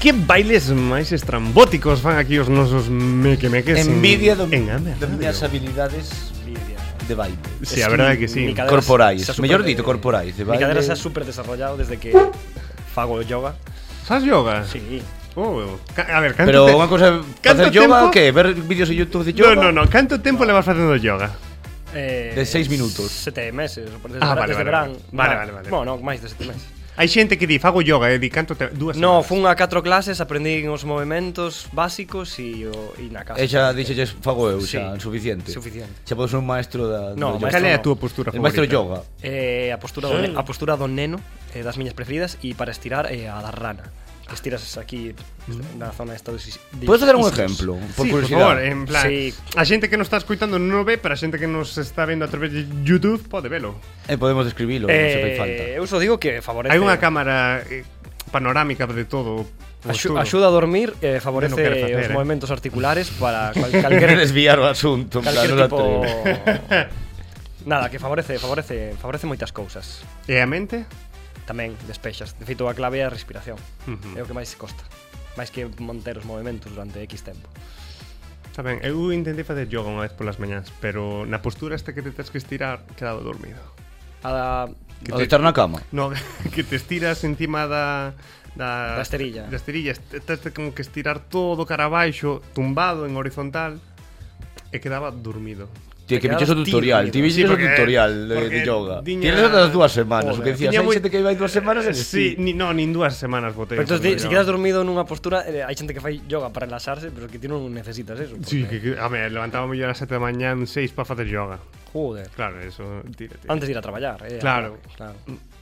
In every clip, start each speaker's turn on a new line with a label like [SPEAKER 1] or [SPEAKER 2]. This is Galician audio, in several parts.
[SPEAKER 1] Que bailes máis estrambóticos fan aquí os nosos mequemeques en-
[SPEAKER 2] Envidia do,
[SPEAKER 1] en Amer.
[SPEAKER 2] das miñas habilidades de baile.
[SPEAKER 1] Sí, a verdade que sí.
[SPEAKER 3] mi cadera
[SPEAKER 2] Corporais,
[SPEAKER 3] se ha super-
[SPEAKER 2] mellor dito corporais, de
[SPEAKER 3] Mi cadera se ha
[SPEAKER 2] baile.
[SPEAKER 3] súper desarrollado desde que fago yoga.
[SPEAKER 1] Fas yoga?
[SPEAKER 3] Sí.
[SPEAKER 1] Oh, ca- a ver, canto
[SPEAKER 2] Pero
[SPEAKER 1] te-
[SPEAKER 2] unha cousa
[SPEAKER 1] Canto
[SPEAKER 2] facer yoga,
[SPEAKER 1] tempo?
[SPEAKER 2] que ver vídeos en YouTube de
[SPEAKER 1] No,
[SPEAKER 2] yoga.
[SPEAKER 1] no, no, canto tempo levas facendo yoga?
[SPEAKER 3] Eh,
[SPEAKER 2] De seis minutos.
[SPEAKER 3] Sete meses. por Desde
[SPEAKER 1] Ah,
[SPEAKER 3] ah,
[SPEAKER 1] vale,
[SPEAKER 3] vale,
[SPEAKER 1] vale,
[SPEAKER 3] desde verán.
[SPEAKER 1] vale. Vale, vale, vale.
[SPEAKER 3] Bueno, non, máis de sete meses.
[SPEAKER 1] Hai xente que di, fago yoga, e di, canto te... dúas
[SPEAKER 3] No,
[SPEAKER 1] semanas".
[SPEAKER 3] fun a catro clases, aprendín os movimentos básicos e o e na casa.
[SPEAKER 2] E xa dixelles fago eu,
[SPEAKER 3] Sí.
[SPEAKER 2] xa, suficiente.
[SPEAKER 3] Suficiente.
[SPEAKER 2] Xa podo ser un maestro da
[SPEAKER 3] No,
[SPEAKER 2] do yoga.
[SPEAKER 1] Cal
[SPEAKER 3] maestro
[SPEAKER 1] é a
[SPEAKER 3] no.
[SPEAKER 1] túa postura
[SPEAKER 2] El maestro
[SPEAKER 1] favorita?
[SPEAKER 2] yoga.
[SPEAKER 3] Eh, a postura do, ne- a postura do neno eh, das miñas preferidas e para estirar eh, a da rana. Que estiras aquí na zona esta dos is- de
[SPEAKER 2] Mm. Podes facer un
[SPEAKER 3] isquios.
[SPEAKER 2] exemplo, por
[SPEAKER 1] sí, por
[SPEAKER 2] curiosidade.
[SPEAKER 1] favor, en plan,
[SPEAKER 3] Sí.
[SPEAKER 1] a xente que nos está escuitando non o ve, pero a xente que nos está vendo a través de YouTube pode velo.
[SPEAKER 2] E podemos describilo, non se fai falta.
[SPEAKER 3] Eh, eu só digo que favorece
[SPEAKER 1] Hai unha cámara eh, panorámica de todo. o
[SPEAKER 3] axu-
[SPEAKER 1] estudo.
[SPEAKER 3] axuda a dormir,
[SPEAKER 1] Non quero
[SPEAKER 3] eh, favorece
[SPEAKER 1] facer,
[SPEAKER 3] os
[SPEAKER 1] eh.
[SPEAKER 3] movimentos articulares para cal,
[SPEAKER 2] Quere
[SPEAKER 3] calquer
[SPEAKER 2] desviar o asunto, en plan, non
[SPEAKER 3] calquer
[SPEAKER 2] la
[SPEAKER 3] tipo
[SPEAKER 2] atrevo.
[SPEAKER 3] Nada, que favorece, favorece, favorece moitas cousas.
[SPEAKER 1] E a mente?
[SPEAKER 3] Tamén despexas. De feito, a clave é a respiración.
[SPEAKER 1] Ujú.
[SPEAKER 3] É o que máis costa. Mais que monter os movimentos durante X tempo.
[SPEAKER 1] Está ben, eu intentei facer yoga unha vez polas mañás, pero na postura esta que te tens que estirar, quedaba dormido.
[SPEAKER 3] A da,
[SPEAKER 1] Que
[SPEAKER 2] O
[SPEAKER 1] te-
[SPEAKER 2] de estar na cama.
[SPEAKER 1] No, que te estiras encima da da,
[SPEAKER 3] Da esterilla.
[SPEAKER 1] Da esterilla, est- tens de como que estirar todo cara abaixo, tumbado en horizontal e quedaba dormido.
[SPEAKER 2] Tío, que
[SPEAKER 3] Te
[SPEAKER 2] viches o
[SPEAKER 3] quedas
[SPEAKER 2] tutorial,
[SPEAKER 3] tímido.
[SPEAKER 2] ti viches
[SPEAKER 1] Sí,
[SPEAKER 2] o
[SPEAKER 1] porque-
[SPEAKER 2] tutorial de,
[SPEAKER 1] porque
[SPEAKER 2] de yoga.
[SPEAKER 1] tiña-
[SPEAKER 2] Tienes outras dúas semanas, o
[SPEAKER 3] Joder.
[SPEAKER 2] que decías,
[SPEAKER 1] Tiña
[SPEAKER 2] hai
[SPEAKER 1] moi-
[SPEAKER 2] xente que vai dúas semanas e
[SPEAKER 1] Sí, ni, no, nin dúas semanas botei.
[SPEAKER 3] Pero entonces,
[SPEAKER 1] facendo
[SPEAKER 3] ti- si
[SPEAKER 1] yoga.
[SPEAKER 3] quedas dormido nunha postura, eh, hai xente que fai yoga para relaxarse, pero que ti non necesitas eso.
[SPEAKER 1] Sí, que,
[SPEAKER 3] porque-
[SPEAKER 1] que a ver, levantaba mellor ás 7 da mañá, 6 para facer yoga.
[SPEAKER 3] Joder.
[SPEAKER 1] Claro, eso, tírate.
[SPEAKER 3] Antes de ir a traballar, eh.
[SPEAKER 1] Claro.
[SPEAKER 3] claro.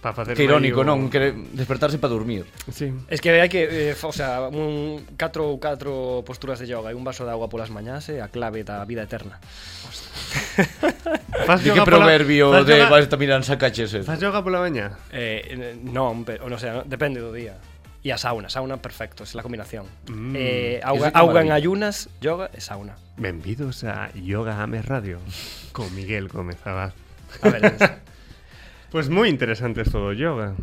[SPEAKER 1] Para facer
[SPEAKER 2] Que irónico,
[SPEAKER 1] medio-
[SPEAKER 2] non? Quere despertarse para dormir.
[SPEAKER 1] Sí.
[SPEAKER 3] Es que hai que, eh, fa- o sea, un 4 ou 4 posturas de yoga e un vaso de agua polas mañás é a clave da vida eterna.
[SPEAKER 1] Fas
[SPEAKER 2] Di
[SPEAKER 1] yoga
[SPEAKER 2] que
[SPEAKER 1] pola-
[SPEAKER 2] proverbio
[SPEAKER 1] fas
[SPEAKER 2] de
[SPEAKER 1] yoga-
[SPEAKER 2] vais a mirar sacaches eh? ese.
[SPEAKER 1] Fas yoga pola mañá?
[SPEAKER 3] Eh, eh, non, pero, non, o sea, depende do día. E a sauna, sauna perfecto, é a combinación.
[SPEAKER 1] Mm,
[SPEAKER 2] eso
[SPEAKER 3] eh,
[SPEAKER 2] que
[SPEAKER 3] auga, auga en
[SPEAKER 2] maravilla.
[SPEAKER 3] ayunas, yoga e sauna.
[SPEAKER 1] Benvidos a Yoga Ames Radio con Miguel Gómez Abad.
[SPEAKER 3] A ver,
[SPEAKER 1] Pues moi interesante esto do yoga.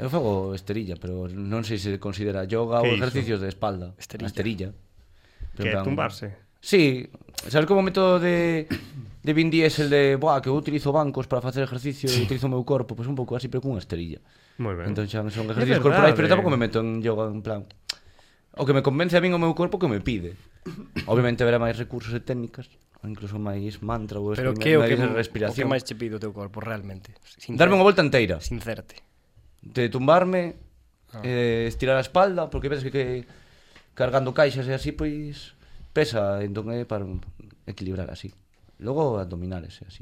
[SPEAKER 2] Eu fago esterilla, pero non sei se considera yoga ou
[SPEAKER 1] Que iso?
[SPEAKER 2] exercicios de espalda.
[SPEAKER 3] Esterilla.
[SPEAKER 2] A Esterilla. Pero
[SPEAKER 1] Que
[SPEAKER 2] en plan-
[SPEAKER 1] tumbarse.
[SPEAKER 2] Sí, sabes como método de de Vin Diesel de, buah, que eu utilizo bancos para facer exercicio e utilizo o meu corpo, pois pues un pouco así pero cunha esterilla.
[SPEAKER 1] Moi ben.
[SPEAKER 2] Entón xa non son
[SPEAKER 1] É
[SPEAKER 2] ejercicios
[SPEAKER 1] verdade.
[SPEAKER 2] corporais, pero tampouco me meto en yoga en plan o que me convence a min o meu corpo que me pide. Obviamente haberá máis recursos e técnicas, ou incluso máis mantra ou
[SPEAKER 3] pero
[SPEAKER 2] experiment-
[SPEAKER 3] que é o que,
[SPEAKER 2] máis
[SPEAKER 3] o que
[SPEAKER 2] respiración.
[SPEAKER 3] máis che pido o teu corpo realmente? Sin
[SPEAKER 2] Darme unha volta enteira.
[SPEAKER 3] Sincerte.
[SPEAKER 2] de tumbarme,
[SPEAKER 1] Ah.
[SPEAKER 2] eh, estirar a espalda, porque ves que, que cargando caixas e así, pois pesa, entón é para equilibrar así. Logo abdominales e así.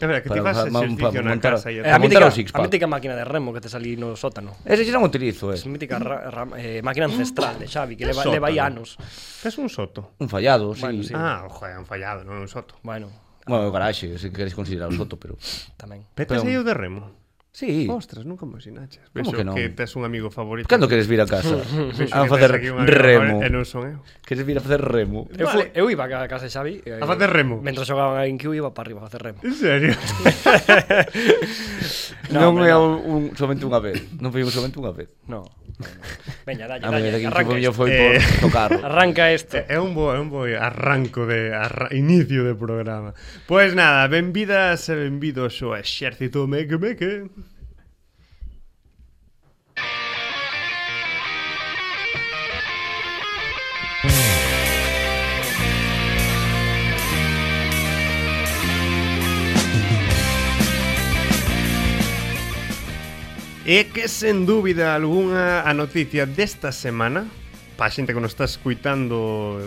[SPEAKER 1] É verdade, que ti
[SPEAKER 2] Para
[SPEAKER 1] fas
[SPEAKER 2] ma- ma-
[SPEAKER 1] exercicio
[SPEAKER 2] pa-
[SPEAKER 1] na
[SPEAKER 2] montar-
[SPEAKER 1] casa e
[SPEAKER 2] Eh,
[SPEAKER 3] Eh,
[SPEAKER 2] Para
[SPEAKER 3] a,
[SPEAKER 2] montar
[SPEAKER 3] mítica,
[SPEAKER 2] o six-pack.
[SPEAKER 3] a mítica máquina de remo que te salí no sótano.
[SPEAKER 2] Ese xa non utilizo, eh. é.
[SPEAKER 3] Es mítica ra, ra- eh, máquina ancestral de Xavi, que leva,
[SPEAKER 1] sótano.
[SPEAKER 3] leva aí anos.
[SPEAKER 1] Tes un soto.
[SPEAKER 2] Un fallado, sí.
[SPEAKER 3] Bueno,
[SPEAKER 2] sí.
[SPEAKER 3] sí.
[SPEAKER 1] Ah, joder, un fallado, non un soto.
[SPEAKER 3] Bueno,
[SPEAKER 2] Bueno, o garaxe, se queres considerar o soto, pero...
[SPEAKER 3] tamén.
[SPEAKER 1] Petas
[SPEAKER 2] Pero-
[SPEAKER 1] aí o de remo.
[SPEAKER 2] Sí,
[SPEAKER 1] Ostras, nunca me sinaches. Vexo
[SPEAKER 2] Como que non?
[SPEAKER 1] que tes un amigo favorito.
[SPEAKER 2] cando queres vir a casa?
[SPEAKER 1] Vexo
[SPEAKER 2] a
[SPEAKER 1] que
[SPEAKER 2] facer
[SPEAKER 1] tes aquí un Eh, amigo
[SPEAKER 2] remo.
[SPEAKER 1] favorito E non son eu.
[SPEAKER 2] Queres vir a facer remo?
[SPEAKER 3] Eu, fu, eu iba a casa de Xavi eh,
[SPEAKER 1] A facer remo.
[SPEAKER 3] Mentre xogaban a GameCube iba para arriba a facer remo
[SPEAKER 1] En serio?
[SPEAKER 2] Non, é
[SPEAKER 3] hombre,
[SPEAKER 2] un, un, somente unha vez. Non foi un somente unha vez.
[SPEAKER 3] No, no, no. Veña, dalle,
[SPEAKER 2] A mí,
[SPEAKER 3] dalle,
[SPEAKER 2] que
[SPEAKER 3] arranca
[SPEAKER 2] foi,
[SPEAKER 3] isto.
[SPEAKER 2] foi
[SPEAKER 1] Eh,
[SPEAKER 2] por tocar.
[SPEAKER 3] Arranca
[SPEAKER 2] Eh,
[SPEAKER 3] isto.
[SPEAKER 1] É un bo, é un bo arranco de arra, inicio de programa. Pois pues nada, benvidas e benvidos ao exército meque meque. E que sen dúbida alguna a noticia desta semana Pa xente que nos está escuitando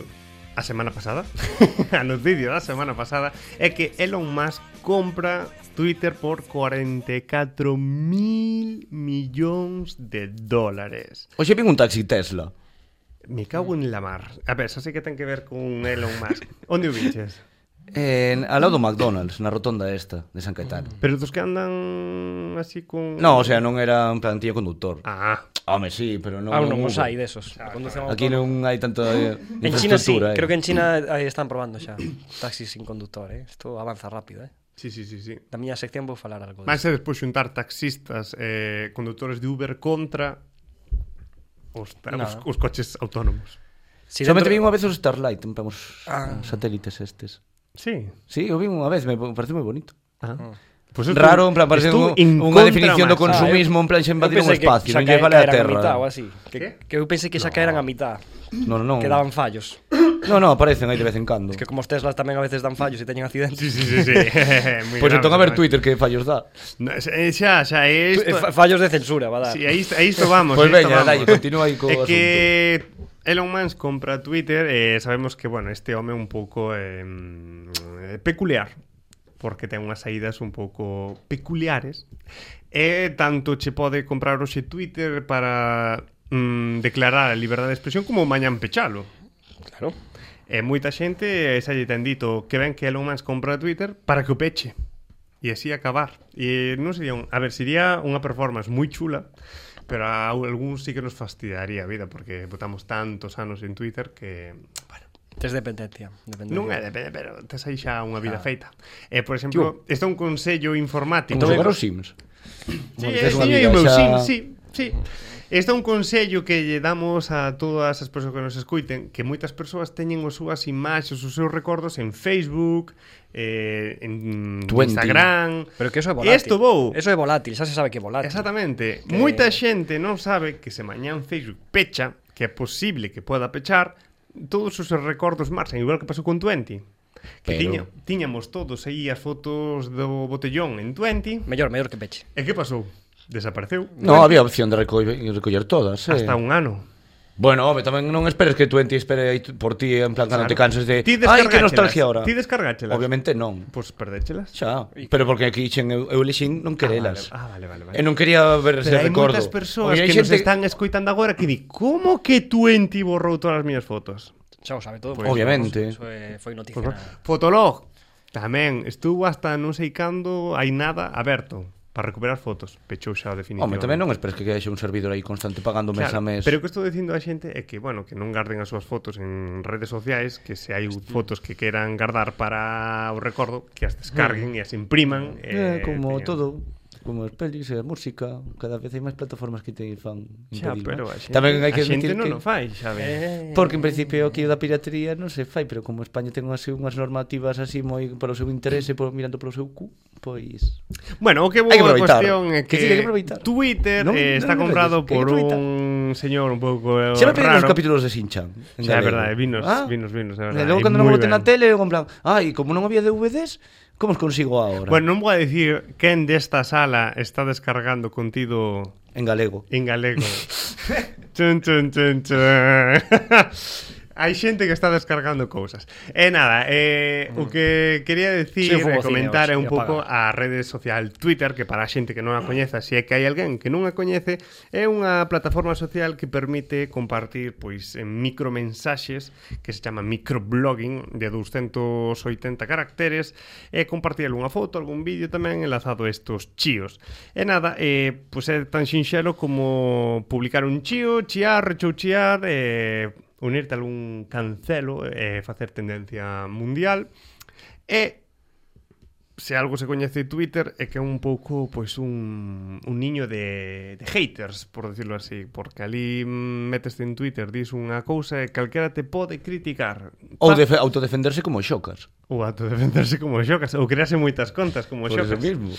[SPEAKER 1] a semana pasada A noticia da semana pasada É que Elon Musk compra Twitter por 44 mil millóns de dólares
[SPEAKER 2] Oxe, vin un taxi Tesla.
[SPEAKER 1] Me cago en la mar A ver, xa sei que ten que ver con Elon Musk Onde o viches?
[SPEAKER 2] Eh, al lado do McDonald's, na rotonda esta de San Caetano.
[SPEAKER 1] Pero dos que andan así con...
[SPEAKER 2] No, o sea, non era en plantilla condutor.
[SPEAKER 1] Ah,
[SPEAKER 2] Home, sí, pero non...
[SPEAKER 3] Ah,
[SPEAKER 2] non
[SPEAKER 3] non, os
[SPEAKER 2] hubo.
[SPEAKER 3] hai desos. Conducen
[SPEAKER 2] Aquí non hai tanto eh,
[SPEAKER 3] En China sí,
[SPEAKER 2] infraestructura, eh.
[SPEAKER 3] creo que en China aí están probando xa taxis sin conductor, eh. Isto avanza rápido, eh.
[SPEAKER 1] sí, sí, sí, sí.
[SPEAKER 3] Da miña sección vou falar algo.
[SPEAKER 1] Vais
[SPEAKER 3] Mas...
[SPEAKER 1] a despois xuntar taxistas e eh, conductores de Uber contra os, tra- os,
[SPEAKER 3] Nada.
[SPEAKER 1] os coches autónomos.
[SPEAKER 3] Si
[SPEAKER 2] Solamente
[SPEAKER 3] dentro-
[SPEAKER 2] vin unha vez os Starlight, vemos
[SPEAKER 3] Ah.
[SPEAKER 2] ah. satélites estes.
[SPEAKER 1] Sí.
[SPEAKER 2] Sí, o vin unha vez, me parece moi bonito.
[SPEAKER 1] Ah. Pues
[SPEAKER 2] Raro, en ¿eh? plan, parece un, unha definición do consumismo, en plan, xa
[SPEAKER 3] Eu
[SPEAKER 2] invadir un
[SPEAKER 3] pensei que
[SPEAKER 2] espacio, non
[SPEAKER 3] xa
[SPEAKER 2] lle
[SPEAKER 3] cae-
[SPEAKER 2] vale a
[SPEAKER 3] caeran
[SPEAKER 2] terra.
[SPEAKER 3] mitad ou así. Que,
[SPEAKER 1] ¿Qué?
[SPEAKER 3] que eu pensei que xa caeran a mitad,
[SPEAKER 2] Non, non,
[SPEAKER 3] que daban fallos.
[SPEAKER 2] non, non, aparecen aí de vez en cando.
[SPEAKER 3] Es que como os Teslas tamén a veces dan fallos e teñen accidentes.
[SPEAKER 1] Sí, sí, sí, sí. Moi
[SPEAKER 2] Pois
[SPEAKER 1] grave,
[SPEAKER 2] entón a ver
[SPEAKER 1] moi-
[SPEAKER 2] Twitter que fallos dá.
[SPEAKER 1] No, eh, xa, xa, é
[SPEAKER 3] Eh,
[SPEAKER 1] isto...
[SPEAKER 3] fa- Fallos de censura, va a dar.
[SPEAKER 1] Sí, aí, aí isto vamos.
[SPEAKER 2] Pois
[SPEAKER 1] aí isto
[SPEAKER 2] veña,
[SPEAKER 1] vamos.
[SPEAKER 2] dai, continúa aí co
[SPEAKER 1] É que Elon Musk compra Twitter e eh, sabemos que, bueno, este home un pouco eh, mm, peculiar porque ten unhas saídas un pouco peculiares e tanto che pode comprar hoxe Twitter para mm, declarar a liberdade de expresión como mañan pechalo
[SPEAKER 3] Claro.
[SPEAKER 1] e moita xente eh, xa lle ten dito que ven que Elon Musk compra Twitter para que o peche e así acabar e non sería un, a ver, sería unha performance moi chula pero a algúns sí que nos fastidaría a vida porque botamos tantos anos en Twitter que bueno,
[SPEAKER 3] Tes dependencia. dependencia.
[SPEAKER 1] non é de pena, pero tes aí xa unha vida feita e por exemplo, está un consello informático
[SPEAKER 2] Como xogar os Sims.
[SPEAKER 1] Sí,
[SPEAKER 2] Bueno,
[SPEAKER 1] é,
[SPEAKER 2] tes unha
[SPEAKER 1] sí, é
[SPEAKER 2] vida
[SPEAKER 1] o meu
[SPEAKER 2] xa-
[SPEAKER 1] sim, sí, sí. Este é un consello que lle damos a todas as persoas que nos escuiten que moitas persoas teñen as súas imaxes, os seus recordos en Facebook, eh, en
[SPEAKER 2] Twenty.
[SPEAKER 1] Instagram...
[SPEAKER 3] Pero que eso é volátil.
[SPEAKER 1] Esto vou.
[SPEAKER 3] Eso é volátil, xa se sabe que é volátil.
[SPEAKER 1] Exactamente.
[SPEAKER 3] Que-
[SPEAKER 1] Moita xente non sabe que se mañán Facebook pecha, que é posible que poda pechar, todos os seus recordos marxan, igual que pasou con 20. Que
[SPEAKER 2] Pero-
[SPEAKER 1] tiña, tiñamos todos aí as fotos do botellón en 20.
[SPEAKER 3] Mellor, mellor que peche.
[SPEAKER 1] E que pasou? Desapareceu.
[SPEAKER 2] Non, había opción de recoller, recoller todas, eh.
[SPEAKER 1] Hasta un ano.
[SPEAKER 2] Bueno, home, tamén non esperes que Twenty espere aí por ti, eh, en plan, cando
[SPEAKER 1] Claro.
[SPEAKER 2] te canses de...
[SPEAKER 1] Ti
[SPEAKER 2] Ai, que
[SPEAKER 1] descargáchelas.
[SPEAKER 2] nostalgia ahora.
[SPEAKER 1] Ti descargáchelas.
[SPEAKER 2] Obviamente non.
[SPEAKER 1] Pois perdéchelas.
[SPEAKER 2] Xa, pero porque aquí xen eu, eu lixín non querelas.
[SPEAKER 1] Ah, vale, vale, vale.
[SPEAKER 2] E non quería ver ese
[SPEAKER 1] Pero hai
[SPEAKER 2] recordo.
[SPEAKER 1] moitas persoas
[SPEAKER 2] Porque hai
[SPEAKER 1] que nos están escoitando agora que di Como que Twenty borrou todas as miñas fotos?
[SPEAKER 3] Xa o sabe todo.
[SPEAKER 2] Pues, Obviamente.
[SPEAKER 3] Eso, é- foi noticia.
[SPEAKER 1] Por
[SPEAKER 3] Pues,
[SPEAKER 1] favor. Fotolog Tamén Estuvo hasta non sei cando Hai nada aberto Para recuperar fotos Pechou xa definitivamente
[SPEAKER 2] Home, tamén non esperes que haxe un servidor aí constante pagando mes
[SPEAKER 1] Claro,
[SPEAKER 2] a mes.
[SPEAKER 1] Pero o que estou dicindo a xente é que, bueno, que non garden as súas fotos en redes sociais, que se hai fotos que queran gardar para o recordo, que as descarguen e as impriman.
[SPEAKER 2] Mm. Eh, como
[SPEAKER 1] teñan-
[SPEAKER 2] todo, como as pelis e a música, cada vez hai máis plataformas que te fan
[SPEAKER 1] Xa,
[SPEAKER 2] impedir.
[SPEAKER 1] pero a
[SPEAKER 2] non?
[SPEAKER 1] xente,
[SPEAKER 2] Tamén hai que
[SPEAKER 1] a xente
[SPEAKER 2] admitir
[SPEAKER 1] non
[SPEAKER 2] que
[SPEAKER 1] o fai, xa
[SPEAKER 3] Eh.
[SPEAKER 1] ven.
[SPEAKER 2] Porque en principio aquí o da piratería non se fai, pero como España ten así unhas normativas así moi para o seu interese, por, mirando polo seu cu, pois...
[SPEAKER 1] Bueno, o que boa
[SPEAKER 2] Hai que aproveitar.
[SPEAKER 1] cuestión é que,
[SPEAKER 2] Que sí, hai que aproveitar.
[SPEAKER 1] Twitter
[SPEAKER 2] Non-
[SPEAKER 1] eh,
[SPEAKER 2] non
[SPEAKER 1] está
[SPEAKER 2] me
[SPEAKER 1] comprado
[SPEAKER 2] rayes, que hai
[SPEAKER 1] por
[SPEAKER 2] que aproveitar.
[SPEAKER 1] un señor un pouco eh,
[SPEAKER 2] Xa me pedín
[SPEAKER 1] raro.
[SPEAKER 2] os capítulos de Sinchan.
[SPEAKER 1] Xa, é verdade, vinos, vinos, vinos, é verdade,
[SPEAKER 2] Ah, E logo
[SPEAKER 1] e
[SPEAKER 2] cando non
[SPEAKER 1] moi
[SPEAKER 2] o boten
[SPEAKER 1] ben.
[SPEAKER 2] na tele, eu en plan, ai, como non había DVDs, como os consigo agora?
[SPEAKER 1] Bueno, non vou a dicir quen desta sala está descargando contido
[SPEAKER 2] En galego.
[SPEAKER 1] en galego. chun, chun, chun, chun. Hai xente que está descargando cousas. E nada, eh,
[SPEAKER 2] Mm.
[SPEAKER 1] o que quería decir
[SPEAKER 3] Sí,
[SPEAKER 1] e
[SPEAKER 3] fomos
[SPEAKER 1] comentar é
[SPEAKER 3] cineos,
[SPEAKER 1] un
[SPEAKER 3] e
[SPEAKER 1] pouco a
[SPEAKER 3] apaga.
[SPEAKER 1] rede social Twitter, que para a xente que non a coñeza, se é que hai alguén que non a coñece, é unha plataforma social que permite compartir pois eh, micromensaxes que se chama microblogging de 280 caracteres e compartir algunha foto, algún vídeo tamén enlazado a estos chíos. E nada, eh, pois é tan sinxelo como publicar un chío, chiar, rechouchear, eh, unirte a algún cancelo e eh, facer tendencia mundial. E se algo se coñece Twitter é que é un pouco pois un, un niño de, de haters, por decirlo así, porque ali mm, meteste en Twitter, dis unha cousa e calquera te pode criticar. Pa-
[SPEAKER 2] Ou defe- autodefenderse como xocas.
[SPEAKER 1] ou autodefenderse como xocas, ou crearse moitas contas como
[SPEAKER 2] Por
[SPEAKER 1] xocas.
[SPEAKER 2] eso mismo.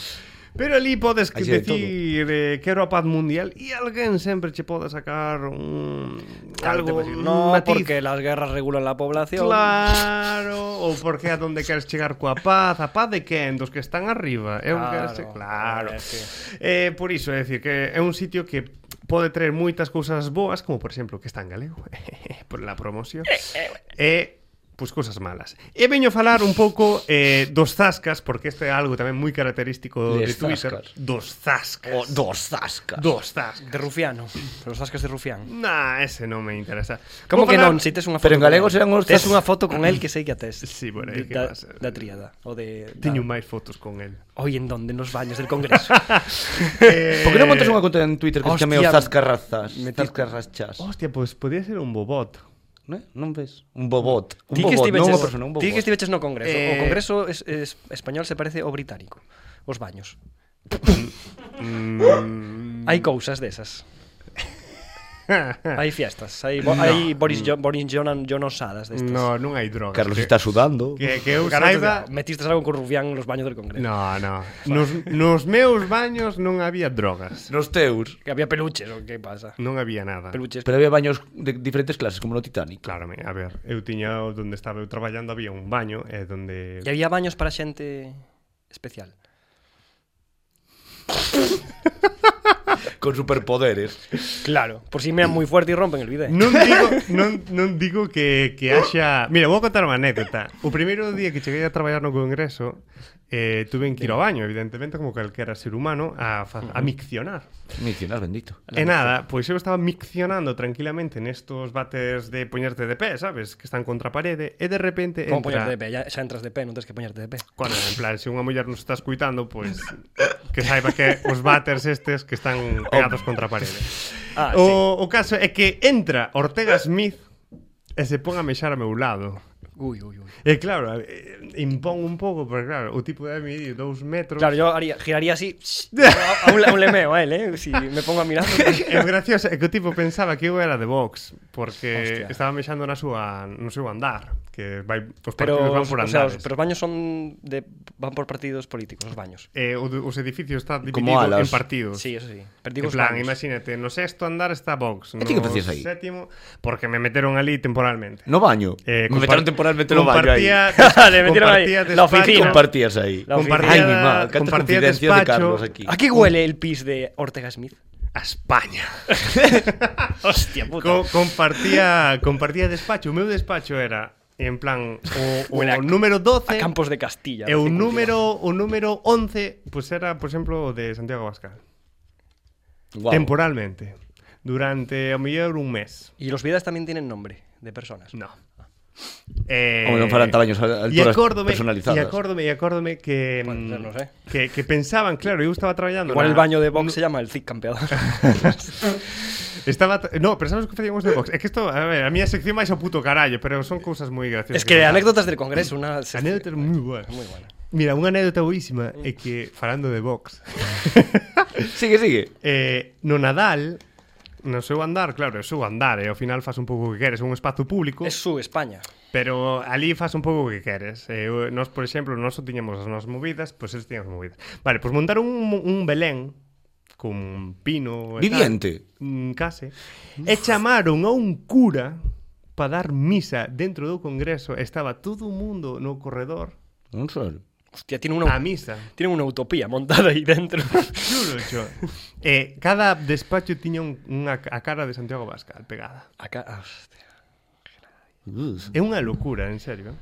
[SPEAKER 1] Pero ali podes
[SPEAKER 2] Así de
[SPEAKER 1] decir eh, quero a paz mundial e alguén sempre che pode sacar un algo, un
[SPEAKER 3] no,
[SPEAKER 1] matiz.
[SPEAKER 3] porque las guerras regulan la población.
[SPEAKER 1] Claro, ou porque a donde queres chegar coa paz, a paz de quen, dos que están arriba. Eu claro,
[SPEAKER 3] Claro,
[SPEAKER 1] quero che- claro.
[SPEAKER 3] é que-
[SPEAKER 1] Eh, por iso, é dicir que é un sitio que pode traer moitas cousas boas, como por exemplo que está en galego, por la promoción. E pois cousas malas. E veño falar un pouco eh, dos zascas, porque isto é algo tamén moi característico de
[SPEAKER 2] Les
[SPEAKER 1] Twitter.
[SPEAKER 2] zascas.
[SPEAKER 1] Dos zascas.
[SPEAKER 2] O dos zascas.
[SPEAKER 1] Dos zascas.
[SPEAKER 3] De rufiano. Los ascas de rufián.
[SPEAKER 1] Nah, ese non me interesa.
[SPEAKER 3] Como
[SPEAKER 1] Vou
[SPEAKER 3] que
[SPEAKER 1] falar-
[SPEAKER 3] non? Si tes unha foto
[SPEAKER 2] Pero en
[SPEAKER 3] con
[SPEAKER 2] galego
[SPEAKER 3] el.
[SPEAKER 2] serán os
[SPEAKER 3] Tes
[SPEAKER 2] zas-
[SPEAKER 3] unha foto con el que sei que a tes.
[SPEAKER 1] Sí, bueno, é que
[SPEAKER 3] da,
[SPEAKER 1] vas a-
[SPEAKER 3] da tríada. O de... da-
[SPEAKER 1] Teño máis fotos con el.
[SPEAKER 3] Hoy en donde? Nos baños del Congreso.
[SPEAKER 1] Eh,
[SPEAKER 2] Por que non montas unha conta en Twitter que se chame os
[SPEAKER 3] Hostia,
[SPEAKER 2] zascarrazas?
[SPEAKER 3] metí-
[SPEAKER 2] Zascarrachas.
[SPEAKER 1] Hostia, pois pues, podía ser un bobot.
[SPEAKER 2] Non, non ves? Un bobot. Un
[SPEAKER 3] Ti
[SPEAKER 2] bobot,
[SPEAKER 3] que
[SPEAKER 2] non unha
[SPEAKER 3] estiveches-
[SPEAKER 2] persona, un
[SPEAKER 3] Ti que
[SPEAKER 2] bobot.
[SPEAKER 3] estiveches no Congreso.
[SPEAKER 1] Eh,
[SPEAKER 3] O Congreso es, es, español se parece ao británico. Os baños.
[SPEAKER 1] Mm,
[SPEAKER 3] Hai cousas desas. hai fiestas, hai, bo, hai Boris, jo, Boris Jonan Jonosadas destas.
[SPEAKER 1] no, non hai drogas.
[SPEAKER 2] Carlos
[SPEAKER 1] Que-
[SPEAKER 2] está sudando.
[SPEAKER 1] Que, que eu
[SPEAKER 3] Caralho,
[SPEAKER 1] saiba...
[SPEAKER 3] metistes "Ah, algo con Rubián nos baños del Congreso.
[SPEAKER 1] No, no. Nos, nos meus baños non había drogas.
[SPEAKER 2] Nos teus.
[SPEAKER 3] Que había peluches, o que pasa?
[SPEAKER 1] Non había nada.
[SPEAKER 3] Peluches.
[SPEAKER 2] Pero había baños de diferentes clases, como no Titanic.
[SPEAKER 1] Claro, me- a ver, eu tiña o- onde estaba eu traballando había un baño e eh, donde
[SPEAKER 3] E había baños para xente especial.
[SPEAKER 2] Con superpoderes.
[SPEAKER 3] Claro, por si mean moi fuerte e rompen el bidé.
[SPEAKER 1] Non digo, non, non digo que, que haxa... Mira, vou contar unha anécdota. O primeiro día que cheguei a traballar no Congreso, eh, tuve que ir ao baño, evidentemente, como calquera ser humano, a, fa- a miccionar.
[SPEAKER 2] Micionas, bendito.
[SPEAKER 1] E nada, pois eu estaba miccionando tranquilamente nestos bates de poñerte de pé, sabes? Que están contra a parede e de repente
[SPEAKER 3] Como
[SPEAKER 1] entra...
[SPEAKER 3] poñerte de pé, ya, xa entras de pé, non tens que poñerte de pé.
[SPEAKER 1] Bueno, en plan, se unha muller nos está escuitando, pois que saiba que os batters estes que están pegados contra a parede.
[SPEAKER 3] Ah,
[SPEAKER 1] o, o caso é que entra Ortega Smith e se pon a mexar a meu lado.
[SPEAKER 3] Ui, ui, ui.
[SPEAKER 1] E claro, eh, impón un pouco, porque claro, o tipo de medir dous metros.
[SPEAKER 3] Claro, yo haría, giraría así a un, a un lemeo a él, eh? Si me pongo a mirar.
[SPEAKER 1] E o gracioso é que o tipo pensaba que eu era de Vox Porque
[SPEAKER 3] Hostia.
[SPEAKER 1] estaba mexando na súa, no seu andar Que vai, os partidos
[SPEAKER 3] Pero,
[SPEAKER 1] van
[SPEAKER 3] os-
[SPEAKER 1] por
[SPEAKER 3] o sea,
[SPEAKER 1] andares
[SPEAKER 3] os, pero os baños son de van por partidos políticos, os baños.
[SPEAKER 1] eh, o, de- os edificios está
[SPEAKER 2] Como
[SPEAKER 1] dividido
[SPEAKER 2] alas.
[SPEAKER 1] en partidos
[SPEAKER 3] Sí, eso sí. Pero digo
[SPEAKER 1] Pues En
[SPEAKER 3] os
[SPEAKER 1] plan,
[SPEAKER 3] baños.
[SPEAKER 1] imagínate, no sexto andar está Vox No
[SPEAKER 2] ti que facías aí?
[SPEAKER 1] sétimo Porque me meteron ali temporalmente
[SPEAKER 2] No baño.
[SPEAKER 1] Eh,
[SPEAKER 2] me
[SPEAKER 1] compa-
[SPEAKER 2] metieron temporalmente no baño ahí.
[SPEAKER 1] compartía,
[SPEAKER 3] Le metieron ahí
[SPEAKER 1] compartía
[SPEAKER 3] la
[SPEAKER 1] despacho-
[SPEAKER 3] oficina.
[SPEAKER 2] Compartías ahí.
[SPEAKER 3] La oficina.
[SPEAKER 1] Compartía,
[SPEAKER 2] Ay, mi madre, cuántas
[SPEAKER 1] compartía
[SPEAKER 2] confidencias de
[SPEAKER 1] despacho
[SPEAKER 2] Carlos aquí.
[SPEAKER 3] ¿A qué huele el pis de Ortega Smith?
[SPEAKER 1] a España
[SPEAKER 3] Hostia puta.
[SPEAKER 1] Co compartía compartía despacho, o meu despacho era en plan o, o
[SPEAKER 3] Huele a-
[SPEAKER 1] número 12
[SPEAKER 3] a Campos de Castilla.
[SPEAKER 1] e o
[SPEAKER 3] recién
[SPEAKER 1] número o número 11 pues era, por exemplo, o de Santiago Abascal.
[SPEAKER 2] Guau.
[SPEAKER 1] Temporalmente, durante a mellor un mes.
[SPEAKER 3] cultivado. Y los vidas también tienen nombre de personas.
[SPEAKER 1] No. Eh,
[SPEAKER 2] Hombre, non farán tamaños
[SPEAKER 1] e
[SPEAKER 2] al- alturas
[SPEAKER 1] acórdome, e
[SPEAKER 2] personalizadas.
[SPEAKER 1] acórdome, e acórdome que,
[SPEAKER 3] Puede
[SPEAKER 1] mm,
[SPEAKER 3] ser, non sei.
[SPEAKER 1] que que pensaban, claro, eu estaba traballando
[SPEAKER 3] Igual
[SPEAKER 1] na-
[SPEAKER 3] el baño de Vox se llama el Cid campeador.
[SPEAKER 1] Estaba, tra- no, pensamos que facíamos de box. É que isto, a ver, a miña sección máis ao puto carallo, pero son cousas moi graciosas.
[SPEAKER 3] es que
[SPEAKER 1] me pasan.
[SPEAKER 3] anécdotas del Congreso, una se-
[SPEAKER 1] Anécdotas moi boas.
[SPEAKER 3] muy buena.
[SPEAKER 1] Mira, unha anécdota boísima é que, falando de box,
[SPEAKER 2] Sigue, sigue.
[SPEAKER 1] eh, no Nadal, no seu andar, claro, é o seu andar, e ao final fas un pouco o que queres, é un espazo público,
[SPEAKER 3] Es su España.
[SPEAKER 1] pero ali fas un pouco o que queres. Eh, o- nós, por exemplo, nós só tiñamos as nosas movidas, pois eles tiñan as movidas. Vale, pois montaron un, un Belén con pino e tal.
[SPEAKER 2] Viviente.
[SPEAKER 1] Mm, case. E chamaron a un cura para dar misa dentro do congreso, estaba todo o mundo no corredor
[SPEAKER 2] Un sol.
[SPEAKER 3] Hostia, tiene
[SPEAKER 1] a
[SPEAKER 3] una,
[SPEAKER 1] misa.
[SPEAKER 3] tiene una utopía montada ahí dentro.
[SPEAKER 1] Juro, cho. Eh, cada despacho tiña un, unha ca- a cara de Santiago Bascal pegada.
[SPEAKER 3] Acá, ah, hostia.
[SPEAKER 2] Uf,
[SPEAKER 1] É unha locura, en serio.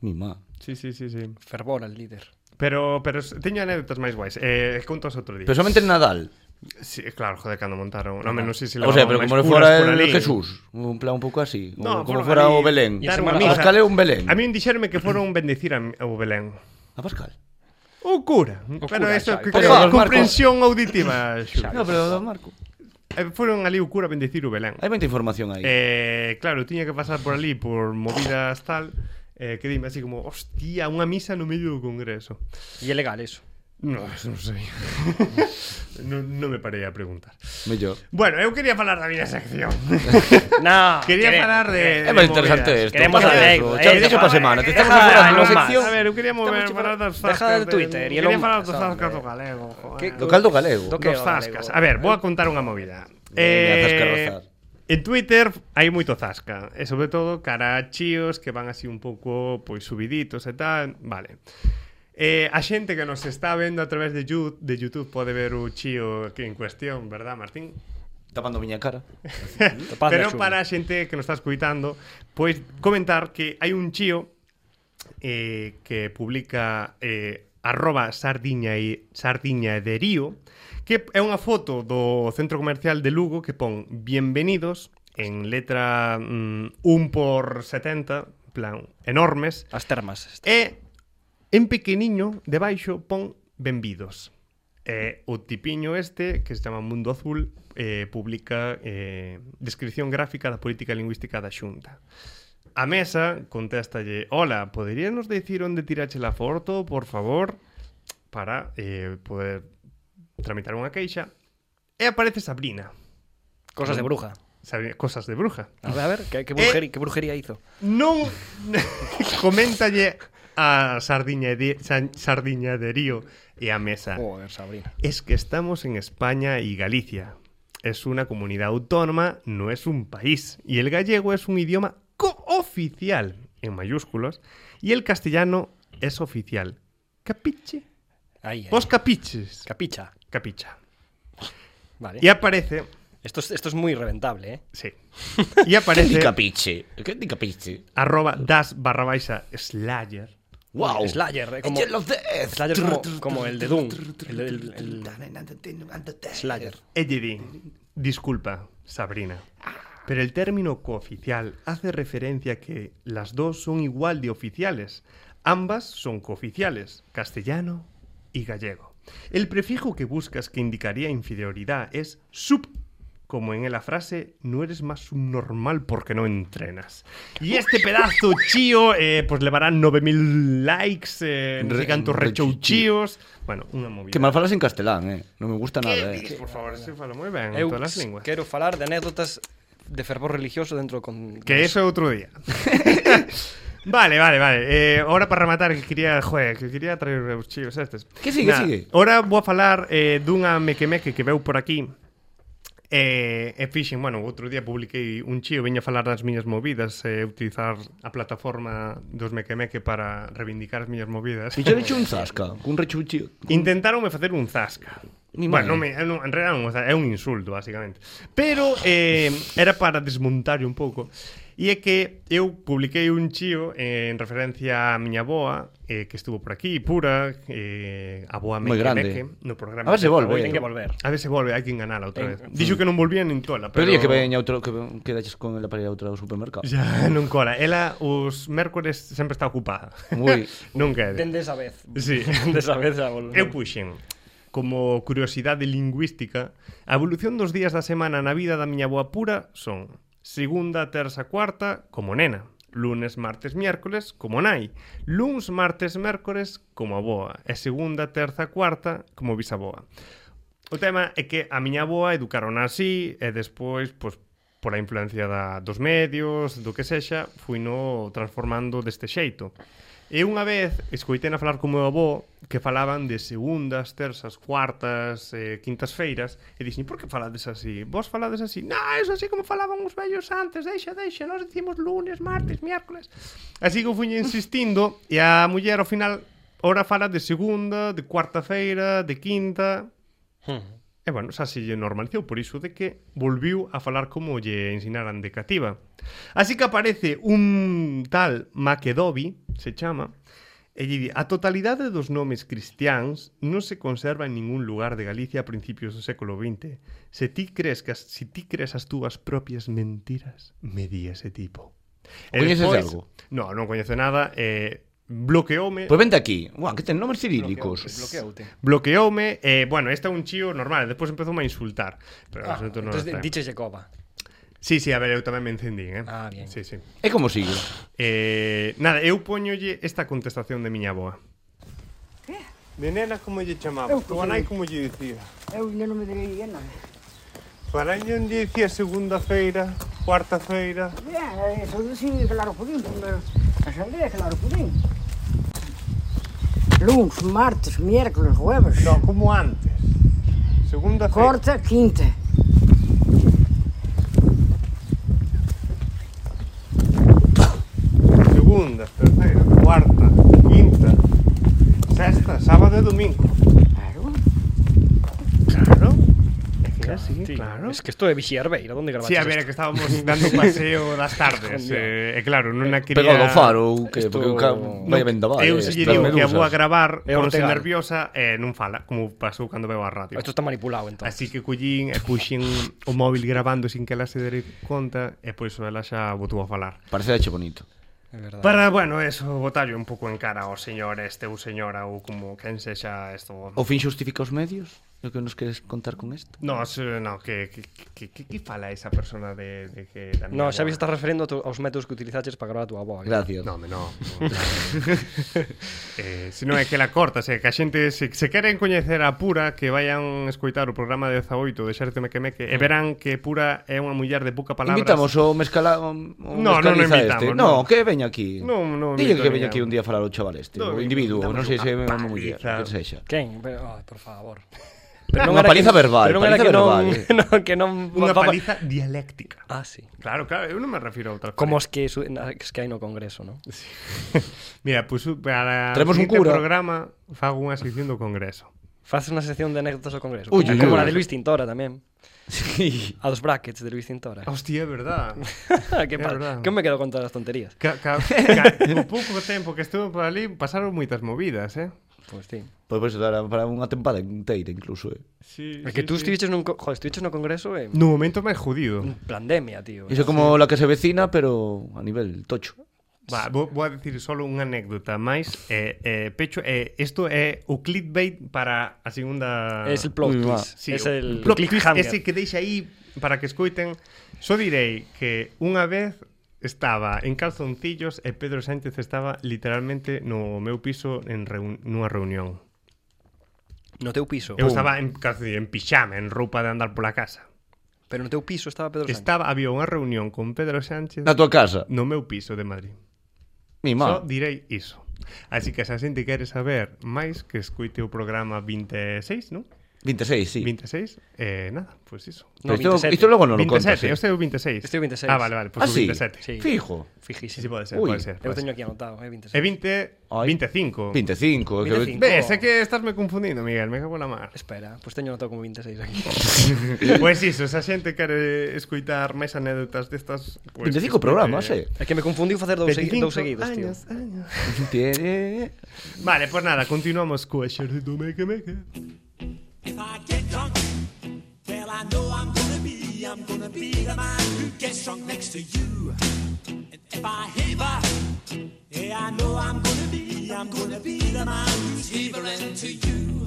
[SPEAKER 2] mi má.
[SPEAKER 1] Sí, sí, sí, sí.
[SPEAKER 3] fervor al líder.
[SPEAKER 1] Pero pero s- teño anécdotas máis guais. Eh, contas outro día.
[SPEAKER 2] Pero solamente en Nadal.
[SPEAKER 1] Sí, claro, joder, cando montaron. No, menos si se
[SPEAKER 2] o sea, pero como fuera el
[SPEAKER 1] Jesús.
[SPEAKER 2] Jesús. Un plan un pouco así.
[SPEAKER 1] No,
[SPEAKER 2] o como
[SPEAKER 1] por
[SPEAKER 2] fuera
[SPEAKER 1] ali,
[SPEAKER 2] o Belén.
[SPEAKER 1] dar
[SPEAKER 3] unha
[SPEAKER 2] A
[SPEAKER 3] misa.
[SPEAKER 2] Pascal é un Belén.
[SPEAKER 1] A mí dixeronme que foron bendecir a, mi- ao Belén.
[SPEAKER 2] A Pascal.
[SPEAKER 1] O cura.
[SPEAKER 3] O
[SPEAKER 1] Pero
[SPEAKER 3] cura,
[SPEAKER 1] eso,
[SPEAKER 3] xa,
[SPEAKER 1] que,
[SPEAKER 2] pero
[SPEAKER 1] que-
[SPEAKER 2] os marcos-
[SPEAKER 1] comprensión auditiva. Xa,
[SPEAKER 2] No, pero don Marco.
[SPEAKER 1] Eh, Foron ali o cura a bendecir o Belén.
[SPEAKER 2] Hai moita información aí.
[SPEAKER 1] Eh, claro, tiña que pasar por ali por movidas tal, eh, que dime así como, hostia, unha misa no medio do congreso.
[SPEAKER 3] Y es legal eso.
[SPEAKER 1] No, eso non sei. non, non me parei a preguntar.
[SPEAKER 2] Mellor.
[SPEAKER 1] Bueno, eu quería falar da miña sección.
[SPEAKER 3] No.
[SPEAKER 1] quería
[SPEAKER 3] quere-
[SPEAKER 1] falar de
[SPEAKER 2] É máis interesante
[SPEAKER 1] movidas.
[SPEAKER 2] isto.
[SPEAKER 3] Queremos
[SPEAKER 2] Qué
[SPEAKER 3] hacer-
[SPEAKER 2] eso.
[SPEAKER 3] eh,
[SPEAKER 2] Xa, deixo pa
[SPEAKER 3] eh,
[SPEAKER 2] semana. Te
[SPEAKER 3] eh,
[SPEAKER 2] estamos
[SPEAKER 3] deja-
[SPEAKER 2] agora
[SPEAKER 3] no
[SPEAKER 2] nunha
[SPEAKER 3] más.
[SPEAKER 2] sección.
[SPEAKER 1] A ver, eu quería mover
[SPEAKER 3] Estamos
[SPEAKER 1] falar das
[SPEAKER 3] chupando- deja
[SPEAKER 1] zascas
[SPEAKER 3] de Twitter, y el
[SPEAKER 1] Quería
[SPEAKER 3] hombre,
[SPEAKER 1] falar dos
[SPEAKER 3] hombre.
[SPEAKER 1] zascas do galego, joder.
[SPEAKER 3] Que-
[SPEAKER 2] Do caldo galego.
[SPEAKER 3] Do-
[SPEAKER 1] Dos
[SPEAKER 3] Creo,
[SPEAKER 1] zascas.
[SPEAKER 3] galego.
[SPEAKER 1] A ver, vou a contar unha movida.
[SPEAKER 2] Veña,
[SPEAKER 1] Eh,
[SPEAKER 2] zascarrozar.
[SPEAKER 1] en Twitter hai moito zasca, e sobre todo cara a chíos que van así un pouco pois subiditos e tal, vale. Eh, a xente que nos está vendo a través de YouTube, de YouTube pode ver o chío que en cuestión, verdad, Martín?
[SPEAKER 2] tapando a miña cara.
[SPEAKER 1] Pero para a xente que nos está escuitando, pois comentar que hai un chío eh, que publica eh, arroba sardiña e sardiña de Río, que é unha foto do centro comercial de Lugo que pon bienvenidos en letra mm, 1 por 70, en plan, enormes,
[SPEAKER 3] As termas.
[SPEAKER 1] E en pequeniño, debaixo, pon Benvidos. E o tipiño este, que se chama Mundo Azul, eh, publica eh, descripción gráfica da política lingüística da Xunta. A mesa contéstalle Hola, poderíanos decir onde tirache la forto, por favor? Para eh, poder tramitar unha queixa. E aparece Sabrina. Mm.
[SPEAKER 3] Cosas de bruja.
[SPEAKER 1] Sabrina cosas de bruja.
[SPEAKER 3] A ver, a ver,
[SPEAKER 1] Eh.
[SPEAKER 3] ¿qué, qué brujería, qué brujería hizo?
[SPEAKER 1] Non coméntalle a Sardiña de, San- Sardiña de Río e a mesa.
[SPEAKER 3] Joder, Sabrina.
[SPEAKER 1] Es que estamos en España y Galicia. Es una comunidad autónoma, no es un país. Y el gallego es un idioma cooficial, en mayúsculas, y el castellano es oficial. Capiche?
[SPEAKER 3] Ahí, ahí.
[SPEAKER 1] Vos capiches.
[SPEAKER 3] Capicha.
[SPEAKER 1] Capicha.
[SPEAKER 3] Vale.
[SPEAKER 1] Y aparece...
[SPEAKER 3] Esto, es, esto es muy reventable, ¿eh?
[SPEAKER 1] Sí. Y aparece
[SPEAKER 2] capiche? Que di capiche?
[SPEAKER 1] arroba das barra baixa slayer.
[SPEAKER 2] Wow.
[SPEAKER 3] Slayer, eh, como-
[SPEAKER 2] Angel of Death.
[SPEAKER 3] Slayer como- como el de Doom, el- el-
[SPEAKER 2] el...
[SPEAKER 3] Slayer.
[SPEAKER 1] Elledi, disculpa, Sabrina. Pero el término cooficial hace referencia a que las dos son igual de oficiales. Ambas son cooficiales, castellano y gallego. El prefijo que buscas que indicaría inferioridad es sub, como en la frase no eres más subnormal porque no entrenas. Y este pedazo chío, eh, pues le darán 9000 likes, eh, no sé
[SPEAKER 2] Re-
[SPEAKER 1] cantos
[SPEAKER 2] rechouchío.
[SPEAKER 1] rechouchíos. Bueno, una movida.
[SPEAKER 2] Que mal falas en castelán, eh. Non me gusta nada,
[SPEAKER 1] Sí,
[SPEAKER 2] eh.
[SPEAKER 1] Por favor, se fala moi ben en
[SPEAKER 3] Eu
[SPEAKER 1] todas as linguas.
[SPEAKER 3] quero falar de anécdotas de fervor religioso dentro con...
[SPEAKER 1] Que
[SPEAKER 2] Pues-
[SPEAKER 1] eso otro día. vale, vale, vale. Eh, ahora para rematar que quería, joder, que quería traer os chivos estes.
[SPEAKER 2] Que sigue,
[SPEAKER 1] Nada,
[SPEAKER 2] sigue.
[SPEAKER 1] Ahora vou a falar eh, dunha mequemeque que veu por aquí. Eh, e fixen, bueno, outro día publiquei un chío, veña a falar das miñas movidas e eh, utilizar a plataforma dos mequemeque para reivindicar as miñas movidas.
[SPEAKER 2] Fixo hecho un zasca, cun rechuchio.
[SPEAKER 1] Intentaronme facer un zasca.
[SPEAKER 2] Mi
[SPEAKER 1] bueno, non me,
[SPEAKER 2] madre.
[SPEAKER 1] eh, non, en realidad non, é un zasca, é un insulto, basicamente. Pero eh, era para desmontar un pouco. E é que eu publiquei un chío eh, en referencia a miña boa, eh, que estuvo por aquí, pura, eh, a boa Meque
[SPEAKER 2] Moi grande.
[SPEAKER 1] Meque, no programa.
[SPEAKER 2] A ver se
[SPEAKER 1] de
[SPEAKER 2] volve. eh.
[SPEAKER 1] Faboya.
[SPEAKER 3] Ten que volver.
[SPEAKER 1] A ver se volve, hai que enganala outra vez.
[SPEAKER 3] Ten-
[SPEAKER 1] Dixo que non volvía nin tola,
[SPEAKER 2] Pero
[SPEAKER 1] pero...
[SPEAKER 2] día que veña outro que que daches con ela para ir a outro supermercado.
[SPEAKER 1] Ya, non cola. Ela os mércores sempre está ocupada.
[SPEAKER 2] Moi.
[SPEAKER 1] non quere.
[SPEAKER 3] Dende esa vez.
[SPEAKER 1] Sí.
[SPEAKER 3] Dende esa vez a volver.
[SPEAKER 1] Eu puxen como curiosidade lingüística a evolución dos días da semana na vida da miña boa pura son segunda, terza, cuarta como nena lunes, martes, miércoles como nai luns, martes, mércores como aboa e segunda, terza, cuarta como bisaboa O tema é que a miña boa educaron así e despois, pois, por a influencia da, dos medios, do que sexa, fui no transformando deste xeito. E unha vez escoitei a falar con meu avó que falaban de segundas, terzas, cuartas, eh, quintas feiras e dixen, por que falades así? Vos falades así? Non, é así como falaban os vellos antes, deixa, deixa, nós dicimos lunes, martes, miércoles. Así que eu fui insistindo e a muller ao final ora fala de segunda, de cuarta feira, de quinta, E bueno, xa se lle normalizou por iso de que volviu a falar como lle ensinaran de cativa. Así que aparece un tal Makedovi, se chama, e lle di, a totalidade dos nomes cristiáns non se conserva en ningún lugar de Galicia a principios do século XX. Se ti crees que as, se ti crees as túas propias mentiras, me di ese tipo. E
[SPEAKER 2] Coñeces
[SPEAKER 1] despois-
[SPEAKER 2] algo?
[SPEAKER 1] No, non coñece nada. Eh, bloqueoume
[SPEAKER 2] Pois vente aquí. Buah, que ten nomes cirílicos.
[SPEAKER 3] Bloqueoute.
[SPEAKER 1] bloqueoume, eh, bueno, este é un chío normal, despois empezou a insultar, pero ah,
[SPEAKER 3] Ah,
[SPEAKER 1] nosotros non nos
[SPEAKER 3] entonces
[SPEAKER 1] traemos.
[SPEAKER 3] diche Jacoba.
[SPEAKER 1] Sí, sí, a ver, eu tamén me encendín, eh.
[SPEAKER 3] Ah, bien.
[SPEAKER 1] Sí, sí.
[SPEAKER 2] E como sigue?
[SPEAKER 1] Eh, nada, eu poñolle esta contestación de miña boa. De nena como lle chamaba,
[SPEAKER 4] Eu, Tua nai
[SPEAKER 1] como lle dicía.
[SPEAKER 4] Eu ainda non me diría nada.
[SPEAKER 1] Parañón lle dicía segunda feira, cuarta feira.
[SPEAKER 4] Ben, eh, eso de si, claro, pudín, primeiro, a xaldea, claro, pudín. Luns, martes, miércoles, jueves, no.
[SPEAKER 1] como antes. Segunda
[SPEAKER 4] corta, quinta.
[SPEAKER 1] segunda, terceira, cuarta, quinta, sexta, sábado e domingo.
[SPEAKER 4] Claro,
[SPEAKER 1] Claro. É que sí,
[SPEAKER 3] Tío,
[SPEAKER 1] claro.
[SPEAKER 3] Es que esto de vixiar beira, onde grabaste
[SPEAKER 1] Sí, a ver, é que estábamos dando un paseo das tardes. eh, e claro, non a quería...
[SPEAKER 2] Pegado ao faro ou que
[SPEAKER 3] Isto-
[SPEAKER 2] porque o ca...
[SPEAKER 3] Non,
[SPEAKER 2] vai a vendaval.
[SPEAKER 1] Eu
[SPEAKER 2] eh,
[SPEAKER 1] se
[SPEAKER 2] estas
[SPEAKER 1] lle digo que a vou a
[SPEAKER 2] medusas.
[SPEAKER 1] gravar
[SPEAKER 3] É
[SPEAKER 1] por ser
[SPEAKER 3] Ortega.
[SPEAKER 1] nerviosa e non fala, como pasou cando veo a radio.
[SPEAKER 3] Esto está manipulado, entón.
[SPEAKER 1] eh, Así que collín e puxen o móvil grabando sin que ela se dere conta e por iso ela xa botou a falar.
[SPEAKER 2] Parece hecho bonito.
[SPEAKER 3] É verdade.
[SPEAKER 1] Para, bueno, eso, botallo un pouco en cara ao señor este ou señora ou como quen sexa esto.
[SPEAKER 2] O fin xustifica os medios? O que nos queres contar con isto?
[SPEAKER 1] No, se- no, que, que, que, que, que fala esa persona de, de que... Da miña
[SPEAKER 3] No,
[SPEAKER 1] avoa?
[SPEAKER 3] xa ves estás referindo a tu- aos métodos que utilizaches para grabar a tua voz.
[SPEAKER 2] Gracias.
[SPEAKER 1] No, me no. eh, se non é que la corta, se que a xente se, se queren coñecer a Pura, que vayan escoitar o programa de 18 de Xerte Meque Meque, e verán que Pura é unha muller de pouca palabras.
[SPEAKER 2] Mm. Invitamos o mezcala o, o
[SPEAKER 1] No, non o
[SPEAKER 2] mezcaliza
[SPEAKER 1] invitamos,
[SPEAKER 2] este.
[SPEAKER 1] no.
[SPEAKER 2] No, que veña aquí.
[SPEAKER 1] Non, non
[SPEAKER 2] Dille
[SPEAKER 1] invito a
[SPEAKER 2] que veña
[SPEAKER 1] ninguén.
[SPEAKER 2] aquí un día a falar o chaval este,
[SPEAKER 1] Non,
[SPEAKER 2] o individuo,
[SPEAKER 1] damos
[SPEAKER 2] non sei se é
[SPEAKER 1] unha
[SPEAKER 2] unha muller,
[SPEAKER 1] paliza.
[SPEAKER 2] que sexa.
[SPEAKER 3] Quen? Pero, oh, por favor.
[SPEAKER 2] Unha
[SPEAKER 3] era que-
[SPEAKER 2] paliza verbal,
[SPEAKER 3] Pero non era
[SPEAKER 2] paliza
[SPEAKER 3] que
[SPEAKER 2] verbal,
[SPEAKER 3] non,
[SPEAKER 2] eh.
[SPEAKER 3] non, que non...
[SPEAKER 1] Unha
[SPEAKER 3] va- va-
[SPEAKER 1] paliza dialéctica.
[SPEAKER 3] Ah, sí.
[SPEAKER 1] Claro, claro, eu non me refiro a outra
[SPEAKER 3] Como os que, su- na- os que hai no Congreso, non?
[SPEAKER 1] Mira, pues para
[SPEAKER 2] Traemos un
[SPEAKER 1] o siguiente
[SPEAKER 2] cura.
[SPEAKER 1] programa fago unha sección do Congreso.
[SPEAKER 3] Faces unha sección de anécdotas ao Congreso.
[SPEAKER 2] Ui,
[SPEAKER 3] como
[SPEAKER 2] ui,
[SPEAKER 3] a
[SPEAKER 2] ui.
[SPEAKER 3] de Luis Tintora tamén.
[SPEAKER 2] Sí.
[SPEAKER 3] A dos brackets de Luis Tintora.
[SPEAKER 1] Hostia, é verdad.
[SPEAKER 3] que,
[SPEAKER 1] é Oh. verdad.
[SPEAKER 3] pa... que me quedo con todas as tonterías.
[SPEAKER 1] Ca, ca, ca, o pouco tempo que estuve por ali pasaron moitas movidas, eh?
[SPEAKER 3] Pois pues, sí.
[SPEAKER 2] Pois pues, para, para unha tempada inteira incluso, eh.
[SPEAKER 1] Sí,
[SPEAKER 3] É que tú estiviches nun... co- Joder, estiviches no Congreso e...
[SPEAKER 1] No momento máis judido.
[SPEAKER 3] Pandemia, tío.
[SPEAKER 1] Pois
[SPEAKER 2] Iso como la que se vecina, pero a nivel tocho.
[SPEAKER 1] Va, vou, vou a dicir solo unha anécdota máis. Eh, eh, Pecho, eh, isto é o clickbait para a segunda...
[SPEAKER 3] Es el plot
[SPEAKER 2] Uy, va.
[SPEAKER 3] twist.
[SPEAKER 1] Ah. Sí,
[SPEAKER 3] es
[SPEAKER 1] o
[SPEAKER 3] el
[SPEAKER 1] plot twist
[SPEAKER 3] cliffhanger.
[SPEAKER 1] ese que deixa aí para que escoiten. Só direi que unha vez estaba en calzoncillos e Pedro Sánchez estaba literalmente no meu piso en reun nunha reunión.
[SPEAKER 3] No teu piso.
[SPEAKER 1] Eu estaba en calzoncillo, en pixama, en roupa de andar pola casa.
[SPEAKER 3] Pero no teu piso estaba Pedro Sánchez.
[SPEAKER 1] Estaba, había unha reunión con Pedro Sánchez
[SPEAKER 2] Na tua casa.
[SPEAKER 1] no meu piso de Madrid.
[SPEAKER 2] Mi
[SPEAKER 1] Só
[SPEAKER 2] má.
[SPEAKER 1] direi iso. Así que se a xente quere saber máis que escoite o programa 26, non?
[SPEAKER 2] 26, sí.
[SPEAKER 1] 26, eh, nada, pois pues iso.
[SPEAKER 2] Pero
[SPEAKER 3] No,
[SPEAKER 2] isto,
[SPEAKER 3] 27.
[SPEAKER 2] isto logo non lo contas.
[SPEAKER 1] 27, eu
[SPEAKER 2] eh.
[SPEAKER 1] sei o 26.
[SPEAKER 3] Este é o 26.
[SPEAKER 1] Ah, vale, vale, pois o
[SPEAKER 2] Ah, sí?
[SPEAKER 1] 27.
[SPEAKER 3] Sí.
[SPEAKER 2] Fijo.
[SPEAKER 1] Sí,
[SPEAKER 3] Fijísimo.
[SPEAKER 1] sí, pode ser,
[SPEAKER 2] Ui,
[SPEAKER 1] pode ser.
[SPEAKER 3] Eu
[SPEAKER 1] Pode
[SPEAKER 3] teño
[SPEAKER 1] ser.
[SPEAKER 3] aquí anotado, eh, 26.
[SPEAKER 1] E 20,
[SPEAKER 2] Ai.
[SPEAKER 1] 25.
[SPEAKER 2] 25, que
[SPEAKER 3] 25.
[SPEAKER 1] Ves, é que estásme confundindo, Miguel, me cago na mar.
[SPEAKER 3] Espera, pois pues teño anotado como 26 aquí.
[SPEAKER 1] pois iso, se a xente quere escoitar máis anécdotas destas... Pues,
[SPEAKER 2] 25 programas,
[SPEAKER 1] Pois
[SPEAKER 2] eh.
[SPEAKER 3] É que me confundiu facer dous, segui dous seguidos, tío.
[SPEAKER 1] años, años.
[SPEAKER 2] Tiene...
[SPEAKER 1] Vale, pois pues nada, continuamos coa xerrito meque meque.
[SPEAKER 5] If I get drunk, well, I know I'm gonna be, I'm gonna be the man who gets drunk next to you. And if I heaver, yeah, I know I'm gonna be, I'm gonna be the man who's heavering to you.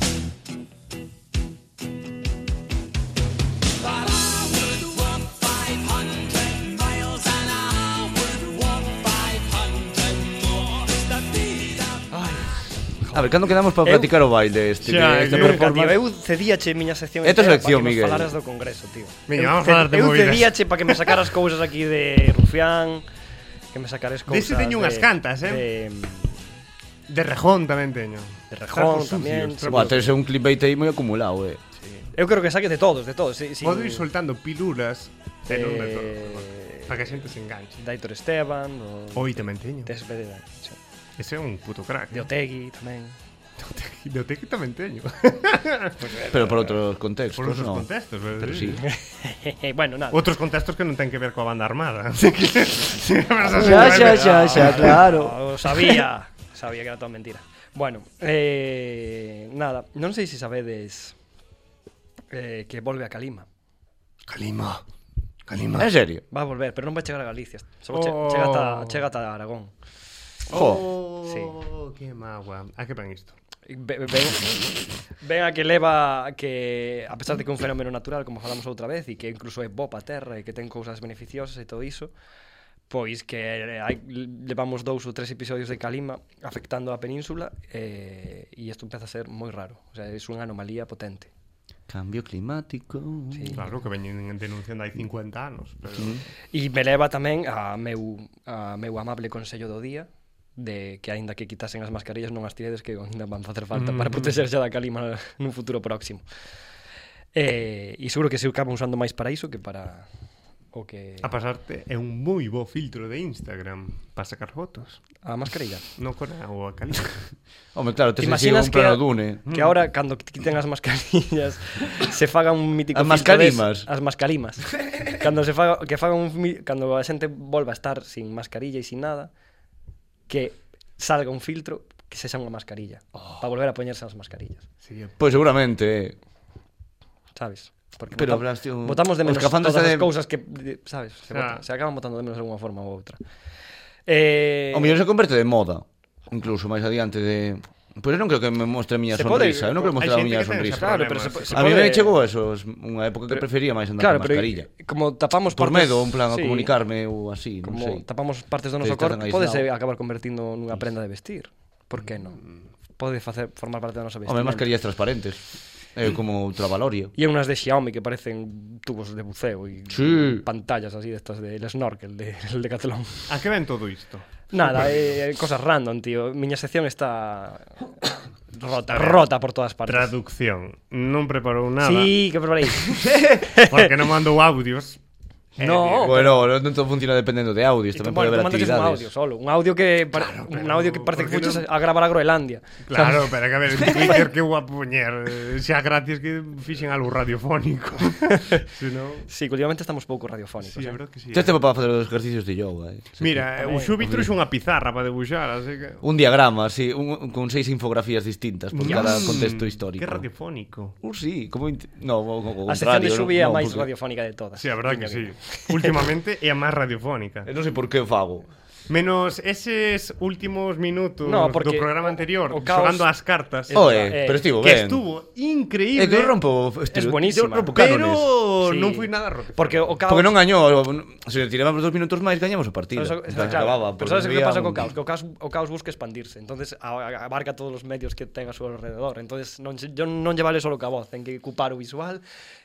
[SPEAKER 5] But I would walk 500 miles and I would walk 500 more just to be the
[SPEAKER 2] A ver, cando quedamos para
[SPEAKER 3] Eu-
[SPEAKER 2] platicar o baile
[SPEAKER 1] Xa,
[SPEAKER 2] este? que esta
[SPEAKER 1] eu-
[SPEAKER 2] performance-
[SPEAKER 3] Tío, eu cedíache a miña sección
[SPEAKER 2] É tua
[SPEAKER 3] entera
[SPEAKER 2] sección,
[SPEAKER 3] pa que nos
[SPEAKER 2] Miguel.
[SPEAKER 3] falaras do Congreso, tío.
[SPEAKER 1] Veña,
[SPEAKER 3] Eu
[SPEAKER 1] vamos
[SPEAKER 3] ce-
[SPEAKER 1] falar de
[SPEAKER 3] Eu
[SPEAKER 1] movidas.
[SPEAKER 3] cedíache para que me sacaras cousas aquí de Rufián, que me sacares cousas
[SPEAKER 1] Dese teño
[SPEAKER 3] de-
[SPEAKER 1] unhas cantas, eh.
[SPEAKER 3] De,
[SPEAKER 1] De Rejón tamén teño.
[SPEAKER 3] de Rejón
[SPEAKER 1] Trapos
[SPEAKER 3] tamén.
[SPEAKER 1] sucios,
[SPEAKER 3] sí.
[SPEAKER 2] Buah, tes un clipbait aí moi acumulado, eh.
[SPEAKER 3] Eu creo que saques de todos, de todos. Sí, sí.
[SPEAKER 1] Podo ir soltando piluras, pero non de todo.
[SPEAKER 3] Eh,
[SPEAKER 1] Para que a xente se enganche.
[SPEAKER 3] de Aitor Esteban, do...
[SPEAKER 1] Oi tamén teño.
[SPEAKER 3] de SPD, sí.
[SPEAKER 1] Ese é un puto crack.
[SPEAKER 3] de Otegui tamén.
[SPEAKER 1] De Oteki tamén teño.
[SPEAKER 2] Pero por outros contextos,
[SPEAKER 1] Por outros
[SPEAKER 2] no.
[SPEAKER 1] contextos, pero,
[SPEAKER 2] Pero sí.
[SPEAKER 3] bueno, nada.
[SPEAKER 1] Outros contextos que non ten que ver coa banda armada. Así que...
[SPEAKER 2] Xa, xa, xa, xa, claro.
[SPEAKER 3] Ah, o sabía, sabía que era toda mentira. Bueno, eh, nada, non sei se sabedes eh, que volve a Calima.
[SPEAKER 1] Calima. Calima.
[SPEAKER 3] Eh,
[SPEAKER 2] En serio.
[SPEAKER 3] Va a volver, pero non vai chegar a Galicia. Só che,
[SPEAKER 1] Oh.
[SPEAKER 3] chega, ata, chega ata Aragón.
[SPEAKER 2] Jo.
[SPEAKER 3] Oh.
[SPEAKER 1] sí. que Oh, magua. A que pan isto?
[SPEAKER 3] Ve- ve- Ven, ven a que leva que, a pesar de que é un fenómeno natural, como falamos outra vez, e que incluso é bo pa terra e que ten cousas beneficiosas e todo iso, pois que eh, hai, levamos dous ou tres episodios de Calima afectando a península eh, e isto empeza a ser moi raro. O sea, é unha anomalía potente.
[SPEAKER 2] Cambio climático.
[SPEAKER 3] Sí.
[SPEAKER 1] Claro, que veñen denunciando hai 50 anos. Pero...
[SPEAKER 3] E me leva tamén a meu, a meu amable consello do día de que aínda que quitasen as mascarillas non as tiredes que aínda van facer falta para protegerse da calima nun futuro próximo. Eh, e seguro que se acaba usando máis para iso que para O que...
[SPEAKER 1] A pasarte é un moi bo filtro de Instagram para sacar fotos.
[SPEAKER 3] A mascarilla.
[SPEAKER 1] No con a, ou a calidad.
[SPEAKER 2] Home, claro,
[SPEAKER 3] Te
[SPEAKER 2] tes así un
[SPEAKER 3] imaginas que,
[SPEAKER 2] plano dune.
[SPEAKER 3] que ahora, cando quiten as mascarillas, se faga un mítico
[SPEAKER 2] As
[SPEAKER 3] filtro des-
[SPEAKER 2] mascarimas.
[SPEAKER 3] As mascarimas. cando se faga, que faga un... mi- Cando a xente volva a estar sin mascarilla e sin nada, que salga un filtro que se xa unha mascarilla. Oh. Para volver a poñerse as mascarillas.
[SPEAKER 1] Sería
[SPEAKER 2] Pois seguramente, eh.
[SPEAKER 3] ¿Sabes? Porque
[SPEAKER 2] Pero
[SPEAKER 3] vota-
[SPEAKER 2] habrás, tío,
[SPEAKER 3] votamos de
[SPEAKER 2] os
[SPEAKER 3] menos
[SPEAKER 2] cafandos
[SPEAKER 3] todas
[SPEAKER 2] de-
[SPEAKER 3] as cousas que, de- sabes, se,
[SPEAKER 1] Ah.
[SPEAKER 3] vota, se acaban votando de menos de alguna forma ou outra. Eh,
[SPEAKER 2] O mellor se converte de moda, incluso máis adiante de... Pois pues eu non creo que me mostre a miña
[SPEAKER 3] Se pode-
[SPEAKER 2] sonrisa, eu non creo
[SPEAKER 1] hai
[SPEAKER 2] mostrar a
[SPEAKER 1] xente
[SPEAKER 2] miña
[SPEAKER 1] que ten ese
[SPEAKER 2] sonrisa.
[SPEAKER 3] claro, pero se,
[SPEAKER 1] Problemas.
[SPEAKER 3] se
[SPEAKER 2] A mí
[SPEAKER 3] pode-
[SPEAKER 2] me chegou eso, es unha época que prefería máis andar
[SPEAKER 3] Claro,
[SPEAKER 2] con
[SPEAKER 3] pero
[SPEAKER 2] mascarilla.
[SPEAKER 3] como tapamos
[SPEAKER 2] Por
[SPEAKER 3] partes-
[SPEAKER 2] medo, en plan, a
[SPEAKER 3] sí,
[SPEAKER 2] comunicarme ou así, non
[SPEAKER 3] Como
[SPEAKER 2] sei.
[SPEAKER 3] tapamos partes do
[SPEAKER 2] Que
[SPEAKER 3] noso
[SPEAKER 2] estás
[SPEAKER 3] corpo,
[SPEAKER 2] aislado.
[SPEAKER 3] podes acabar convertindo nunha prenda de vestir. Por que non? Pode facer formar parte da nosa
[SPEAKER 2] Home,
[SPEAKER 3] vestimenta.
[SPEAKER 2] mascarillas transparentes. É como ultravalorio.
[SPEAKER 3] E hai unhas de Xiaomi que parecen tubos de buceo e
[SPEAKER 2] Sí.
[SPEAKER 3] pantallas así destas del snorkel de, del Decathlon.
[SPEAKER 1] A que ven todo isto?
[SPEAKER 3] Nada, eh, cosas random, tío. Miña sección está rota, rota por todas partes.
[SPEAKER 1] Traducción. Non preparou nada.
[SPEAKER 3] Sí, que preparei.
[SPEAKER 1] Porque non mandou audios. Eh,
[SPEAKER 3] No,
[SPEAKER 1] digo,
[SPEAKER 2] Bueno, non todo funciona dependendo de audios,
[SPEAKER 3] E
[SPEAKER 2] tamén
[SPEAKER 3] tú-
[SPEAKER 2] pode
[SPEAKER 3] bueno,
[SPEAKER 2] haber
[SPEAKER 3] tú mandaches un audio
[SPEAKER 2] actividades.
[SPEAKER 3] solo, un audio que par- un
[SPEAKER 1] pero
[SPEAKER 3] audio que parece
[SPEAKER 1] ¿por
[SPEAKER 3] que
[SPEAKER 1] qué
[SPEAKER 3] fuches
[SPEAKER 1] non?
[SPEAKER 3] a gravar a Groenlandia.
[SPEAKER 1] Claro, pero que a ver, en Twitter que vou a puñer eh, Xa gracias que fixen algo radiofónico Se non...
[SPEAKER 3] Sí, que últimamente estamos pouco radiofónicos.
[SPEAKER 1] Sí, a
[SPEAKER 3] eh.
[SPEAKER 1] verdad que sí
[SPEAKER 2] Tes tempo para facer os exercicios de yoga, eh. Sí.
[SPEAKER 1] Mira, eh, o Xubi trouxe unha pizarra para debuxar Así que...
[SPEAKER 2] Un diagrama, sí, un, un- con seis infografías distintas por cada
[SPEAKER 1] Mm,
[SPEAKER 2] contexto histórico.
[SPEAKER 1] Que radiofónico
[SPEAKER 2] Uh, sí, como... int- No, o, o, o
[SPEAKER 3] A sección de
[SPEAKER 2] contrario,
[SPEAKER 3] Xubi é a
[SPEAKER 2] no,
[SPEAKER 3] máis
[SPEAKER 2] porque-
[SPEAKER 3] radiofónica de todas.
[SPEAKER 1] Sí, a verdad que
[SPEAKER 3] Tiña
[SPEAKER 1] sí Últimamente é a máis radiofónica
[SPEAKER 2] Eu non sei por que o fago.
[SPEAKER 1] Menos eses últimos minutos
[SPEAKER 3] No, porque
[SPEAKER 1] do programa anterior
[SPEAKER 3] o- o caos-
[SPEAKER 1] Xogando as cartas
[SPEAKER 3] Eh,
[SPEAKER 2] Oe,
[SPEAKER 3] eh,
[SPEAKER 2] pero estivo
[SPEAKER 1] Que
[SPEAKER 2] ben.
[SPEAKER 1] estuvo
[SPEAKER 2] É
[SPEAKER 1] increíble
[SPEAKER 2] que eu rompo... estilo-
[SPEAKER 3] buenísima.
[SPEAKER 2] Eu rompo cánones.
[SPEAKER 1] Pero
[SPEAKER 3] Sí.
[SPEAKER 1] non foi nada roto
[SPEAKER 3] Porque o caos
[SPEAKER 2] Porque non gañou, se tiramos dos minutos máis gañamos o partido.
[SPEAKER 3] Pero eso-
[SPEAKER 2] Entón, acababa,
[SPEAKER 3] claro, pero
[SPEAKER 2] porque
[SPEAKER 3] sabes o que
[SPEAKER 2] había
[SPEAKER 3] pasa
[SPEAKER 2] un-
[SPEAKER 3] co caos? Que o caos, o caos busca expandirse Entonces a- abarca todos os medios que ten a seu alrededor Entonces non, se- yo non lle vale solo que a voz Ten que ocupar o visual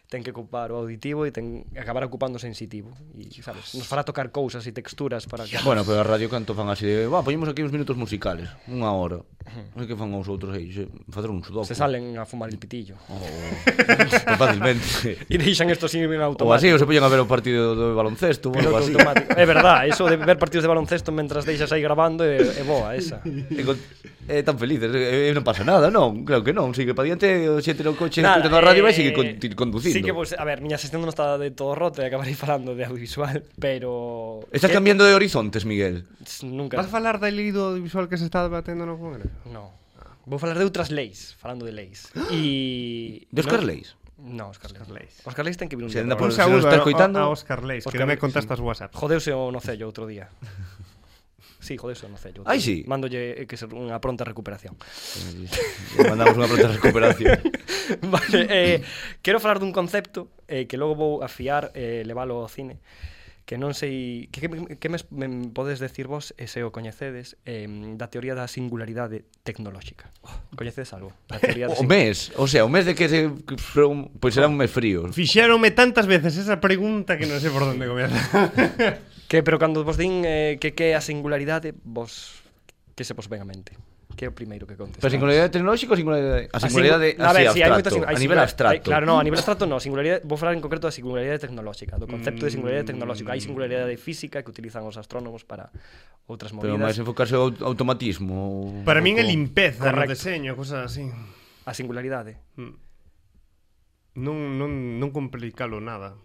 [SPEAKER 3] Ten que ocupar o auditivo E ten acabar ocupando o sensitivo E, sabes, nos fará tocar cousas e texturas para que...
[SPEAKER 2] Bueno, pero a radio canto fan así de, va, poñemos aquí uns minutos musicales, unha hora. Non sei que fan os outros aí, xe, facer un sudoku.
[SPEAKER 3] se salen a fumar el pitillo
[SPEAKER 2] O- o- fácilmente.
[SPEAKER 3] E deixan isto sin en
[SPEAKER 2] Ou así,
[SPEAKER 3] automático
[SPEAKER 2] ou se poñen a ver o partido do baloncesto, ou algo
[SPEAKER 3] Piloto
[SPEAKER 2] así.
[SPEAKER 3] automático. É verdad, eso de ver partidos de baloncesto mentras deixas aí grabando é, é boa esa.
[SPEAKER 2] E con- É tan felices, eh, eh, non pasa nada, non, claro que non, sigue pa diante, o xente no coche,
[SPEAKER 3] Nada,
[SPEAKER 2] escoitando a radio, vai
[SPEAKER 3] eh,
[SPEAKER 2] seguir con, ti- conducindo.
[SPEAKER 3] Sí que, pues, a ver, miña sección non está de todo roto e acabarei falando de audiovisual, pero...
[SPEAKER 2] Estás
[SPEAKER 3] que-
[SPEAKER 2] cambiando de horizontes, Miguel.
[SPEAKER 3] Nunca.
[SPEAKER 1] Vas a falar da lei do visual que se está debatendo no Congreso?
[SPEAKER 3] No. Vou falar de outras leis, falando de leis. E...
[SPEAKER 2] De Oscar Leis?
[SPEAKER 3] No, Oscar Leis. Oscar
[SPEAKER 1] Leis.
[SPEAKER 3] Leis, ten que vir un
[SPEAKER 2] Se
[SPEAKER 3] día.
[SPEAKER 2] anda
[SPEAKER 3] para
[SPEAKER 1] Un
[SPEAKER 2] por- se nos
[SPEAKER 1] saúdo
[SPEAKER 2] está
[SPEAKER 1] a-
[SPEAKER 2] escoitando.
[SPEAKER 1] a Oscar Leis, que
[SPEAKER 3] Óscar
[SPEAKER 1] non me
[SPEAKER 3] Leis,
[SPEAKER 1] contestas WhatsApp.
[SPEAKER 3] hablar. Jodeuse o nocello outro día. Sí, jodeuse o nocello. outro
[SPEAKER 2] Ai,
[SPEAKER 3] día.
[SPEAKER 2] sí.
[SPEAKER 3] Mándolle eh, que ser unha pronta recuperación.
[SPEAKER 2] Le Mandamos unha pronta recuperación.
[SPEAKER 3] vale, eh, quero falar dun concepto eh, que logo vou afiar e eh, levalo ao cine que non sei que, que, que me, me podes decir vos e se o coñecedes eh, da teoría da singularidade tecnolóxica coñecedes algo? Da teoría da
[SPEAKER 2] O
[SPEAKER 3] sing-
[SPEAKER 2] mes, o sea, o mes de que se... Pois será un mes frío.
[SPEAKER 1] Fixéronme tantas veces esa pregunta que non sei por onde comezar.
[SPEAKER 3] que, pero cando vos din eh, que que é a singularidade vos que se vos ven a mente que é o primeiro que contestamos
[SPEAKER 2] Pero singularidade tecnolóxica ou singularidade... A singularidade
[SPEAKER 3] singu- a
[SPEAKER 2] así
[SPEAKER 3] ver, sí, hai
[SPEAKER 2] abstracto,
[SPEAKER 3] moitas
[SPEAKER 2] a
[SPEAKER 3] sing- hai
[SPEAKER 2] nivel
[SPEAKER 3] singular-
[SPEAKER 2] abstracto.
[SPEAKER 3] hai- claro, no, a nivel abstracto no, singularidade, vou falar en concreto da singularidade tecnolóxica, do concepto de singularidade tecnolóxica. Hai singularidade física que utilizan os astrónomos para outras
[SPEAKER 2] Pero máis
[SPEAKER 3] movidas.
[SPEAKER 2] enfocarse ao aut- automatismo.
[SPEAKER 1] Para min é
[SPEAKER 2] limpo.
[SPEAKER 1] limpeza no
[SPEAKER 3] Correcto.
[SPEAKER 1] deseño, cosas así.
[SPEAKER 3] A singularidade.
[SPEAKER 1] Non, non, non complicalo nada.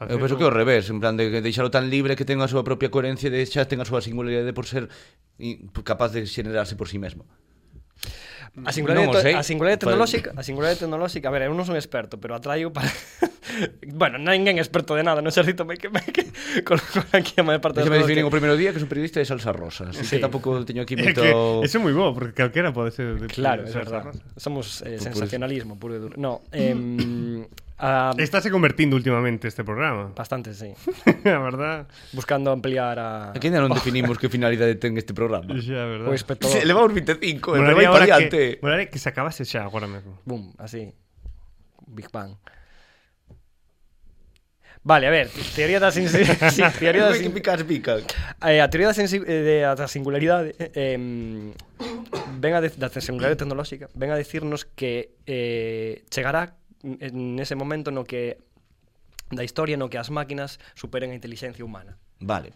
[SPEAKER 3] ¿Ah,
[SPEAKER 2] Eu penso pues que é o revés, en plan de que deixalo tan libre que tenga a súa propia coherencia e de xa tenga a súa singularidade por ser i- capaz de xenerarse por si sí mesmo.
[SPEAKER 3] A
[SPEAKER 2] Non
[SPEAKER 3] singularidade,
[SPEAKER 2] o sei.
[SPEAKER 3] to- a singularidade
[SPEAKER 2] Pare-
[SPEAKER 3] tecnolóxica, a singularidade tecnolóxica, a ver, eu non son experto, pero atraigo para Bueno, ninguén é experto de nada, non xerrito me que me que con, con aquí a maior parte
[SPEAKER 2] Deixame
[SPEAKER 3] persoas
[SPEAKER 2] definir o
[SPEAKER 3] que-
[SPEAKER 2] primeiro día que son periodista de salsa rosa, así que
[SPEAKER 3] Sí.
[SPEAKER 2] tampouco teño aquí
[SPEAKER 1] É
[SPEAKER 2] moito...
[SPEAKER 1] que eso é moi bo, porque calquera pode ser de
[SPEAKER 3] Claro,
[SPEAKER 1] de
[SPEAKER 3] é
[SPEAKER 1] ser
[SPEAKER 3] verdad.
[SPEAKER 1] rosa.
[SPEAKER 3] Somos eh,
[SPEAKER 2] Por- por-
[SPEAKER 3] sensacionalismo puro e duro. No, eh, a,
[SPEAKER 1] Estáse convertindo últimamente este programa.
[SPEAKER 3] bastante, sí.
[SPEAKER 1] a verdad.
[SPEAKER 3] Buscando ampliar a
[SPEAKER 2] Aquí ainda non definimos que finalidade ten este programa.
[SPEAKER 1] Xa, a verdad.
[SPEAKER 3] o espectador.
[SPEAKER 2] Se levamos 25, e vai
[SPEAKER 1] Molaría
[SPEAKER 2] para
[SPEAKER 1] ahora
[SPEAKER 2] diante.
[SPEAKER 1] que, molaría que se acabase xa agora mesmo.
[SPEAKER 3] Boom, así. Big Bang. Vale, a ver, teoría da sin, sí, teoría da sin,
[SPEAKER 2] picas, picas.
[SPEAKER 3] eh, a teoría da, sensi, eh, de, da singularidade eh, em, ven a de, da singularidade tecnolóxica ven a decirnos que eh, chegará en ese momento no que da historia no que as máquinas superen a inteligencia humana.
[SPEAKER 2] Vale.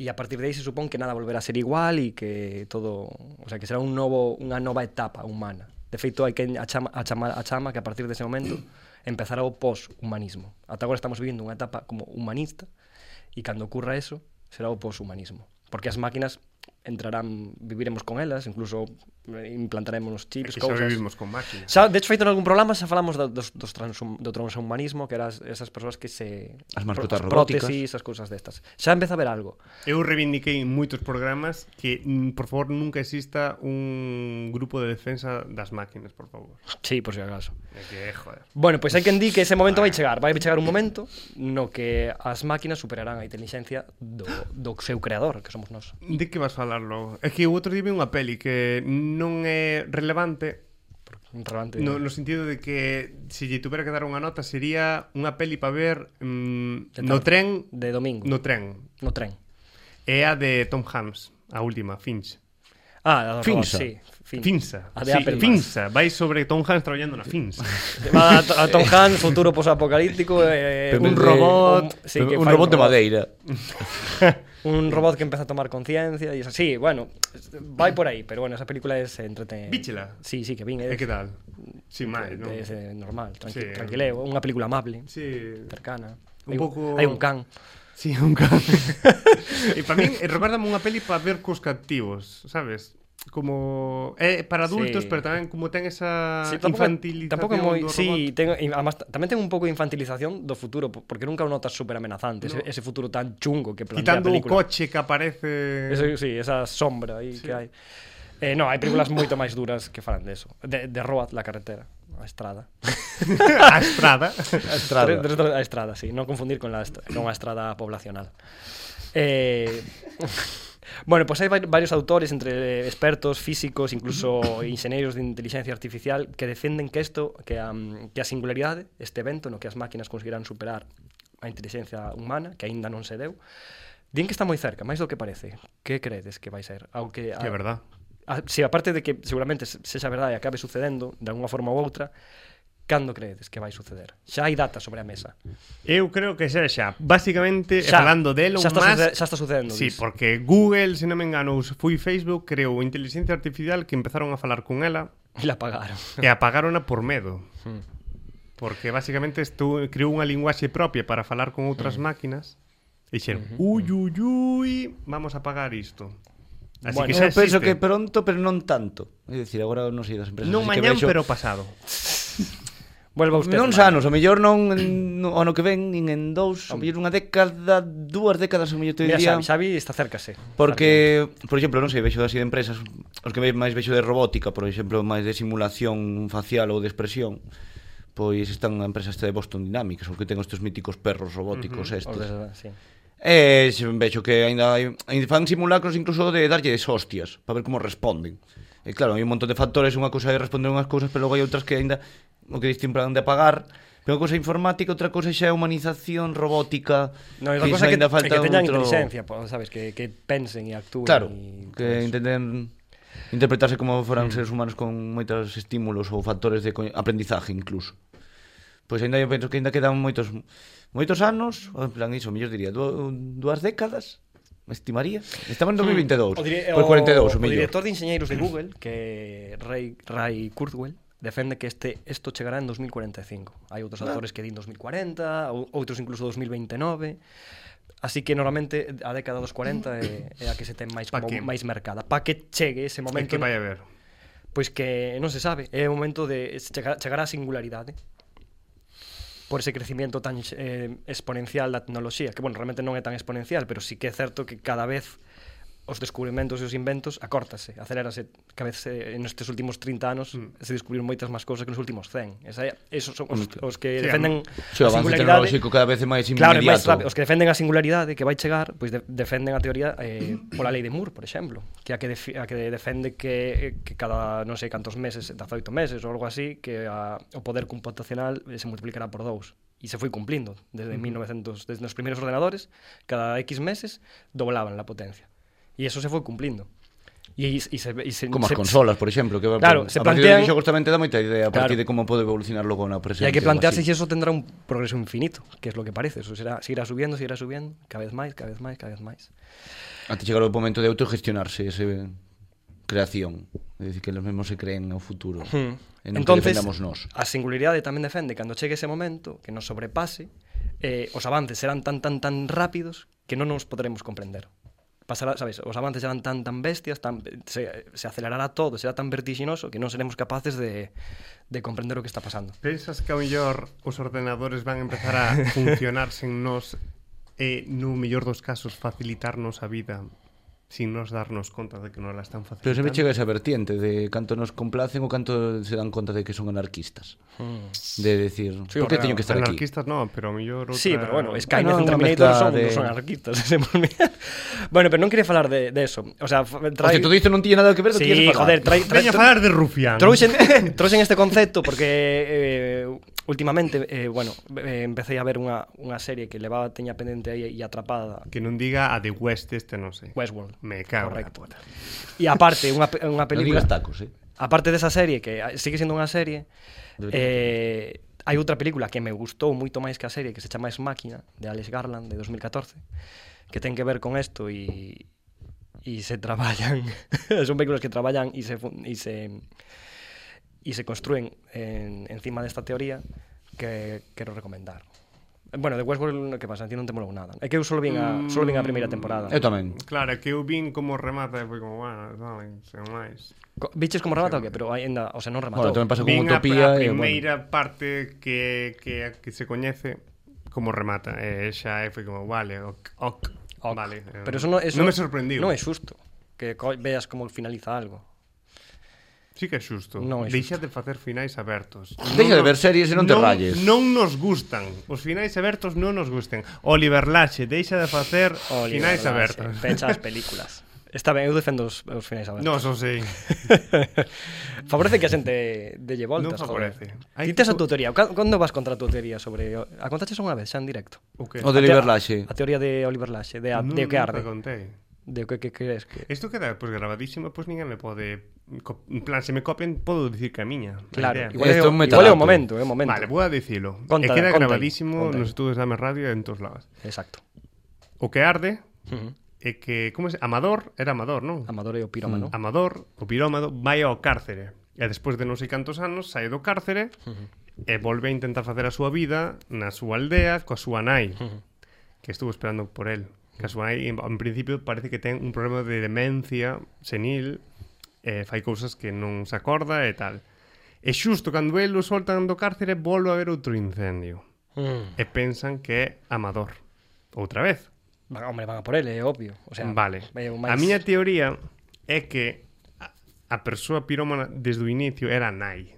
[SPEAKER 3] E a partir de aí se supón que nada volverá a ser igual e que todo, o sea, que será un novo unha nova etapa humana. De feito, hai quen a chama, a chama, a chama que a partir dese momento empezará o poshumanismo. Ata agora estamos vivindo unha etapa como humanista e cando ocurra eso, será o poshumanismo. Porque as máquinas entrarán, viviremos con elas, incluso eh, implantaremos
[SPEAKER 1] É
[SPEAKER 3] chips,
[SPEAKER 1] que xa
[SPEAKER 3] cousas.
[SPEAKER 1] vivimos con máquinas.
[SPEAKER 3] Xa, de hecho, feito en algún programa xa falamos do, dos, dos transhum, do transhumanismo, que eran as- esas persoas que se...
[SPEAKER 2] As mascotas
[SPEAKER 3] as
[SPEAKER 2] robóticas.
[SPEAKER 3] prótesis, as cousas destas. Xa empeza a haber algo.
[SPEAKER 1] Eu reivindiquei en moitos programas que, mm, por favor, nunca exista un grupo de defensa das máquinas, por favor.
[SPEAKER 3] Sí, por si acaso.
[SPEAKER 1] É que, eh, joder.
[SPEAKER 3] Bueno, pois hai quen di que ese momento vai chegar. Vai chegar un momento no que as máquinas superarán a inteligencia do, do seu creador, que somos nós.
[SPEAKER 1] De que vas falar logo? É que o outro día vi unha peli que non é relevante
[SPEAKER 3] Relevante.
[SPEAKER 1] no, no sentido de que se lle tuvera que dar unha nota sería unha peli para ver mm,
[SPEAKER 3] De
[SPEAKER 1] no
[SPEAKER 3] tarde.
[SPEAKER 1] tren
[SPEAKER 3] De domingo.
[SPEAKER 1] no tren
[SPEAKER 3] no tren.
[SPEAKER 1] é a de Tom Hanks a última, Finch
[SPEAKER 3] Ah, a do robot,
[SPEAKER 2] Finsa.
[SPEAKER 3] sí. fin-
[SPEAKER 1] Finsa,
[SPEAKER 3] A de
[SPEAKER 1] sí,
[SPEAKER 3] Apple.
[SPEAKER 1] Finsa vai sobre Tom Hanks traballando na Finsa
[SPEAKER 3] Va a, a Tom Hanks, futuro posapocalíptico, eh,
[SPEAKER 2] Pepe-
[SPEAKER 1] un robot,
[SPEAKER 3] un- sí, que
[SPEAKER 2] un
[SPEAKER 3] fai
[SPEAKER 2] robot de madeira.
[SPEAKER 3] Un robot que empieza a tomar conciencia y es así, bueno, va por ahí, pero bueno, esa película es entretenida.
[SPEAKER 1] Víchela.
[SPEAKER 3] Sí, sí, que vin,
[SPEAKER 1] e
[SPEAKER 3] es,
[SPEAKER 1] que tal? sin máis, non?
[SPEAKER 3] es, eh, normal,
[SPEAKER 1] Sí.
[SPEAKER 3] tranqui tranquileo, unha película amable,
[SPEAKER 1] Sí,
[SPEAKER 3] cercana.
[SPEAKER 1] Un
[SPEAKER 3] Hai
[SPEAKER 1] pouco-
[SPEAKER 3] Hai un can.
[SPEAKER 1] sí, un can E para min, eh, recordame unha peli para ver cos captivos, sabes? Como é para adultos,
[SPEAKER 3] Sí.
[SPEAKER 1] pero tamén como ten esa
[SPEAKER 3] Sí,
[SPEAKER 1] infantilización
[SPEAKER 3] tampouco é moi,
[SPEAKER 1] do
[SPEAKER 3] sí,
[SPEAKER 1] robot.
[SPEAKER 3] ten, e además, t- tamén ten un pouco de infantilización do futuro, po- porque nunca o notas super amenazante, ese,
[SPEAKER 1] No.
[SPEAKER 3] ese futuro tan chungo que plantea a
[SPEAKER 1] Quitando o
[SPEAKER 3] película.
[SPEAKER 1] coche que aparece
[SPEAKER 3] Eso, sí, esa sombra aí que hai. Eh, no, hai películas moito máis duras que falan de eso. De, de Road, la carretera, a estrada.
[SPEAKER 1] a estrada.
[SPEAKER 2] A
[SPEAKER 3] Tres-
[SPEAKER 2] estrada.
[SPEAKER 3] tres- tres- a estrada, sí. No confundir con la, est- con la estrada poblacional. Eh, bueno, pues hay va- varios autores, entre expertos, físicos, incluso ingenieros de inteligencia artificial, que defenden que isto, que a, mm, que a singularidade, este evento no que as máquinas conseguirán superar a inteligencia humana, que aínda non se deu, din que está moi cerca, máis do que parece. Que credes que vai ser? Ao que,
[SPEAKER 1] Que é
[SPEAKER 3] a-
[SPEAKER 1] verdad.
[SPEAKER 3] A, Ah, si aparte de que seguramente se- sexa verdade e acabe sucedendo de alguna forma ou outra, cando credes que vai suceder? Xa hai data sobre a mesa.
[SPEAKER 1] Eu creo que xa xa. Básicamente, Eh,
[SPEAKER 3] Xa,
[SPEAKER 1] falando de Elon
[SPEAKER 3] xa está
[SPEAKER 1] Musk...
[SPEAKER 3] suce- xa está sucedendo,
[SPEAKER 1] Sí,
[SPEAKER 3] dis.
[SPEAKER 1] porque Google, se non me engano, us- foi Facebook, creou inteligencia artificial que empezaron a falar con ela
[SPEAKER 3] E la pagaron.
[SPEAKER 1] e apagaron por medo. Porque basicamente estu, creou unha linguaxe propia para falar con outras máquinas e dixeron, ui, ui, ui, vamos a pagar isto. Así
[SPEAKER 3] Bueno,
[SPEAKER 1] que xa
[SPEAKER 2] Eu penso que
[SPEAKER 1] existe.
[SPEAKER 2] pronto, pero non tanto. É dicir, agora non sei das empresas.
[SPEAKER 1] non
[SPEAKER 2] así que
[SPEAKER 1] mañán,
[SPEAKER 2] vexo-
[SPEAKER 1] pero pasado.
[SPEAKER 3] Vuelva usted.
[SPEAKER 2] Non
[SPEAKER 3] mal.
[SPEAKER 2] xa anos, o mellor non en, no, ano que ven, nin en dous, o mellor unha década, dúas décadas, o mellor te
[SPEAKER 3] Mira,
[SPEAKER 2] diría.
[SPEAKER 3] Xavi, Xavi está cerca, sí.
[SPEAKER 2] Porque, por exemplo, non sei, vexo así de empresas Os que máis vexo de robótica, por exemplo, máis de simulación facial ou de expresión Pois están a empresa esta de Boston Dynamics Os que ten estes míticos perros robóticos uh -huh.
[SPEAKER 3] Os
[SPEAKER 2] estes
[SPEAKER 3] de- sí.
[SPEAKER 2] E se vexo que ainda hai ainda fan simulacros incluso de darlle des hostias Para ver como responden E claro, hai un montón de factores Unha cousa é responder unhas cousas Pero logo hai outras que ainda O que distin plan de apagar Pero unha cousa é informática, outra cousa xa é humanización robótica
[SPEAKER 3] No, e
[SPEAKER 2] que
[SPEAKER 3] outra
[SPEAKER 2] iso
[SPEAKER 3] cosa é que,
[SPEAKER 2] ainda
[SPEAKER 3] é que teñan
[SPEAKER 2] outro-
[SPEAKER 3] inteligencia, po, sabes, que, que pensen e actúen.
[SPEAKER 2] Claro,
[SPEAKER 3] e todo
[SPEAKER 2] que
[SPEAKER 3] eso. Mm.
[SPEAKER 2] intenten interpretarse como foran seres humanos con moitos estímulos ou factores de co- aprendizaje incluso. Pois ainda eu penso que ainda quedan moitos moitos anos, ou en plan iso, mellor diría, du- dúas décadas, estimaría. Estamos
[SPEAKER 3] Mm.
[SPEAKER 2] en 2022,
[SPEAKER 3] O dire-
[SPEAKER 1] Pois
[SPEAKER 2] por
[SPEAKER 3] o-
[SPEAKER 2] 42 o
[SPEAKER 3] o
[SPEAKER 2] mellor.
[SPEAKER 3] director de enxeñeiros de Google, que Ray, Ray Kurzweil, defende que este isto chegará en 2045. Hai outros
[SPEAKER 1] Ah.
[SPEAKER 3] autores que din 2040, ou- outros incluso 2029. Así que normalmente a década dos 40 é, é a que se ten máis
[SPEAKER 1] Pa
[SPEAKER 3] como
[SPEAKER 1] que-
[SPEAKER 3] máis mercada, pa que chegue ese
[SPEAKER 1] É
[SPEAKER 3] momento.
[SPEAKER 1] que vai a ver.
[SPEAKER 3] Pois que non se sabe, é o momento de chegar, chegar á singularidade por ese crecimiento tan eh, exponencial da tecnoloxía, que, bueno, realmente non é tan exponencial, pero sí que é certo que cada vez os descubrimentos e os inventos acórtase, acelérase, que a veces eh, nestes últimos 30 anos mm. se descubriron moitas máis cousas que nos últimos 100. Esa, é- esos son os, os que
[SPEAKER 1] Sí,
[SPEAKER 3] defenden
[SPEAKER 2] Se o
[SPEAKER 3] a
[SPEAKER 2] avance
[SPEAKER 3] singularidade
[SPEAKER 2] tecnolóxico cada vez é máis
[SPEAKER 3] Claro, é máis
[SPEAKER 2] inmediato.
[SPEAKER 3] rápido. Os que defenden a singularidade que vai chegar, pois de defenden a teoría eh, pola lei de Moore, por exemplo, que é a que, defi- a que defende que, que cada non sei cantos meses, 18 meses ou algo así, que a, o poder computacional eh, se multiplicará por dous. E se foi cumplindo desde 1900, desde os primeiros ordenadores, cada X meses doblaban la potencia. E eso se foi cumplindo. E, is- e se, e se,
[SPEAKER 2] Como as
[SPEAKER 3] se,
[SPEAKER 2] consolas, por exemplo, que
[SPEAKER 3] Claro,
[SPEAKER 2] a
[SPEAKER 3] se
[SPEAKER 2] partir
[SPEAKER 3] plantean-
[SPEAKER 2] dos videoxogos tamén te dá moita idea a
[SPEAKER 3] Claro.
[SPEAKER 2] partir de como pode evolucionar logo na
[SPEAKER 3] Y
[SPEAKER 2] presente.
[SPEAKER 3] hay
[SPEAKER 2] ou
[SPEAKER 3] que
[SPEAKER 2] así.
[SPEAKER 3] plantearse si eso tendrá un progreso infinito, que es lo que parece. Eso será, seguirá subiendo, seguirá subiendo, cada vez máis, cada vez máis, cada vez máis.
[SPEAKER 2] Até chegar ao momento de autogestionarse ese creación, é dicir que eles mesmos se creen no futuro.
[SPEAKER 3] Hmm.
[SPEAKER 2] E non que eh,
[SPEAKER 3] Entonces,
[SPEAKER 2] defendamos nós.
[SPEAKER 3] a singularidade tamén defende cando chegue ese momento que nos sobrepase, eh, os avances serán tan tan tan rápidos que non nos podremos comprender. Pasará, sabes, os avances serán tan tan bestias, tan se, se acelerará todo, será tan vertiginoso que non seremos capaces de, de comprender o que está pasando.
[SPEAKER 1] Pensas que ao mellor os ordenadores van empezar a funcionar sen nos e no mellor dos casos facilitarnos a vida sin nos darnos conta de que non la están
[SPEAKER 2] Pero sempre
[SPEAKER 1] facilitando?
[SPEAKER 2] chega esa vertiente de canto nos complacen ou canto se dan conta de que son anarquistas. De decir,
[SPEAKER 3] Hmm. Sí,
[SPEAKER 2] por que
[SPEAKER 3] o
[SPEAKER 2] teño que estar aquí?
[SPEAKER 1] Anarquistas non, pero ao mellor outra... Ah,
[SPEAKER 3] Sí, pero bueno, Skynet
[SPEAKER 2] Bueno,
[SPEAKER 3] bueno,
[SPEAKER 2] unha
[SPEAKER 3] Terminator
[SPEAKER 2] mezcla
[SPEAKER 3] son,
[SPEAKER 2] de-
[SPEAKER 3] de... son anarquistas. se me olvida. bueno, pero non quería falar de, de eso. O sea, fa-
[SPEAKER 2] Hostia,
[SPEAKER 3] trae...
[SPEAKER 2] todo isto non tiña nada que ver do que
[SPEAKER 3] Sí,
[SPEAKER 2] quieres falar.
[SPEAKER 3] joder, trae, trae,
[SPEAKER 1] Veña a falar de Rufián.
[SPEAKER 3] Trouxen, trouxen este concepto porque eh, últimamente, eh, bueno, eh, empecé a ver unha, unha serie que levaba teña pendente aí e atrapada
[SPEAKER 1] Que non diga a The West este, non sei.
[SPEAKER 3] Westworld.
[SPEAKER 1] Me cago na
[SPEAKER 3] Correcto.
[SPEAKER 1] puta.
[SPEAKER 3] E aparte, unha, pe-
[SPEAKER 2] Non
[SPEAKER 3] unha película...
[SPEAKER 2] digas tacos, eh.
[SPEAKER 3] Aparte desa serie, que ah, sigue sendo unha serie, eh, hai outra película que me gustou moito máis que a serie, que se chama Es Máquina, de Alex Garland, de 2014, que ten que ver con isto e e se traballan son películas que traballan e se fun- e se e se construen en, encima desta teoría que quero recomendar. Bueno, de Westworld, que pasa? A ti non te molou nada. É que eu solo vin a, solo vin a primeira temporada.
[SPEAKER 2] Mm, Eu tamén.
[SPEAKER 1] Claro, é que eu vin como remata e foi como, bueno, vale, sen máis.
[SPEAKER 3] Co- Viches como remata o que? Pero ainda, o sea, eh, non rematou.
[SPEAKER 2] Bueno, tamén pasa con
[SPEAKER 1] Vin a,
[SPEAKER 2] Utopía
[SPEAKER 1] a
[SPEAKER 2] e, bueno,
[SPEAKER 1] primeira parte que, que, que se coñece como remata. E xa é, foi como, vale, ok, ok,
[SPEAKER 3] Ok.
[SPEAKER 1] vale. eh,
[SPEAKER 3] Pero eso no, eso
[SPEAKER 1] non me sorprendiu.
[SPEAKER 3] Non é xusto que co- veas como finaliza algo.
[SPEAKER 1] Sí que é xusto.
[SPEAKER 3] Non é
[SPEAKER 1] Deixa de facer finais abertos. Non
[SPEAKER 2] Deixa de ver
[SPEAKER 1] nos-
[SPEAKER 2] series e non te
[SPEAKER 1] non,
[SPEAKER 2] rayes.
[SPEAKER 1] Non nos gustan. Os finais abertos non nos gustan. Oliver Lache, deixa de facer
[SPEAKER 3] Oliver
[SPEAKER 1] finais
[SPEAKER 3] Lash,
[SPEAKER 1] abertos.
[SPEAKER 3] Fecha as películas. Está ben, eu defendo os, os finais abertos.
[SPEAKER 1] Non, eso sí.
[SPEAKER 3] favorece que a xente delle
[SPEAKER 1] Non
[SPEAKER 3] voltas,
[SPEAKER 1] favorece. Hai
[SPEAKER 3] Ti tes a
[SPEAKER 1] que-
[SPEAKER 3] tua teoría. Ca- Cando vas contra a tua teoría sobre... A contaches unha vez, xa en directo.
[SPEAKER 1] O que?
[SPEAKER 2] O de
[SPEAKER 3] A teo-
[SPEAKER 2] Oliver Laxe.
[SPEAKER 3] A teoría de Oliver Laxe, de, a,
[SPEAKER 1] Non,
[SPEAKER 3] de o
[SPEAKER 1] non te
[SPEAKER 3] que arde.
[SPEAKER 1] contei.
[SPEAKER 3] De o que, que crees que...
[SPEAKER 1] Isto queda pois grabadísimo, pois ninguén me pode co- en plan se me copian, podo dicir que a miña. a idea.
[SPEAKER 2] igual
[SPEAKER 3] Claro, igual, é,
[SPEAKER 2] Esto é
[SPEAKER 3] o-
[SPEAKER 2] un
[SPEAKER 3] igual é
[SPEAKER 2] metadato.
[SPEAKER 3] o momento, é o momento.
[SPEAKER 1] Vale, vou a dicilo. e
[SPEAKER 3] Conta,
[SPEAKER 1] queda
[SPEAKER 3] conta aí,
[SPEAKER 1] grabadísimo
[SPEAKER 3] conta aí.
[SPEAKER 1] nos estudos da Ame Radio e en todos lados.
[SPEAKER 3] Exacto.
[SPEAKER 1] O que arde
[SPEAKER 3] Uh -huh.
[SPEAKER 1] é que, como se, Amador, era Amador, non?
[SPEAKER 3] Amador e o pirómano. Mm.
[SPEAKER 1] Amador, o pirómado, vai ao cárcere. E despois de non sei cantos anos, sai do cárcere e volve a intentar facer a súa vida na súa aldea coa súa nai, que estuvo esperando por él. Que a súa nai, en, en principio, parece que ten un problema de demencia senil, e fai cousas que non se acorda e tal. E xusto cando el o soltan do cárcere, volve a ver outro incendio. E pensan que é Amador. Outra vez.
[SPEAKER 3] Van, hombre, van a por ele, é obvio. O sea, eh,
[SPEAKER 1] Vale.
[SPEAKER 3] é o
[SPEAKER 1] A miña teoría é que a- a persoa pirómana desde o inicio era a nai.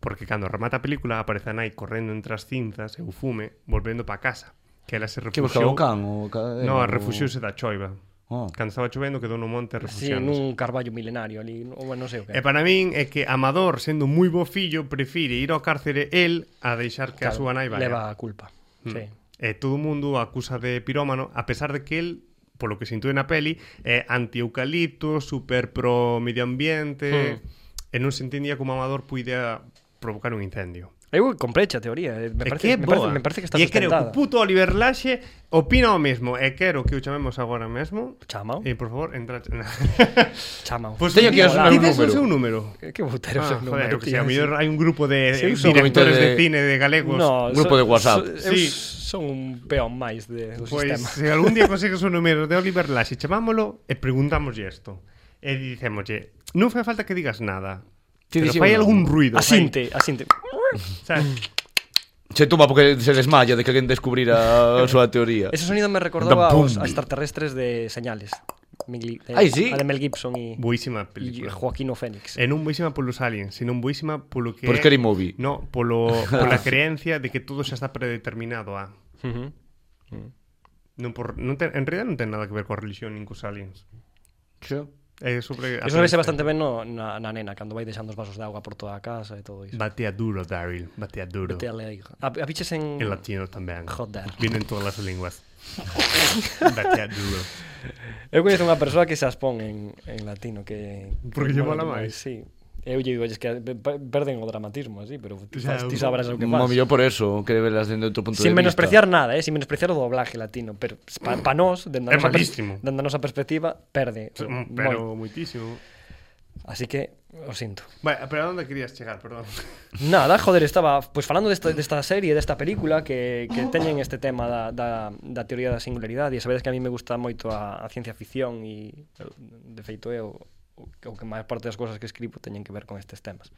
[SPEAKER 1] Porque cando remata a película aparece a nai correndo entre as cinzas e o fume volvendo para casa. Que ela se
[SPEAKER 2] Que buscaba
[SPEAKER 1] refugiou...
[SPEAKER 2] o can? O ca... eh,
[SPEAKER 1] No,
[SPEAKER 2] o-
[SPEAKER 1] refuxiouse da choiva.
[SPEAKER 2] Oh.
[SPEAKER 1] Cando estaba chovendo quedou no monte
[SPEAKER 3] Sí,
[SPEAKER 1] refuxiándose.
[SPEAKER 3] nun carballo milenario ali, ou bueno, non sei o que.
[SPEAKER 1] E para min é que Amador, sendo moi bo fillo, prefire ir ao cárcere el a deixar que a súa nai vaya. Hmm.
[SPEAKER 3] Leva a culpa. Mm. Sí.
[SPEAKER 1] E todo o mundo o acusa de pirómano, a pesar de que el, polo que se intúe na peli, é anti-eucalipto, super pro medio
[SPEAKER 3] Hmm.
[SPEAKER 1] ambiente, e non se entendía como Amador puidea provocar un incendio.
[SPEAKER 3] Eu comprei a teoría, eh, me
[SPEAKER 1] E
[SPEAKER 3] parece,
[SPEAKER 1] que é
[SPEAKER 3] me
[SPEAKER 1] boa.
[SPEAKER 3] parece, me parece que está
[SPEAKER 1] e creo que o
[SPEAKER 3] sustentada.
[SPEAKER 1] puto Oliver Laxe opina o mesmo, e quero que o chamemos agora mesmo.
[SPEAKER 3] Chamao,
[SPEAKER 1] E por favor, entra... Pues
[SPEAKER 3] chamao.
[SPEAKER 1] Pois
[SPEAKER 2] Teño que
[SPEAKER 1] di-
[SPEAKER 2] asusar un
[SPEAKER 1] dides o
[SPEAKER 2] número.
[SPEAKER 1] seu número.
[SPEAKER 3] Que- Que botero
[SPEAKER 1] Ah,
[SPEAKER 3] ese
[SPEAKER 1] joder,
[SPEAKER 3] número,
[SPEAKER 1] eu que sei,
[SPEAKER 3] tío.
[SPEAKER 1] a mellor hai un grupo de
[SPEAKER 3] Sí,
[SPEAKER 1] eh,
[SPEAKER 3] son
[SPEAKER 1] directores
[SPEAKER 2] comité
[SPEAKER 1] de...
[SPEAKER 2] de-
[SPEAKER 1] cine de galegos.
[SPEAKER 3] No,
[SPEAKER 2] Grupo
[SPEAKER 3] so-
[SPEAKER 2] de WhatsApp.
[SPEAKER 3] so- eu
[SPEAKER 1] Sí.
[SPEAKER 3] son un peón máis de, do
[SPEAKER 1] Pois
[SPEAKER 3] sistema.
[SPEAKER 1] se Pues, algún día consegues o número de Oliver Lash e chamámolo e preguntámoslle isto. E dicémoslle, non fai falta que digas nada.
[SPEAKER 2] Ti
[SPEAKER 1] pero
[SPEAKER 2] dixi
[SPEAKER 1] fai
[SPEAKER 2] un
[SPEAKER 1] algún ruido.
[SPEAKER 3] Asinte, asinte.
[SPEAKER 1] Fai, sabes?
[SPEAKER 2] Se toma porque se desmaya de que alguén descubrira a súa teoría.
[SPEAKER 3] Ese sonido me recordou
[SPEAKER 2] Da pum.
[SPEAKER 3] aos, a extraterrestres de señales. Mel, eh,
[SPEAKER 2] Ai, sí.
[SPEAKER 3] A de Mel Gibson e,
[SPEAKER 1] Boísima
[SPEAKER 3] e
[SPEAKER 1] película. Eh,
[SPEAKER 3] Joaquino Fénix.
[SPEAKER 1] E non boísima polos aliens, sino boísima polo que...
[SPEAKER 2] Por Scary Movie.
[SPEAKER 1] No, polo, pola creencia de que todo xa está predeterminado a...
[SPEAKER 3] Ujú.
[SPEAKER 1] Non por, non ten, en realidad non ten nada que ver coa religión nin cos aliens.
[SPEAKER 2] Sí.
[SPEAKER 1] É sobre...
[SPEAKER 3] Eso vese bastante ben no, na, na nena, cando vai deixando os vasos de auga por toda a casa e todo iso.
[SPEAKER 1] Batea duro, Daryl. Batea duro.
[SPEAKER 3] Te alegro. A, a biches en...
[SPEAKER 1] En latino tamén.
[SPEAKER 3] Joder.
[SPEAKER 1] Vienen todas as linguas. Daquea duro.
[SPEAKER 3] Eu coñezo unha persoa que se aspón en, en latino que...
[SPEAKER 1] Porque lle mola máis.
[SPEAKER 3] Sí. Eu lle digo, "Olles, que pe- pe- perden o dramatismo así, pero ti,
[SPEAKER 1] Xa,
[SPEAKER 3] fas- ti
[SPEAKER 1] eu-
[SPEAKER 3] sabrás o que
[SPEAKER 2] Mo
[SPEAKER 3] faz.
[SPEAKER 2] mellor por eso, que velas dende outro punto de
[SPEAKER 3] Sin
[SPEAKER 2] vista.
[SPEAKER 3] menospreciar nada, eh? sin menospreciar o doblaje latino, pero pa, pa nós, dende a
[SPEAKER 1] É
[SPEAKER 3] nosa pers-
[SPEAKER 1] malísimo.
[SPEAKER 3] dende a nosa perspectiva, perde.
[SPEAKER 1] Mm, Pero
[SPEAKER 3] Moi.
[SPEAKER 1] moitísimo.
[SPEAKER 3] Así que, o sinto.
[SPEAKER 1] Vale, pero a onde querías chegar, perdón?
[SPEAKER 3] Nada, joder, estaba pues falando desta, desta serie, desta película que, que teñen este tema da, da, da teoría da singularidade e sabedes que a mí me gusta moito a, a ciencia ficción e eu, de feito é o, o, o que máis parte das cousas que escribo teñen que ver con estes temas.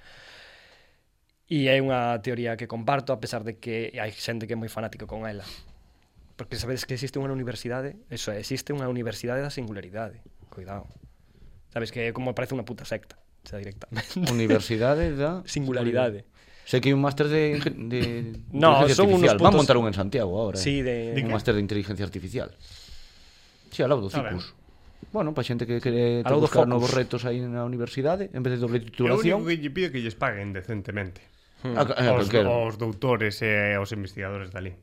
[SPEAKER 3] E é unha teoría que comparto a pesar de que hai xente que é moi fanática con ela. Porque sabedes que existe unha universidade, eso é, existe unha universidade da singularidade. Cuidado. Sabes que é como parece unha puta secta, xa directamente.
[SPEAKER 2] Universidade da...
[SPEAKER 3] Singularidade.
[SPEAKER 2] Sei que hai un máster de... inge- de
[SPEAKER 3] No,
[SPEAKER 2] inteligencia
[SPEAKER 3] son unos
[SPEAKER 2] artificial. Van
[SPEAKER 3] putos-
[SPEAKER 2] montar un en Santiago ahora. eh.
[SPEAKER 3] Sí, de...
[SPEAKER 1] Di que-
[SPEAKER 2] un máster de inteligencia artificial. Sí, ao lado do
[SPEAKER 1] Está ben.
[SPEAKER 2] CICUS. Bueno, para xente que quere
[SPEAKER 3] Ao lado do
[SPEAKER 2] buscar
[SPEAKER 3] Focus.
[SPEAKER 2] novos retos aí na universidade, en vez de
[SPEAKER 1] Eu o
[SPEAKER 2] doble
[SPEAKER 1] único
[SPEAKER 2] titulación,
[SPEAKER 1] que lle pido é que lles paguen decentemente.
[SPEAKER 2] a, a,
[SPEAKER 3] Ah,
[SPEAKER 2] a
[SPEAKER 1] Os,
[SPEAKER 2] calquera.
[SPEAKER 1] os doutores e aos investigadores dali.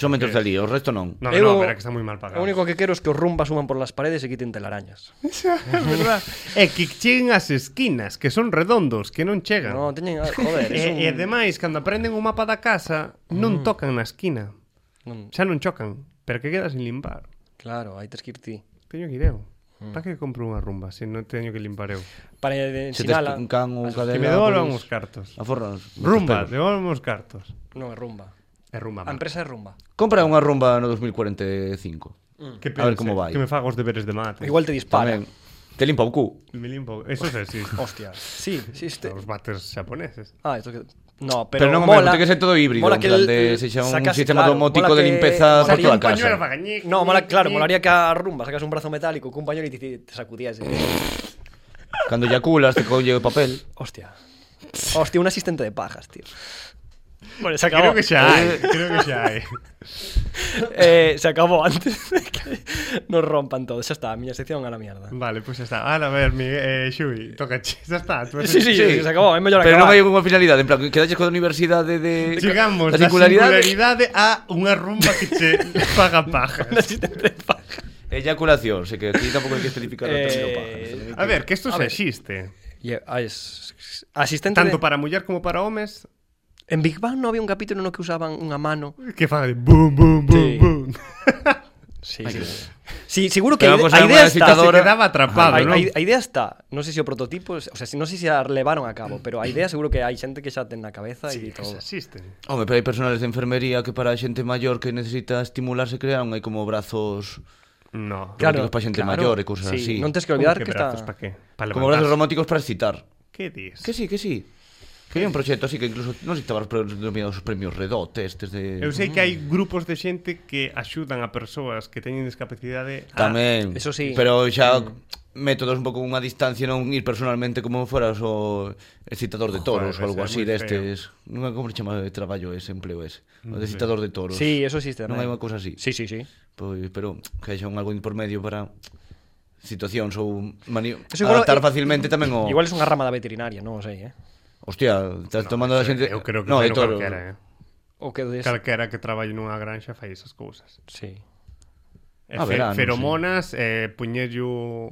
[SPEAKER 2] Son mentres dali, o resto non.
[SPEAKER 1] No,
[SPEAKER 3] Eu-
[SPEAKER 1] no, pero é que está moi mal
[SPEAKER 3] Lo
[SPEAKER 1] pagado.
[SPEAKER 3] único que quero es que os rumbas suban por las paredes y quiten telarañas.
[SPEAKER 1] É verdad. É que cheguen as esquinas, que son redondos, que non chegan.
[SPEAKER 3] No, teñen, ah, joder, es
[SPEAKER 1] E,
[SPEAKER 2] Eh,
[SPEAKER 3] un...
[SPEAKER 1] e ademais, cando aprenden o mapa da casa, non tocan na esquina.
[SPEAKER 3] Mm. Non,
[SPEAKER 1] Xa non chocan, pero que queda sin limpar.
[SPEAKER 3] claro, hai tes que ir ti.
[SPEAKER 1] Teño que ir eu.
[SPEAKER 2] Mm.
[SPEAKER 1] Para que compro unha rumba se non teño que limpar eu?
[SPEAKER 3] Para eh, de
[SPEAKER 2] Se tes
[SPEAKER 3] ensinala...
[SPEAKER 2] un can ou
[SPEAKER 1] Que
[SPEAKER 2] cadela...
[SPEAKER 1] me devolvan
[SPEAKER 2] pois,
[SPEAKER 1] os cartos.
[SPEAKER 2] A forra nos-
[SPEAKER 1] Rumba,
[SPEAKER 2] nos pelos.
[SPEAKER 1] devolvan os cartos.
[SPEAKER 3] Non, é rumba.
[SPEAKER 1] É rumba. má.
[SPEAKER 3] A empresa é rumba.
[SPEAKER 2] Compra unha rumba no 2045.
[SPEAKER 1] Que
[SPEAKER 2] A ver como
[SPEAKER 1] pense,
[SPEAKER 2] vai.
[SPEAKER 1] Que me fago os deberes de mate.
[SPEAKER 3] Igual te dispara.
[SPEAKER 2] Tamén. Te limpa o cu.
[SPEAKER 1] Me limpo. Eso é así.
[SPEAKER 3] Hostia. Sí, sí, este...
[SPEAKER 1] Os bates xaponeses.
[SPEAKER 3] Ah, esto que... No, pero,
[SPEAKER 2] Pero, non, hombre,
[SPEAKER 3] mola...
[SPEAKER 2] ten que ser todo híbrido,
[SPEAKER 3] mola
[SPEAKER 2] en
[SPEAKER 3] que
[SPEAKER 2] plan
[SPEAKER 3] el- eh,
[SPEAKER 2] de se xa un
[SPEAKER 3] sacas-
[SPEAKER 2] sistema
[SPEAKER 3] claro,
[SPEAKER 2] domótico de
[SPEAKER 3] mola que-
[SPEAKER 2] limpieza por
[SPEAKER 3] Sacaría
[SPEAKER 2] toda a
[SPEAKER 3] un
[SPEAKER 2] casa.
[SPEAKER 1] pañuelo para gañic,
[SPEAKER 3] No, mola,
[SPEAKER 1] ñic,
[SPEAKER 3] claro,
[SPEAKER 1] ñic.
[SPEAKER 3] molaría que a rumba sacas un brazo metálico cun pañuelo e ti- te sacudías. E...
[SPEAKER 2] Cando eyaculas, te colle o papel.
[SPEAKER 3] Hostia. Hostia, un asistente de pajas, tío. Bueno, se acabó.
[SPEAKER 1] Creo que xa hai. Creo que xa hai.
[SPEAKER 3] Eh, se acabou antes de que nos rompan todo. Xa está, a miña sección a la mierda.
[SPEAKER 1] Vale, pois pues xa está. Ahora, a ver, Miguel, eh, Xui, toca xa está. Tú
[SPEAKER 3] Sí, sí,
[SPEAKER 2] Sí.
[SPEAKER 3] se acabó, é mellor
[SPEAKER 2] Pero non
[SPEAKER 3] acabar.
[SPEAKER 2] hai unha finalidade, en plan, quedaches coa universidade de...
[SPEAKER 1] Chegamos
[SPEAKER 2] da
[SPEAKER 1] da
[SPEAKER 2] singularidade,
[SPEAKER 1] singularidade a unha rumba que che paga paja.
[SPEAKER 3] Un asistente de paja.
[SPEAKER 2] Eyaculación, sei que aquí tampouco hai que especificar o término
[SPEAKER 3] Eh,
[SPEAKER 2] paja. neste
[SPEAKER 1] A ver, que isto
[SPEAKER 3] A
[SPEAKER 1] xa
[SPEAKER 3] ver.
[SPEAKER 1] existe.
[SPEAKER 3] Y, eh, ah, es- asistente
[SPEAKER 1] Tanto
[SPEAKER 3] de-
[SPEAKER 1] para muller como para homes,
[SPEAKER 3] En Big Bang no había un capítulo no que usaban unha mano.
[SPEAKER 1] que faga de bum, bum, bum,
[SPEAKER 3] Sí.
[SPEAKER 1] bum.
[SPEAKER 3] Sí, sí. Sí, seguro que
[SPEAKER 2] Pero
[SPEAKER 3] a ide-
[SPEAKER 2] vamos a
[SPEAKER 3] a
[SPEAKER 2] ver
[SPEAKER 3] idea
[SPEAKER 2] una
[SPEAKER 3] está.
[SPEAKER 1] Se
[SPEAKER 2] Ahora-
[SPEAKER 1] quedaba atrapado,
[SPEAKER 3] A,
[SPEAKER 1] non?
[SPEAKER 3] a, a idea está. Non sei se o prototipo, o sea, se- non sei se a levaron a cabo, pero a idea seguro que hai xente que xa ten na cabeza e
[SPEAKER 1] Sí, que
[SPEAKER 3] todo.
[SPEAKER 1] xa existen.
[SPEAKER 2] Home, pero hai personales de enfermería que para a xente maior que necesita estimularse crearon hai como brazos
[SPEAKER 1] No.
[SPEAKER 2] Claro, para xente maior e cousas así.
[SPEAKER 3] Non tens que olvidar
[SPEAKER 1] Como
[SPEAKER 3] que, está...
[SPEAKER 1] brazos, pa qué? Pa
[SPEAKER 2] como brazos
[SPEAKER 1] levantarse.
[SPEAKER 2] románticos para excitar.
[SPEAKER 1] Que dis?
[SPEAKER 2] Que sí, que sí. Que hai un proxecto así que incluso non sei se estaban nominados os premios Redot, estes de...
[SPEAKER 1] Eu sei
[SPEAKER 3] Mm.
[SPEAKER 1] que hai grupos de xente que axudan a persoas que teñen discapacidade a...
[SPEAKER 2] Tamén.
[SPEAKER 3] Ah, eso sí. Mm.
[SPEAKER 2] Pero xa métodos un pouco unha distancia non ir personalmente como foras o excitador de toros
[SPEAKER 1] Joder,
[SPEAKER 2] ou
[SPEAKER 1] ese
[SPEAKER 2] algo
[SPEAKER 1] é
[SPEAKER 2] así
[SPEAKER 1] moi
[SPEAKER 2] destes. Non é como se chama de traballo ese, empleo ese. O de excitador de toros.
[SPEAKER 3] Sí, eso existe
[SPEAKER 2] Non
[SPEAKER 3] tamén.
[SPEAKER 2] hai unha cousa así.
[SPEAKER 3] Sí, sí, sí.
[SPEAKER 2] Pois, pero que haxa un algo intermedio para situacións ou mani...
[SPEAKER 3] Eso igual-
[SPEAKER 2] adaptar facilmente tamén o...
[SPEAKER 3] Igual es unha rama da veterinaria, non o sei, eh.
[SPEAKER 2] Hostia, estás tomando a
[SPEAKER 1] Eso,
[SPEAKER 2] xente...
[SPEAKER 1] Eu creo que no,
[SPEAKER 2] no, de toro.
[SPEAKER 1] calquera, eh?
[SPEAKER 3] O que des...
[SPEAKER 1] Calquera que traballe nunha granxa fai esas cousas.
[SPEAKER 3] Sí.
[SPEAKER 1] E
[SPEAKER 2] Ah,
[SPEAKER 1] fe-
[SPEAKER 2] verá, non sei.
[SPEAKER 1] feromonas, eh, puñello...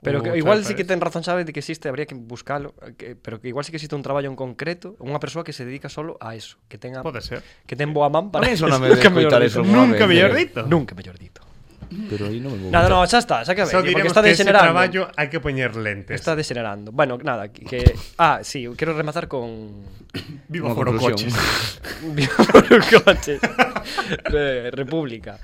[SPEAKER 3] Pero
[SPEAKER 1] o
[SPEAKER 3] que, igual
[SPEAKER 1] chapa-
[SPEAKER 3] sí que ten razón, sabe, de que existe, habría que buscalo, que, pero que igual sí que existe un traballo en concreto, unha persoa que se dedica solo a eso, que tenga
[SPEAKER 1] Pode ser.
[SPEAKER 3] que ten boa man
[SPEAKER 2] A
[SPEAKER 3] para
[SPEAKER 2] mí sóname de
[SPEAKER 3] Nunca
[SPEAKER 2] escoitar
[SPEAKER 3] mellor dito.
[SPEAKER 2] eso.
[SPEAKER 1] Nunca
[SPEAKER 2] Nunca
[SPEAKER 1] mellor
[SPEAKER 2] mellor
[SPEAKER 1] dito.
[SPEAKER 3] Nunca mellor dito.
[SPEAKER 2] Pero aí non me vou...
[SPEAKER 3] Nada, no, xa está, xa que
[SPEAKER 1] Só
[SPEAKER 3] porque
[SPEAKER 1] diremos
[SPEAKER 3] está
[SPEAKER 1] que ese
[SPEAKER 3] degenerando.
[SPEAKER 1] traballo hai que poñer lentes.
[SPEAKER 3] Está degenerando. Bueno, nada, que- que ah, sí, quero rematar con
[SPEAKER 1] Viva
[SPEAKER 2] Unha
[SPEAKER 1] foro
[SPEAKER 2] conclusión.
[SPEAKER 1] coches.
[SPEAKER 3] coches. Eh, República.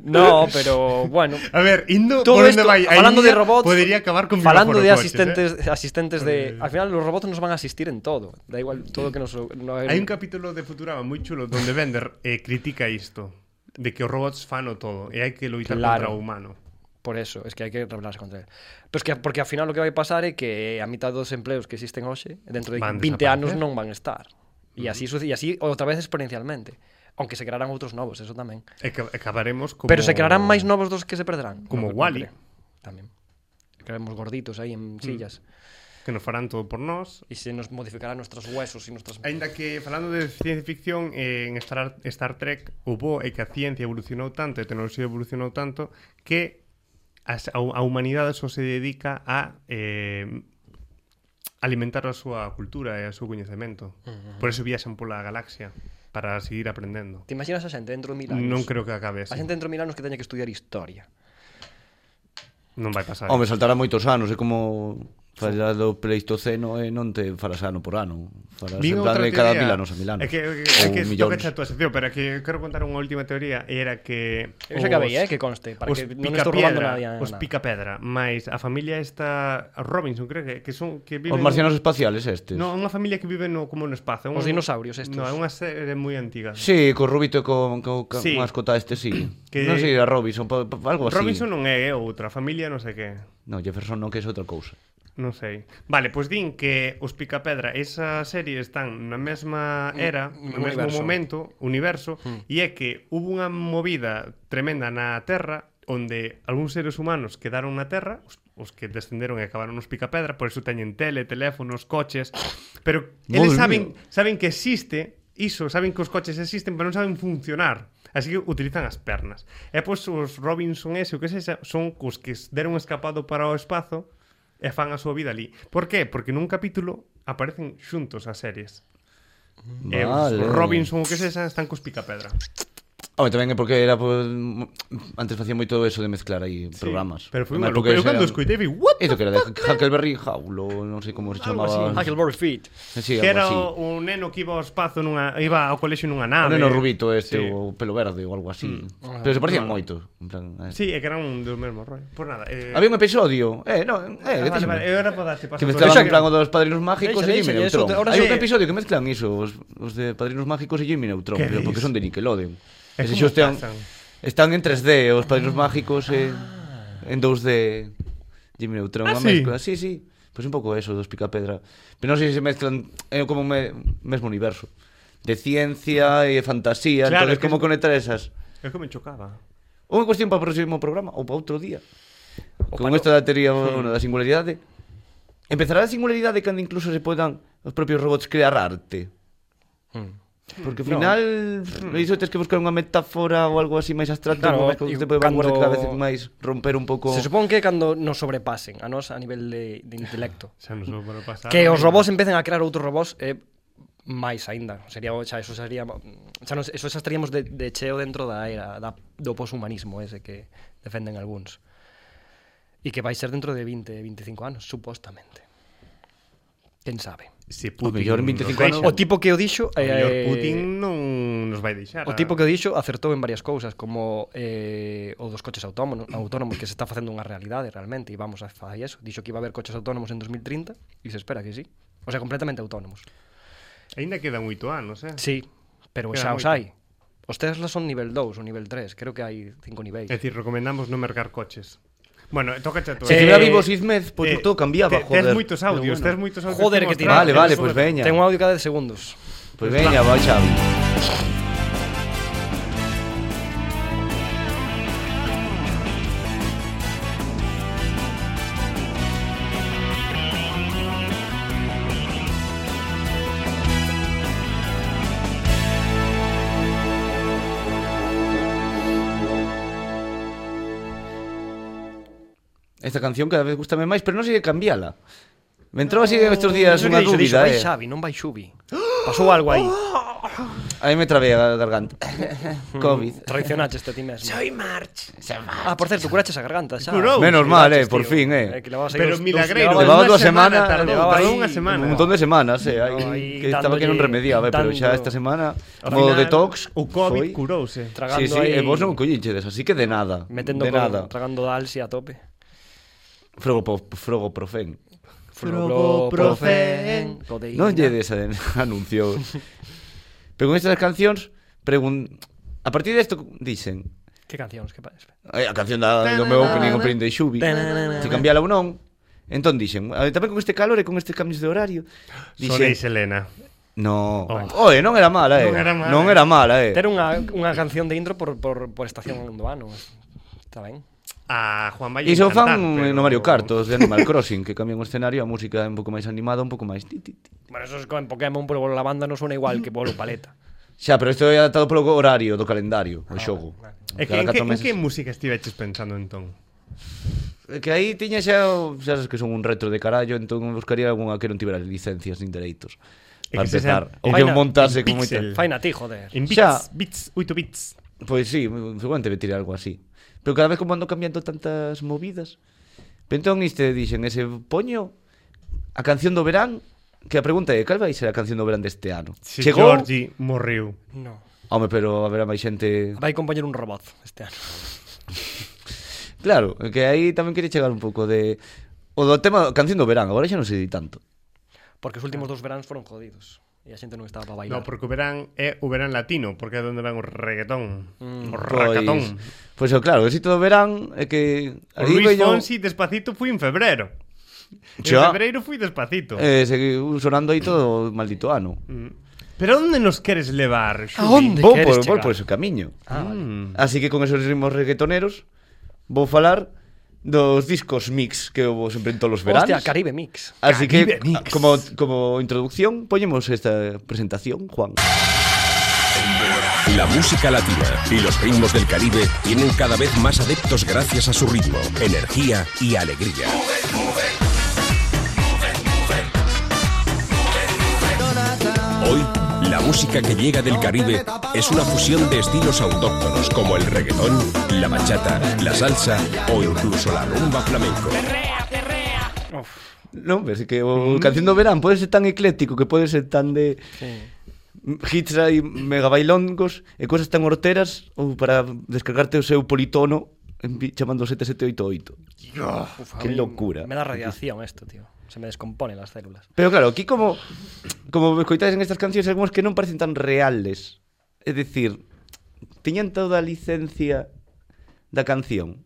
[SPEAKER 3] No, pero bueno,
[SPEAKER 1] A ver, indo
[SPEAKER 3] Todo
[SPEAKER 1] por onde
[SPEAKER 3] esto,
[SPEAKER 1] vai a
[SPEAKER 3] falando de
[SPEAKER 1] India,
[SPEAKER 3] robots,
[SPEAKER 1] Podería acabar con Viva foro
[SPEAKER 3] falando de
[SPEAKER 1] coches,
[SPEAKER 3] asistentes,
[SPEAKER 1] eh.
[SPEAKER 3] asistentes de, al final los robots nos van a asistir en todo. Da igual todo que nos no,
[SPEAKER 1] Hai un capítulo de Futurama moi chulo donde Bender eh, critica isto de que os robots fano todo e hai que loitar
[SPEAKER 3] Claro.
[SPEAKER 1] contra o humano.
[SPEAKER 3] Por eso, es que hai que rebelarse contra él. Pero es que, porque ao final o que vai pasar é que a mitad dos empleos que existen hoxe, dentro de
[SPEAKER 1] Van
[SPEAKER 3] 20 anos
[SPEAKER 1] desaparecer.
[SPEAKER 3] non van estar. E así suce- e así outra vez exponencialmente. Aunque se crearán outros novos, eso tamén.
[SPEAKER 1] E que acabaremos como
[SPEAKER 3] Pero se crearán máis novos dos que se perderán.
[SPEAKER 1] Como
[SPEAKER 3] No, no
[SPEAKER 1] Wall-E. Mm.
[SPEAKER 3] creo. Tamén. Crearemos gorditos aí en sillas.
[SPEAKER 1] que nos farán todo por nós.
[SPEAKER 3] E se nos modificará nuestros huesos e nuestras...
[SPEAKER 1] Ainda que falando de ciencia ficción eh, en Star, Star Trek o bo é que a ciencia evolucionou tanto e a tecnoloxía evolucionou tanto que as, a, a humanidade só se dedica a eh, alimentar a súa cultura e a súa coñecemento. Por eso viaxan pola galaxia para seguir aprendendo.
[SPEAKER 3] Te imaginas a xente dentro de mil anos?
[SPEAKER 1] Non creo que acabe así.
[SPEAKER 3] A xente dentro de mil anos que teña que estudiar historia.
[SPEAKER 1] Non vai pasar.
[SPEAKER 2] Home, saltará moitos anos, é como falas do Pleistoceno e non te farás ano por ano. Farás
[SPEAKER 1] Vin
[SPEAKER 2] en plan
[SPEAKER 1] outra
[SPEAKER 2] de cada
[SPEAKER 1] teoría.
[SPEAKER 2] mil anos a mil anos.
[SPEAKER 1] É que, é que, é
[SPEAKER 2] Ou
[SPEAKER 1] que toca
[SPEAKER 2] millóns.
[SPEAKER 1] esta tua sección, pero é que quero contar unha última teoría era que
[SPEAKER 3] Eu xa acabei, eh, que conste, para
[SPEAKER 1] os
[SPEAKER 3] que non estou robando
[SPEAKER 1] picapiedra-
[SPEAKER 3] nadie
[SPEAKER 1] Os
[SPEAKER 3] nada.
[SPEAKER 1] picapedra, máis a familia esta Robinson, creo que que son que viven
[SPEAKER 2] Os marcianos espaciales estes.
[SPEAKER 1] No, unha familia que vive no como no espazo, é un-
[SPEAKER 3] Os dinosaurios estos.
[SPEAKER 1] No, é unha serie moi antiga.
[SPEAKER 2] Sí, co Rubito e co, co, co
[SPEAKER 1] Sí.
[SPEAKER 2] sí. mascota este sí.
[SPEAKER 1] Que-
[SPEAKER 2] Que... Non sei, a Robinson, pa, pa, algo así.
[SPEAKER 1] Robinson non é, é outra, a familia non sei que.
[SPEAKER 2] No, Jefferson non, que é outra cousa.
[SPEAKER 1] Non sei. Vale, pois din que os Picapedra, esa serie están na mesma era, no
[SPEAKER 3] no
[SPEAKER 1] mesmo
[SPEAKER 3] Mm, universo.
[SPEAKER 1] momento, universo, e é que hubo unha movida tremenda na Terra onde algúns seres humanos quedaron na Terra, os, os que descenderon e acabaron os Picapedra, por iso teñen tele, teléfonos, coches, pero eles saben,
[SPEAKER 2] Madre
[SPEAKER 1] saben que existe iso, saben que os coches existen, pero non saben funcionar. Así que utilizan as pernas. E pois os Robinson ese, o que sexa, son os que s- deron escapado para o espazo e fan a súa vida ali. Por que? Porque nun capítulo aparecen xuntos as series. E Eh, os
[SPEAKER 2] Vale.
[SPEAKER 1] Robinson, o que sexa, están cos picapedra.
[SPEAKER 2] Home, tamén é porque era pues, antes facía moito eso de mezclar aí sí, programas.
[SPEAKER 1] Pero foi
[SPEAKER 2] Además,
[SPEAKER 1] unha
[SPEAKER 2] porque
[SPEAKER 1] loucura. Eu
[SPEAKER 2] ese
[SPEAKER 1] cando
[SPEAKER 2] era-
[SPEAKER 1] escoitei, vi, what the
[SPEAKER 2] Iso que era de Huckleberry Jaulo, non sei como se
[SPEAKER 1] Algo así,
[SPEAKER 2] chamaba.
[SPEAKER 3] Huckleberry Feet.
[SPEAKER 2] Sí,
[SPEAKER 1] que
[SPEAKER 2] algo
[SPEAKER 1] era
[SPEAKER 2] así.
[SPEAKER 1] o- un neno que iba ao espazo nunha, iba ao colexio nunha
[SPEAKER 3] Ah,
[SPEAKER 2] O
[SPEAKER 1] nave.
[SPEAKER 2] neno rubito este,
[SPEAKER 1] Sí.
[SPEAKER 2] o pelo verde ou algo así.
[SPEAKER 3] Mm.
[SPEAKER 2] Pero se parecían moito. En plan, eh.
[SPEAKER 1] Ah, Sí, é que eran un do mesmo rollo. Por nada, eh,
[SPEAKER 2] Había un episodio, eh, non,
[SPEAKER 1] Ah,
[SPEAKER 2] eh, que
[SPEAKER 1] vale,
[SPEAKER 2] te-
[SPEAKER 1] vale, eu era para darte paso. a
[SPEAKER 2] Que mezclaban en
[SPEAKER 1] tua-
[SPEAKER 2] plan o dos Padrinos Mágicos
[SPEAKER 3] Deixa,
[SPEAKER 2] e Jimmy
[SPEAKER 3] deixa, eso,
[SPEAKER 2] Neutron.
[SPEAKER 3] te- ahora
[SPEAKER 2] Hai
[SPEAKER 3] sí.
[SPEAKER 2] un episodio que mezclan iso, os, os de Padrinos Mágicos e Jimmy Neutron,
[SPEAKER 1] ¿Qué
[SPEAKER 2] pero porque
[SPEAKER 1] dis?
[SPEAKER 2] son de Nickelodeon.
[SPEAKER 1] É
[SPEAKER 2] Ese
[SPEAKER 1] como
[SPEAKER 2] xo están,
[SPEAKER 1] pasan. Ah.
[SPEAKER 2] están en 3D, os Padrinos Mágicos e en 2D Jimmy Neutron,
[SPEAKER 1] Ah,
[SPEAKER 2] unha
[SPEAKER 1] sí?
[SPEAKER 2] mezcla. Sí, sí. Pois un pouco eso dos Picapedra. Pero non sei se mezclan, é como me, mesmo universo de ciencia e fantasía,
[SPEAKER 1] Claro,
[SPEAKER 2] claro,
[SPEAKER 1] es
[SPEAKER 2] entonces
[SPEAKER 1] que
[SPEAKER 2] como
[SPEAKER 1] es-
[SPEAKER 2] conectar esas?
[SPEAKER 1] É que me chocaba.
[SPEAKER 2] Unha cuestión para o próximo programa ou para outro día. Con esta da teoría bueno, da singularidade. Empezará a singularidade cando incluso se podan os propios robots crear arte.
[SPEAKER 1] Hmm.
[SPEAKER 2] Porque ao final no. iso tens que buscar unha metáfora ou algo así máis abstracto,
[SPEAKER 3] Claro,
[SPEAKER 2] claro, máis que
[SPEAKER 3] e
[SPEAKER 2] te pode vanguardia
[SPEAKER 3] cando-
[SPEAKER 2] cada vez máis romper un pouco.
[SPEAKER 3] Se supón que cando nos sobrepasen a nós a nivel de, de intelecto.
[SPEAKER 1] Xa non sou para pasar. eh,
[SPEAKER 3] Que os robós empecen a crear outros robós é máis aínda. Sería xa eso sería xa non, eso xa estaríamos de, de cheo dentro da era da, do poshumanismo ese que defenden algúns. E que vai ser dentro de 20, 25 anos, supostamente. Quen sabe?
[SPEAKER 1] Se
[SPEAKER 2] O
[SPEAKER 1] Putin
[SPEAKER 2] mellor en
[SPEAKER 1] nos
[SPEAKER 2] 25 anos-
[SPEAKER 1] deixa.
[SPEAKER 3] O tipo que o dixo
[SPEAKER 1] O mellor
[SPEAKER 3] eh,
[SPEAKER 1] Putin non nos vai deixar.
[SPEAKER 3] O tipo que o dixo acertou en varias cousas, como eh, o dos coches autónomos, autónomos que se está facendo unha realidade realmente e vamos a facer eso. Dixo que iba a haber coches autónomos en 2030 e se espera que sí. O sea, completamente autónomos.
[SPEAKER 1] Ainda quedan 8 anos, eh?
[SPEAKER 3] Sí, pero
[SPEAKER 1] Queda
[SPEAKER 3] xa os
[SPEAKER 1] moito.
[SPEAKER 3] hai. Os Tesla son nivel 2 ou nivel 3, creo que hai cinco niveis.
[SPEAKER 1] É dicir, recomendamos non mercar coches. Bueno, toca xa tú.
[SPEAKER 2] Se
[SPEAKER 3] Eh,
[SPEAKER 2] eh, vivos Izmez, pois
[SPEAKER 1] Eh,
[SPEAKER 2] todo cambiaba,
[SPEAKER 1] te-
[SPEAKER 2] joder.
[SPEAKER 1] Tes moitos audios,
[SPEAKER 2] Pero
[SPEAKER 1] tes moitos audios.
[SPEAKER 3] Joder, que
[SPEAKER 1] mostrar.
[SPEAKER 3] tirado.
[SPEAKER 2] Vale, vale,
[SPEAKER 1] Temos
[SPEAKER 2] pois
[SPEAKER 1] unha-
[SPEAKER 2] veña.
[SPEAKER 3] Ten un audio cada 10 segundos.
[SPEAKER 2] Pois veña, vai Xavi. Esta canción cada vez gustame máis, pero non sei de cambiala. Me entrou así estes días
[SPEAKER 3] Dixo
[SPEAKER 2] unha
[SPEAKER 3] que dixo, dixo,
[SPEAKER 2] dúbida,
[SPEAKER 3] vai
[SPEAKER 2] eh.
[SPEAKER 3] Xavi, non vai Xubi. Pasou algo aí.
[SPEAKER 2] A mí me trabé a garganta. COVID.
[SPEAKER 3] Traicionaches a ti mesmo. Soy March. Ah, por certo, curaches a garganta, xa.
[SPEAKER 1] Curou.
[SPEAKER 2] Menos mal, eh,
[SPEAKER 3] Curaches,
[SPEAKER 2] por
[SPEAKER 3] tío.
[SPEAKER 2] fin, eh.
[SPEAKER 3] que levabas aí
[SPEAKER 1] Pero
[SPEAKER 3] dos- dos-
[SPEAKER 1] milagreiro,
[SPEAKER 3] levabas-
[SPEAKER 2] Levaba
[SPEAKER 1] unha
[SPEAKER 2] dúas semanas,
[SPEAKER 1] tardou,
[SPEAKER 3] levaba
[SPEAKER 1] tardou
[SPEAKER 3] aí
[SPEAKER 1] unha semana.
[SPEAKER 2] Un montón de semanas, eh, aí,
[SPEAKER 3] aí
[SPEAKER 2] que estaba que non
[SPEAKER 3] dándolle-
[SPEAKER 2] remediaba, eh, pero xa
[SPEAKER 3] dando-
[SPEAKER 2] esta semana,
[SPEAKER 1] Ao
[SPEAKER 2] como
[SPEAKER 1] final,
[SPEAKER 2] detox,
[SPEAKER 1] o COVID
[SPEAKER 2] foi.
[SPEAKER 1] curouse.
[SPEAKER 2] Sí,
[SPEAKER 3] Tragando
[SPEAKER 2] sí, e
[SPEAKER 3] aí-
[SPEAKER 2] vos non collichedes, así que de nada,
[SPEAKER 3] Metendo
[SPEAKER 2] de
[SPEAKER 3] con-
[SPEAKER 2] nada.
[SPEAKER 3] Tragando da alsia a tope.
[SPEAKER 2] Frogopo- Frogoprofen.
[SPEAKER 1] Frogoprofen.
[SPEAKER 3] Proteína.
[SPEAKER 2] Non lle des a- anuncio. Pero con estas cancións, pregun... a partir desto dicen,
[SPEAKER 3] Que cancións, que pa- espera.
[SPEAKER 2] Ai, A canción da, do meu opening opening de Xubi Se cambiala ou non Entón dixen, a ver, tamén con este calor e con estes cambios de horario
[SPEAKER 1] Sonéis
[SPEAKER 2] Dixen,
[SPEAKER 1] Helena.
[SPEAKER 2] no Oe, non era mala, eh
[SPEAKER 1] Non era mala.
[SPEAKER 2] Non era mala, eh
[SPEAKER 3] Ter unha, unha canción de intro por, por, por estación do ano. Está ben.
[SPEAKER 1] a Juan Valle
[SPEAKER 2] Iso
[SPEAKER 1] encantar,
[SPEAKER 2] fan
[SPEAKER 1] pero-
[SPEAKER 2] no Mario Kart, os de Animal Crossing, que cambian o escenario, a música é un pouco máis animada, un pouco máis ti, ti, ti.
[SPEAKER 3] Bueno, eso es como en Pokémon, pero la banda no suena igual que bolo paleta.
[SPEAKER 2] Xa, pero isto é adaptado polo horario do calendario, o xogo.
[SPEAKER 1] Ah, É que, en, que,
[SPEAKER 2] Cada catro
[SPEAKER 1] en
[SPEAKER 2] meses.
[SPEAKER 1] que música estiveches pensando entón?
[SPEAKER 2] É que aí tiña xa, o- xa sabes que son un retro de carallo, entón buscaría algunha que non tivera licencias nin dereitos.
[SPEAKER 1] É
[SPEAKER 2] Para
[SPEAKER 1] que se
[SPEAKER 2] empezar,
[SPEAKER 1] sean-
[SPEAKER 2] ou que
[SPEAKER 3] Faina-
[SPEAKER 2] montarse con moita...
[SPEAKER 1] Pixel.
[SPEAKER 3] Faina a ti, joder.
[SPEAKER 1] En bits,
[SPEAKER 2] Xa.
[SPEAKER 1] bits, 8 bits.
[SPEAKER 2] Pois sí, seguramente me tiré algo así. Pero cada vez como ando cambiando tantas movidas. Pero entón iste dixen ese poño a canción do verán, que a pregunta é cal vai ser a canción do verán deste ano.
[SPEAKER 1] Si
[SPEAKER 2] Chegou.
[SPEAKER 1] Georgie morreu.
[SPEAKER 3] No.
[SPEAKER 2] Home, pero haberá máis xente.
[SPEAKER 3] Vai acompañar un robot este ano.
[SPEAKER 2] Claro, é que aí tamén quería chegar un pouco de o do tema canción do verán, agora xa non se di tanto.
[SPEAKER 3] Porque os últimos dos veráns foron jodidos. E a xente non estaba para bailar.
[SPEAKER 1] No, porque o verán é o verán latino, porque é donde van o reggaetón, o
[SPEAKER 2] Pois,
[SPEAKER 1] racatón.
[SPEAKER 2] pois é claro, o sitio do verán é que
[SPEAKER 1] O Luis Fonsi despacito fui en febreiro. En
[SPEAKER 2] Xa.
[SPEAKER 1] febreiro fui despacito.
[SPEAKER 2] eh, seguiu sonando aí todo o maldito ano.
[SPEAKER 1] Mm. Pero onde nos queres levar, Xubi?
[SPEAKER 3] A onde?
[SPEAKER 2] Vou
[SPEAKER 3] queres
[SPEAKER 2] por, vou
[SPEAKER 3] chegar?
[SPEAKER 2] por ese camiño.
[SPEAKER 3] Ah, vale.
[SPEAKER 1] Mm.
[SPEAKER 2] Así que con esos ritmos reggaetoneros vou falar dos discos mix que houve sempre en todos os veráns.
[SPEAKER 3] Hostia, Caribe Mix.
[SPEAKER 2] Así
[SPEAKER 1] Caribe
[SPEAKER 2] que
[SPEAKER 1] Mix.
[SPEAKER 2] como como introducción poñemos esta presentación, Juan.
[SPEAKER 6] La música latina y los ritmos del Caribe tienen cada vez más adeptos gracias a su ritmo, energía y alegría. Hoy, la música que llega del Caribe es una fusión de estilos autóctonos como el reggaetón, la bachata, la salsa o incluso la rumba flamenco.
[SPEAKER 2] Non, ves que o canción do verán pode ser tan ecléctico que pode ser tan de
[SPEAKER 3] Sí.
[SPEAKER 2] hits aí mega bailongos e cousas tan horteras ou para descargarte o seu politono en vi- chamando 7788.
[SPEAKER 3] Uf, a
[SPEAKER 2] Ah, Qué
[SPEAKER 3] mí
[SPEAKER 2] locura.
[SPEAKER 3] Me da radiación esto, tío. Se me descomponen las células.
[SPEAKER 2] Pero claro, aquí como como escoitades en estas cancións algúns que non parecen tan reales. É dicir, tiñan toda a licencia da canción.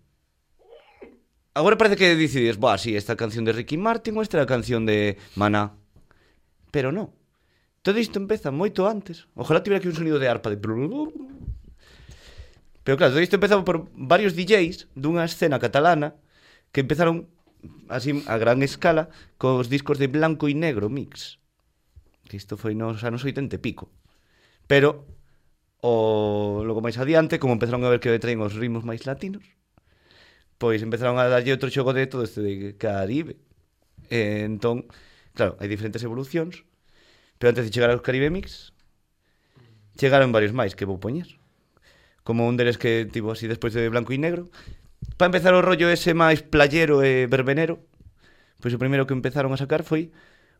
[SPEAKER 2] Agora parece que decides, "Buah, si sí, esta canción de Ricky Martin ou esta é a canción de Maná." Pero non. Todo isto empeza moito antes. Ojalá tivera aquí un sonido de arpa de Pero claro, todo isto empezou por varios DJs dunha escena catalana que empezaron así a gran escala cos discos de blanco e negro mix. Que isto foi nos anos 80 e pico. Pero o logo máis adiante, como empezaron a ver que traen os ritmos máis latinos, pois empezaron a darlle outro xogo de todo este de Caribe. E, entón, claro, hai diferentes evolucións, pero antes de chegar aos Caribe Mix, chegaron varios máis que vou poñer como un deles que tipo así despois de blanco e negro. Para empezar o rollo ese máis playero e verbenero, pois o primeiro que empezaron a sacar foi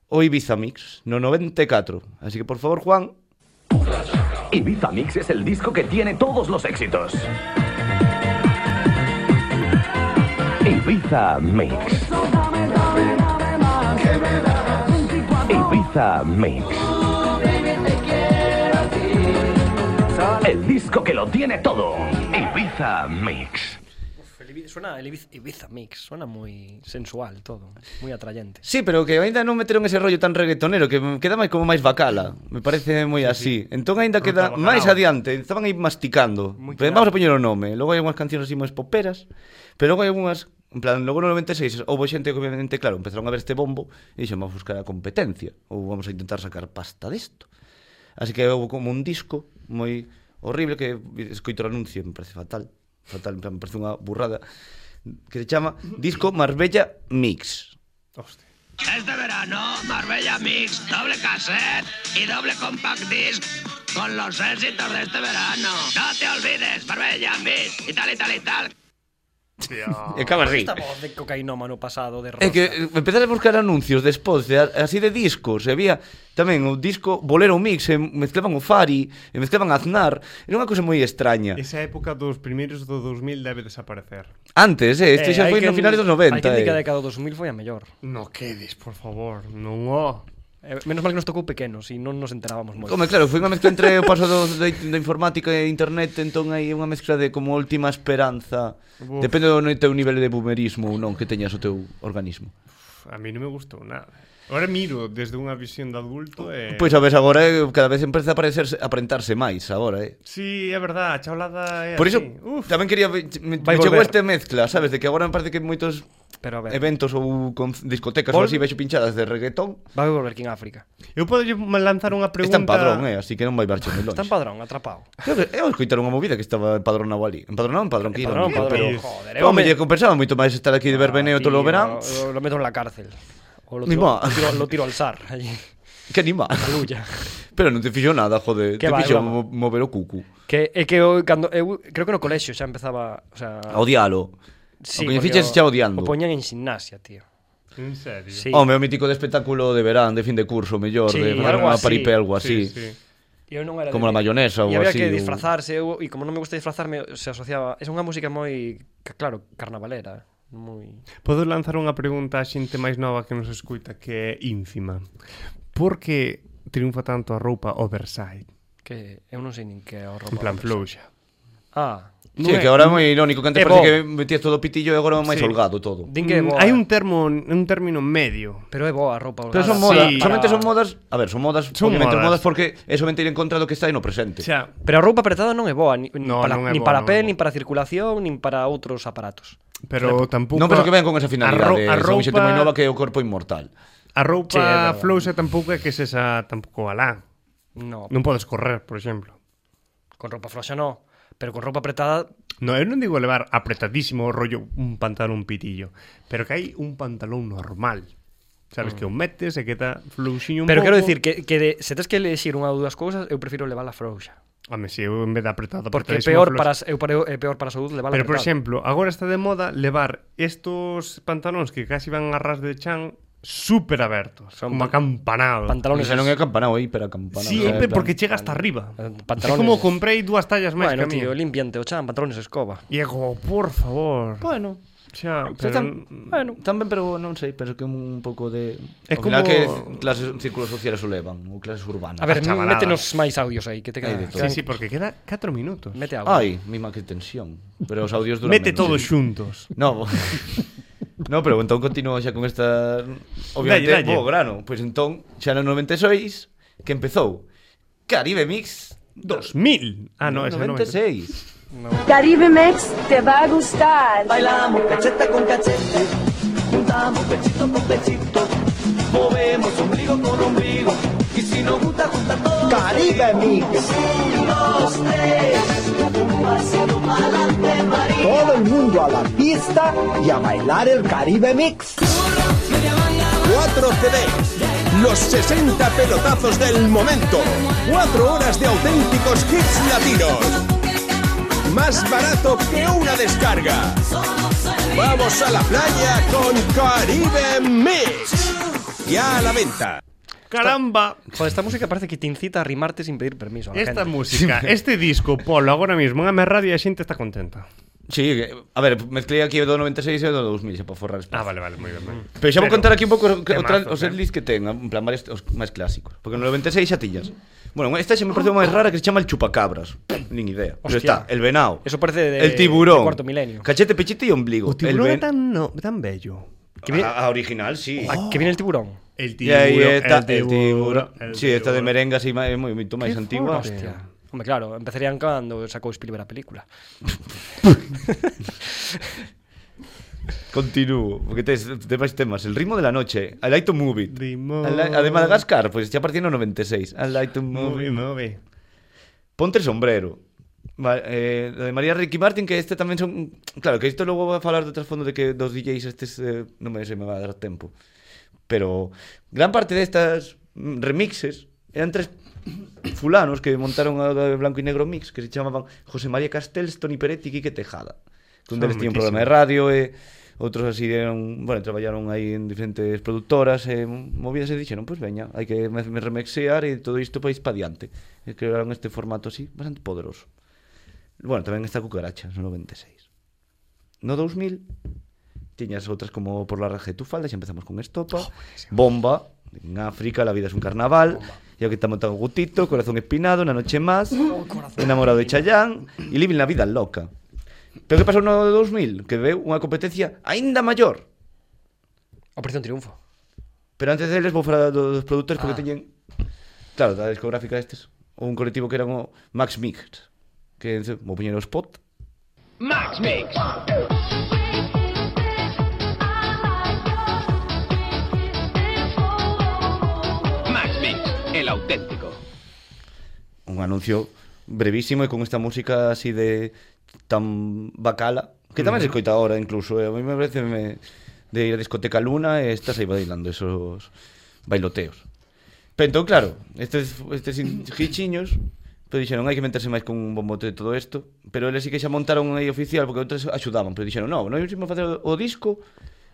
[SPEAKER 2] o Ibiza Mix, no 94. Así que por favor, Juan,
[SPEAKER 7] Ibiza Mix es el disco que tiene todos los éxitos. Ibiza Mix. Ibiza Mix. El disco que lo tiene todo. Ibiza Mix.
[SPEAKER 3] Suena el Ibiza, Ibiza Mix. Suena muy sensual todo. Muy atrayente.
[SPEAKER 2] Sí, pero que aínda non meteron ese rollo tan reggaetonero que me queda máis como máis bacala. Me parece moi así. Entón aínda
[SPEAKER 1] Ruta
[SPEAKER 2] queda
[SPEAKER 1] bacalao.
[SPEAKER 2] máis adiante, estaban aí masticando.
[SPEAKER 3] Moi
[SPEAKER 2] Pero
[SPEAKER 3] claro.
[SPEAKER 2] vamos a poñer o nome. Logo hai unhas cancións así máis poperas, pero logo hai unhas En plan, logo no 96 houve xente que obviamente, claro, empezaron a ver este bombo e dixen, vamos a buscar a competencia ou vamos a intentar sacar pasta desto. Así que houve como un disco moi horrible que escoito o anuncio, me parece fatal. Fatal, en plan, me parece unha burrada que se chama Disco Marbella Mix.
[SPEAKER 1] Hostia.
[SPEAKER 8] Este verano, Marbella Mix, doble cassette y doble compact disc con los éxitos de este verano. No te olvides, Marbella Mix y tal y tal y tal.
[SPEAKER 2] E acaba así.
[SPEAKER 3] Esta voz de cocainómano pasado de rosa.
[SPEAKER 2] É que eh, empezar a buscar anuncios despois de, así de discos, e había tamén o disco Bolero Mix, e mezclaban o Fari, e mezclaban Aznar, era unha cousa moi extraña.
[SPEAKER 1] Esa época dos primeiros do 2000 debe desaparecer.
[SPEAKER 2] Antes, eh, isto xa foi no finales dos 90.
[SPEAKER 3] Hai que que a
[SPEAKER 2] Eh.
[SPEAKER 3] década do 2000 foi a mellor.
[SPEAKER 1] No quedes, por favor, non o.
[SPEAKER 3] Eh, menos mal que nos tocou pequenos e non nos enterábamos moito.
[SPEAKER 2] Como, claro, foi unha mezcla entre o paso do, da, da informática e internet, entón hai unha mezcla de como última esperanza.
[SPEAKER 1] Uf.
[SPEAKER 2] Depende do teu nivel de boomerismo ou non que teñas o teu organismo.
[SPEAKER 1] A mí non me gustou nada. Ahora miro desde unha visión de adulto e...
[SPEAKER 2] Pois a ves agora eh, cada vez empeza a parecerse, a aparentarse máis agora, eh.
[SPEAKER 1] Sí, é verdad, a chaulada é
[SPEAKER 2] Por iso
[SPEAKER 1] así. Uf,
[SPEAKER 2] tamén quería me, me
[SPEAKER 3] Vai
[SPEAKER 2] chegou
[SPEAKER 3] volver.
[SPEAKER 2] este mezcla, sabes, de que agora me parece que moitos
[SPEAKER 3] Pero a ver,
[SPEAKER 2] eventos ou con discotecas ou
[SPEAKER 3] Vol-
[SPEAKER 2] así vexo pinchadas de reggaetón.
[SPEAKER 3] vai volver aquí en África.
[SPEAKER 1] eu podo lanzar unha
[SPEAKER 2] Pregunta...
[SPEAKER 1] pregunta...
[SPEAKER 2] Está en padrón, eh, así que non vai marche moi longe.
[SPEAKER 3] Está en padrón, atrapado.
[SPEAKER 2] Eu, eu escoitar unha movida que estaba empadronado ali. Empadronado, empadrón, que
[SPEAKER 3] Padrón,
[SPEAKER 1] tío,
[SPEAKER 3] padrón,
[SPEAKER 1] pero-
[SPEAKER 3] joder, eh,
[SPEAKER 2] Pero, me lle compensaba moito máis estar aquí de verbeneo
[SPEAKER 3] Ah,
[SPEAKER 2] todo o
[SPEAKER 3] tío,
[SPEAKER 2] verán.
[SPEAKER 3] Lo, lo meto en la cárcel. O lo
[SPEAKER 2] Ni
[SPEAKER 3] tiro,
[SPEAKER 2] modo.
[SPEAKER 3] lo tiro- lo tiro al zar, allí.
[SPEAKER 2] Que anima.
[SPEAKER 3] Aleluya.
[SPEAKER 2] Pero non te fixo nada, joder.
[SPEAKER 3] Que
[SPEAKER 2] Te
[SPEAKER 3] eh, vai,
[SPEAKER 2] fixo
[SPEAKER 3] broma.
[SPEAKER 2] mo- mover o cucu.
[SPEAKER 3] Que é que eu, cando, eu creo que no colexio xa empezaba, o sea,
[SPEAKER 2] A odialo.
[SPEAKER 3] Ah. sí,
[SPEAKER 2] o que
[SPEAKER 3] porque
[SPEAKER 2] fiches
[SPEAKER 3] o-
[SPEAKER 2] xa odiando.
[SPEAKER 3] O poñan en gimnasia, tío.
[SPEAKER 1] En serio.
[SPEAKER 3] Sí.
[SPEAKER 2] Home, o mítico de espectáculo de verán, de fin de curso, mellor,
[SPEAKER 3] Sí,
[SPEAKER 2] de
[SPEAKER 3] algo
[SPEAKER 2] unha
[SPEAKER 3] así.
[SPEAKER 2] paripé, algo
[SPEAKER 1] sí,
[SPEAKER 2] así.
[SPEAKER 1] sí.
[SPEAKER 3] Eu non era
[SPEAKER 2] Como la mayonesa ou
[SPEAKER 3] ou
[SPEAKER 2] así,
[SPEAKER 3] había
[SPEAKER 2] ou-
[SPEAKER 3] que disfrazarse, eu, e como non me gusta disfrazarme, se asociaba... É unha música moi, ca- claro, carnavalera. Moi...
[SPEAKER 1] Podo lanzar unha pregunta a xente máis nova que nos escuita que é ínfima. Por que triunfa tanto a roupa oversize?
[SPEAKER 3] Que eu non sei nin que é o
[SPEAKER 1] En
[SPEAKER 3] robo.
[SPEAKER 1] plan flouxa.
[SPEAKER 3] Ah,
[SPEAKER 2] Sí, que agora é moi irónico, que antes
[SPEAKER 3] É
[SPEAKER 2] parece
[SPEAKER 3] bo.
[SPEAKER 2] que metías todo pitillo e agora é
[SPEAKER 1] Sí.
[SPEAKER 2] máis holgado todo.
[SPEAKER 3] din que é
[SPEAKER 1] Mm,
[SPEAKER 3] boa.
[SPEAKER 1] Hai un termo, un término medio.
[SPEAKER 3] Pero é boa a roupa. Ah,
[SPEAKER 2] Pero
[SPEAKER 1] Ah,
[SPEAKER 2] son
[SPEAKER 1] sí,
[SPEAKER 2] modas,
[SPEAKER 1] para-
[SPEAKER 2] somente son modas, a ver, son modas,
[SPEAKER 1] Son
[SPEAKER 2] obviamente
[SPEAKER 1] modas.
[SPEAKER 2] modas porque é somente ir en contra do que está aí no
[SPEAKER 1] O
[SPEAKER 2] presente.
[SPEAKER 1] sea,
[SPEAKER 3] Pero a roupa apretada non é boa, ni,
[SPEAKER 1] No,
[SPEAKER 3] no, para,
[SPEAKER 1] non é
[SPEAKER 3] nin
[SPEAKER 1] boa,
[SPEAKER 3] para
[SPEAKER 1] non é
[SPEAKER 3] pé,
[SPEAKER 1] boa.
[SPEAKER 3] nin para circulación, nin para outros aparatos.
[SPEAKER 1] pero tampouco...
[SPEAKER 2] Non penso que ven con esa
[SPEAKER 1] A,
[SPEAKER 2] finalidade,
[SPEAKER 1] ro-
[SPEAKER 2] eh,
[SPEAKER 1] a
[SPEAKER 2] son xente
[SPEAKER 1] roupa,
[SPEAKER 2] moi nova que é o corpo
[SPEAKER 1] a
[SPEAKER 2] inmortal.
[SPEAKER 3] Sí, é
[SPEAKER 1] roupa
[SPEAKER 3] verdad.
[SPEAKER 1] flouxa tampouco é que sexa tampouco alá.
[SPEAKER 3] No,
[SPEAKER 1] Non podes correr, por exemplo.
[SPEAKER 3] con roupa froxa no. Pero con roupa apretada,
[SPEAKER 1] No, eu non digo levar apretadísimo o rollo un pantalón pitillo, pero que hai un pantalón normal. Sabes que o metes e queda flouxiño un
[SPEAKER 3] Mm. Pero
[SPEAKER 1] pouco.
[SPEAKER 3] quero dicir que, que de, se tes que elexir unha ou dúas cousas, eu prefiro levala frouxa.
[SPEAKER 1] Home, si eu en vez de apretado,
[SPEAKER 3] Porque é
[SPEAKER 1] apretadísimo,
[SPEAKER 3] peor
[SPEAKER 1] flouxa-
[SPEAKER 3] para, eu, para, é peor para a saúde levala
[SPEAKER 1] Pero, por
[SPEAKER 3] apretada.
[SPEAKER 1] exemplo, agora está de moda levar estos pantalóns que casi van a ras de chan super abertos,
[SPEAKER 3] Son
[SPEAKER 1] como
[SPEAKER 3] pan-
[SPEAKER 1] acampanados.
[SPEAKER 2] Pero
[SPEAKER 3] Pantalones...
[SPEAKER 2] xa non é campanao, é hiperacampanao.
[SPEAKER 1] Sí,
[SPEAKER 2] é en
[SPEAKER 1] Epe,
[SPEAKER 2] plan-
[SPEAKER 1] porque chega hasta arriba.
[SPEAKER 3] Pantalones-
[SPEAKER 1] É como comprei dúas tallas máis
[SPEAKER 3] Bueno,
[SPEAKER 1] que a mí.
[SPEAKER 3] tío, limpiante o chan, pantalones escoba.
[SPEAKER 1] E é como, "Oh, por favor.
[SPEAKER 2] Bueno,
[SPEAKER 1] Xa,
[SPEAKER 2] Pero,
[SPEAKER 1] pero...
[SPEAKER 2] tam, bueno, tamén, pero non sei, penso que un pouco de...
[SPEAKER 1] É
[SPEAKER 2] ao final
[SPEAKER 1] como-
[SPEAKER 2] que clases, círculos sociales o levan, ou clases urbanas.
[SPEAKER 3] A ver,
[SPEAKER 1] chavalada.
[SPEAKER 3] métenos máis audios aí, que te
[SPEAKER 2] Hai de
[SPEAKER 3] quedan.
[SPEAKER 2] todo.
[SPEAKER 1] Sí, sí, porque queda 4 minutos.
[SPEAKER 3] Mete algo.
[SPEAKER 2] Ai, mima que tensión. Pero os audios duran
[SPEAKER 1] Mete
[SPEAKER 2] menos,
[SPEAKER 1] todos
[SPEAKER 2] sí.
[SPEAKER 1] xuntos.
[SPEAKER 2] No, bo- no, pero entón continuo xa con esta... Obviamente,
[SPEAKER 1] Dalle, dalle.
[SPEAKER 2] bo grano. Pois entón, xa no 96, que empezou Caribe Mix
[SPEAKER 1] 2000. Ah, no, ese
[SPEAKER 2] 96.
[SPEAKER 9] Caribe Mex te va a gustar.
[SPEAKER 5] Bailamos cacheta con cachete, juntamos pechito con pechito, movemos ombligo con ombligo, y si nos gusta, junta todo. Caribe Mix. Un, dos, tres, un pasito pa'lante, María. Todo el mundo a la pista y a bailar el Caribe Mix.
[SPEAKER 6] 4 CDs, los 60 pelotazos del momento, 4 horas de auténticos hits latinos. Más barato que una descarga. Vamos a la playa con Caribe Mix. Ya a la venta.
[SPEAKER 1] Caramba.
[SPEAKER 3] Joder, esta música parece que te incita a rimarte sin pedir permiso a la
[SPEAKER 1] Esta
[SPEAKER 3] gente.
[SPEAKER 1] música, este disco, polo agora mismo, en a radio e a xente está contenta.
[SPEAKER 2] Sí, que- a ver, mezclei aquí o do 96 e o do 2000, xa para forrar
[SPEAKER 1] Ah,
[SPEAKER 2] espacio.
[SPEAKER 1] vale, vale, moi ben. moi ben.
[SPEAKER 2] Pero xa vou contar aquí un pouco o que- o tra-
[SPEAKER 1] temazos,
[SPEAKER 2] os
[SPEAKER 1] eh.
[SPEAKER 2] setlists que ten, en plan varios os máis clásicos, porque no 96 xa tiñas. Bueno, esta xa me parece máis rara que se chama el chupacabras. Nin idea. Pero está
[SPEAKER 3] Hostia.
[SPEAKER 2] el venao.
[SPEAKER 3] Eso parece de-
[SPEAKER 2] el tiburón.
[SPEAKER 3] de cuarto milenio.
[SPEAKER 2] Cachete, pechete e
[SPEAKER 1] O
[SPEAKER 2] ombligo.
[SPEAKER 1] tiburón é
[SPEAKER 2] el
[SPEAKER 1] tan, no, tan bello.
[SPEAKER 3] Que viene,
[SPEAKER 2] a, a original, sí.
[SPEAKER 3] a- Ah, que viene el tiburón.
[SPEAKER 1] El
[SPEAKER 2] E aí está el tiburón. Sí, esta de merengue así máis moi moito máis
[SPEAKER 1] Qué
[SPEAKER 2] antigua.
[SPEAKER 1] forte.
[SPEAKER 3] Hostia. Hombre, claro, empezarían cando sacou Spielberg a película.
[SPEAKER 2] Continúo, porque tes, tes máis temas. El ritmo de la noche, I like to move it.
[SPEAKER 1] Ritmo.
[SPEAKER 2] I like- a de Madagascar, pois pues, xa partindo 96. I like to move
[SPEAKER 1] Move,
[SPEAKER 2] it.
[SPEAKER 1] move.
[SPEAKER 2] Ponte sombrero. Ma- eh, la de María Ricky Martin que este tamén son claro, que isto logo vou a falar do trasfondo de que dos DJs estes eh, non me se me va a dar tempo. Pero gran parte destas mm, remixes eran tres fulanos que montaron a de Blanco y Negro Mix que se chamaban José María Castells, Tony Peretti e Quique Tejada. Que
[SPEAKER 1] Son
[SPEAKER 2] un deles
[SPEAKER 1] moitísimo.
[SPEAKER 2] tiña un programa de radio e outros así eran, bueno, traballaron aí en diferentes productoras e movidas e dixeron, pois pues veña, hai que me, me remexear e todo isto pois pa diante. E crearon este formato así bastante poderoso. Bueno, tamén está Cucaracha, no 96. No 2000 tiñas outras como Por la raja de tu falda, xa empezamos con Estopa, Bomba, en África, La vida es un carnaval, e o que estamos tan gutito, Corazón espinado, Una noche más, Enamorado de Chayán e Living la vida loca. Pero que pasou no 2000? Que veu unha competencia aínda maior.
[SPEAKER 3] Operación Triunfo.
[SPEAKER 2] Pero antes deles vou falar do- dos produtores porque teñen claro, da discográfica estes, un colectivo que eran o Max Mix, que se- vou poñer o spot.
[SPEAKER 5] Max Mix.
[SPEAKER 7] Max Mix, el auténtico.
[SPEAKER 2] un anuncio brevísimo e con esta música así de tan bacala que tamén se escoita ahora incluso eh? a mí me parece me, de ir a discoteca Luna e estás aí bailando esos bailoteos pero entón claro estes, estes in- hichiños pero dixeron hai que meterse máis con un bombote de todo isto pero eles sí que xa montaron aí oficial porque outros axudaban pero dixeron non, non íbamos a facer o disco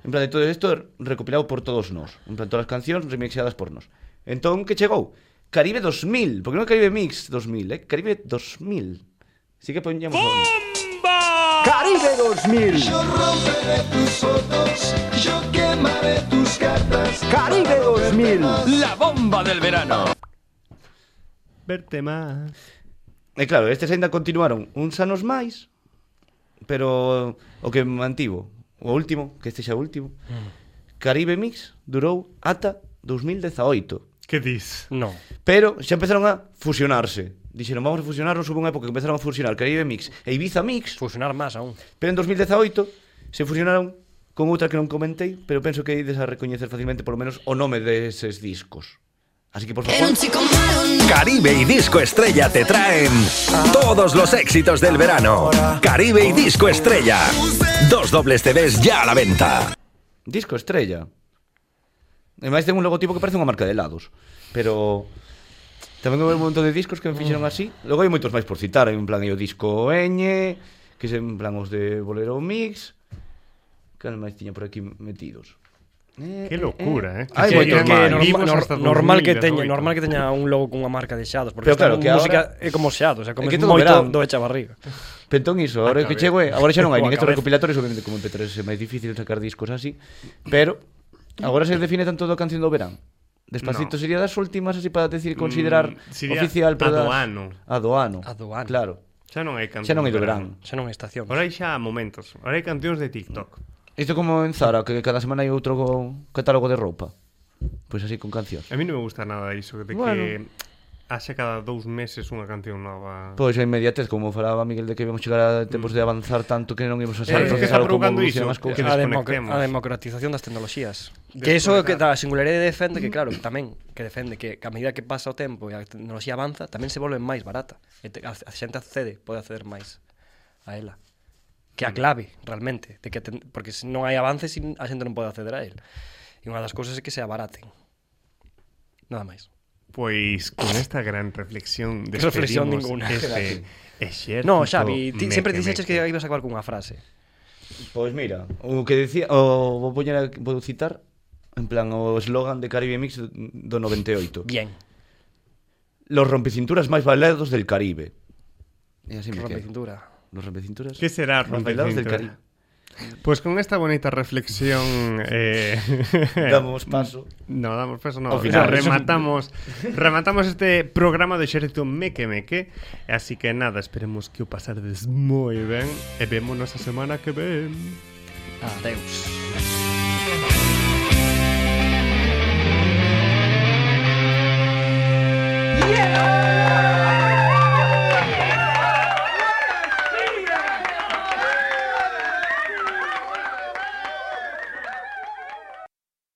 [SPEAKER 2] en plan de todo isto recopilado por todos nós en plan todas as cancións remixadas por nós entón que chegou Caribe 2000, porque non é Caribe Mix 2000, eh? Caribe 2000. Sí que poñamos...
[SPEAKER 6] Caribe 2000.
[SPEAKER 5] Yo romperé tus fotos, yo quemaré tus cartas.
[SPEAKER 6] Caribe 2000.
[SPEAKER 7] La bomba del verano.
[SPEAKER 1] Verte más.
[SPEAKER 2] E claro, estes ainda continuaron uns anos máis, pero o que mantivo, o último, que este xa o último, Caribe Mix durou ata 2018.
[SPEAKER 1] Que dis?
[SPEAKER 3] No.
[SPEAKER 2] Pero xa empezaron a fusionarse. Dixeron, vamos a fusionarnos, hubo unha época que empezaron a fusionar Caribe Mix e Ibiza Mix,
[SPEAKER 3] Fusionar más aún.
[SPEAKER 2] Pero en 2018 se fusionaron con outra que non comentei, pero penso que ides a recoñecer facilmente polo menos o nome deses discos. Así que, por favor,
[SPEAKER 6] Caribe y Disco Estrella te traen todos los éxitos del verano. Caribe y Disco Estrella. Dos dobles CDs ya a la venta.
[SPEAKER 2] disco estrella. E máis ten un logotipo que parece unha marca de helados, pero tamén houve un montón de discos que me fixeron así. Logo hai moitos máis por citar, hai en plan hai o disco Ñ, que se en plan os de Bolero Mix, que máis tiña por aquí metidos. Eh,
[SPEAKER 1] Que locura, eh.
[SPEAKER 2] Hai
[SPEAKER 1] Que-
[SPEAKER 2] moitos
[SPEAKER 1] que-
[SPEAKER 2] máis.
[SPEAKER 1] que vivos
[SPEAKER 3] normal,
[SPEAKER 1] hasta
[SPEAKER 3] normal que
[SPEAKER 1] 2018.
[SPEAKER 3] teña, normal que teña un logo cunha marca de xados,
[SPEAKER 2] Pero
[SPEAKER 3] porque esta
[SPEAKER 2] claro, que
[SPEAKER 3] música
[SPEAKER 2] ahora-
[SPEAKER 3] é como xados, é
[SPEAKER 2] É
[SPEAKER 3] como
[SPEAKER 2] que
[SPEAKER 3] é
[SPEAKER 2] todo verán.
[SPEAKER 3] moito do echa barriga.
[SPEAKER 2] Pentón entón iso, ahora
[SPEAKER 1] A
[SPEAKER 2] que
[SPEAKER 1] cabeza.
[SPEAKER 2] chego é, agora xa non hai
[SPEAKER 3] Coa
[SPEAKER 2] nin estos
[SPEAKER 3] cabeza.
[SPEAKER 2] recopilatorios, obviamente como MP3 é máis difícil sacar discos así, pero agora se define tanto da canción do verán.
[SPEAKER 1] No.
[SPEAKER 2] Despacito sería das últimas así para decir considerar
[SPEAKER 1] Mm, sería a
[SPEAKER 2] oficial
[SPEAKER 1] do
[SPEAKER 2] das-
[SPEAKER 1] ano.
[SPEAKER 2] A do ano.
[SPEAKER 3] A do ano.
[SPEAKER 2] Claro.
[SPEAKER 1] Xa non hai cancións.
[SPEAKER 2] Xa non hai do verán.
[SPEAKER 3] Xa non é estación.
[SPEAKER 1] Ahora hai xa momentos. Ahora hai cancións de TikTok.
[SPEAKER 2] Isto como en Zara, que cada semana hai outro go- catálogo de roupa. Pois así con cancións.
[SPEAKER 1] A mí non me gusta nada iso de
[SPEAKER 2] Bueno. Pues-
[SPEAKER 1] que haxa cada dous meses unha canción nova.
[SPEAKER 2] Pois a inmediatez, como falaba Miguel de que íbamos chegar a tempos de avanzar tanto que non íbamos a saber
[SPEAKER 1] Eh, está
[SPEAKER 2] procesar como
[SPEAKER 1] provocando
[SPEAKER 2] evolucionan
[SPEAKER 1] iso,
[SPEAKER 2] as cousas.
[SPEAKER 1] que
[SPEAKER 3] a, democ-
[SPEAKER 1] desconectemos.
[SPEAKER 3] a democratización das tecnoloxías. Que iso é o que da singularidade defende que claro, que tamén que defende que a medida que pasa o tempo e a tecnoloxía avanza, tamén se volve máis barata. E te, a, a xente accede, pode acceder máis a ela. Que
[SPEAKER 1] Mm.
[SPEAKER 3] é a clave, realmente, de que ten, porque se non hai avances sin- a xente non pode acceder a él. E unha das cousas é que se abaraten. Nada máis.
[SPEAKER 1] Pois Pues, con esta gran reflexión de
[SPEAKER 3] reflexión ninguna.
[SPEAKER 1] Este exército
[SPEAKER 3] No, Xavi, ti,
[SPEAKER 1] meque,
[SPEAKER 3] sempre dixeches que
[SPEAKER 1] meque.
[SPEAKER 3] ibas a acabar cunha frase.
[SPEAKER 2] Pois mira, o que decía, o vou poñer aquí- vou citar en plan o eslogan de Caribe Mix do- do 98.
[SPEAKER 3] Bien.
[SPEAKER 2] Los rompecinturas máis bailados del Caribe. E así me
[SPEAKER 3] Rompe
[SPEAKER 2] quedo.
[SPEAKER 3] cintura.
[SPEAKER 2] Los rompecinturas.
[SPEAKER 1] Que será
[SPEAKER 2] máis bailados del Caribe.
[SPEAKER 1] rompecintura? Pois Pues con esta bonita reflexión eh,
[SPEAKER 2] Damos paso.
[SPEAKER 1] No, damos paso, no.
[SPEAKER 2] Ao
[SPEAKER 1] O sea,
[SPEAKER 2] final.
[SPEAKER 1] rematamos, rematamos este programa do Exército Meque Meque. Así que nada, esperemos que o pasardes moi ben e vémonos a semana que ven.
[SPEAKER 3] Adeus.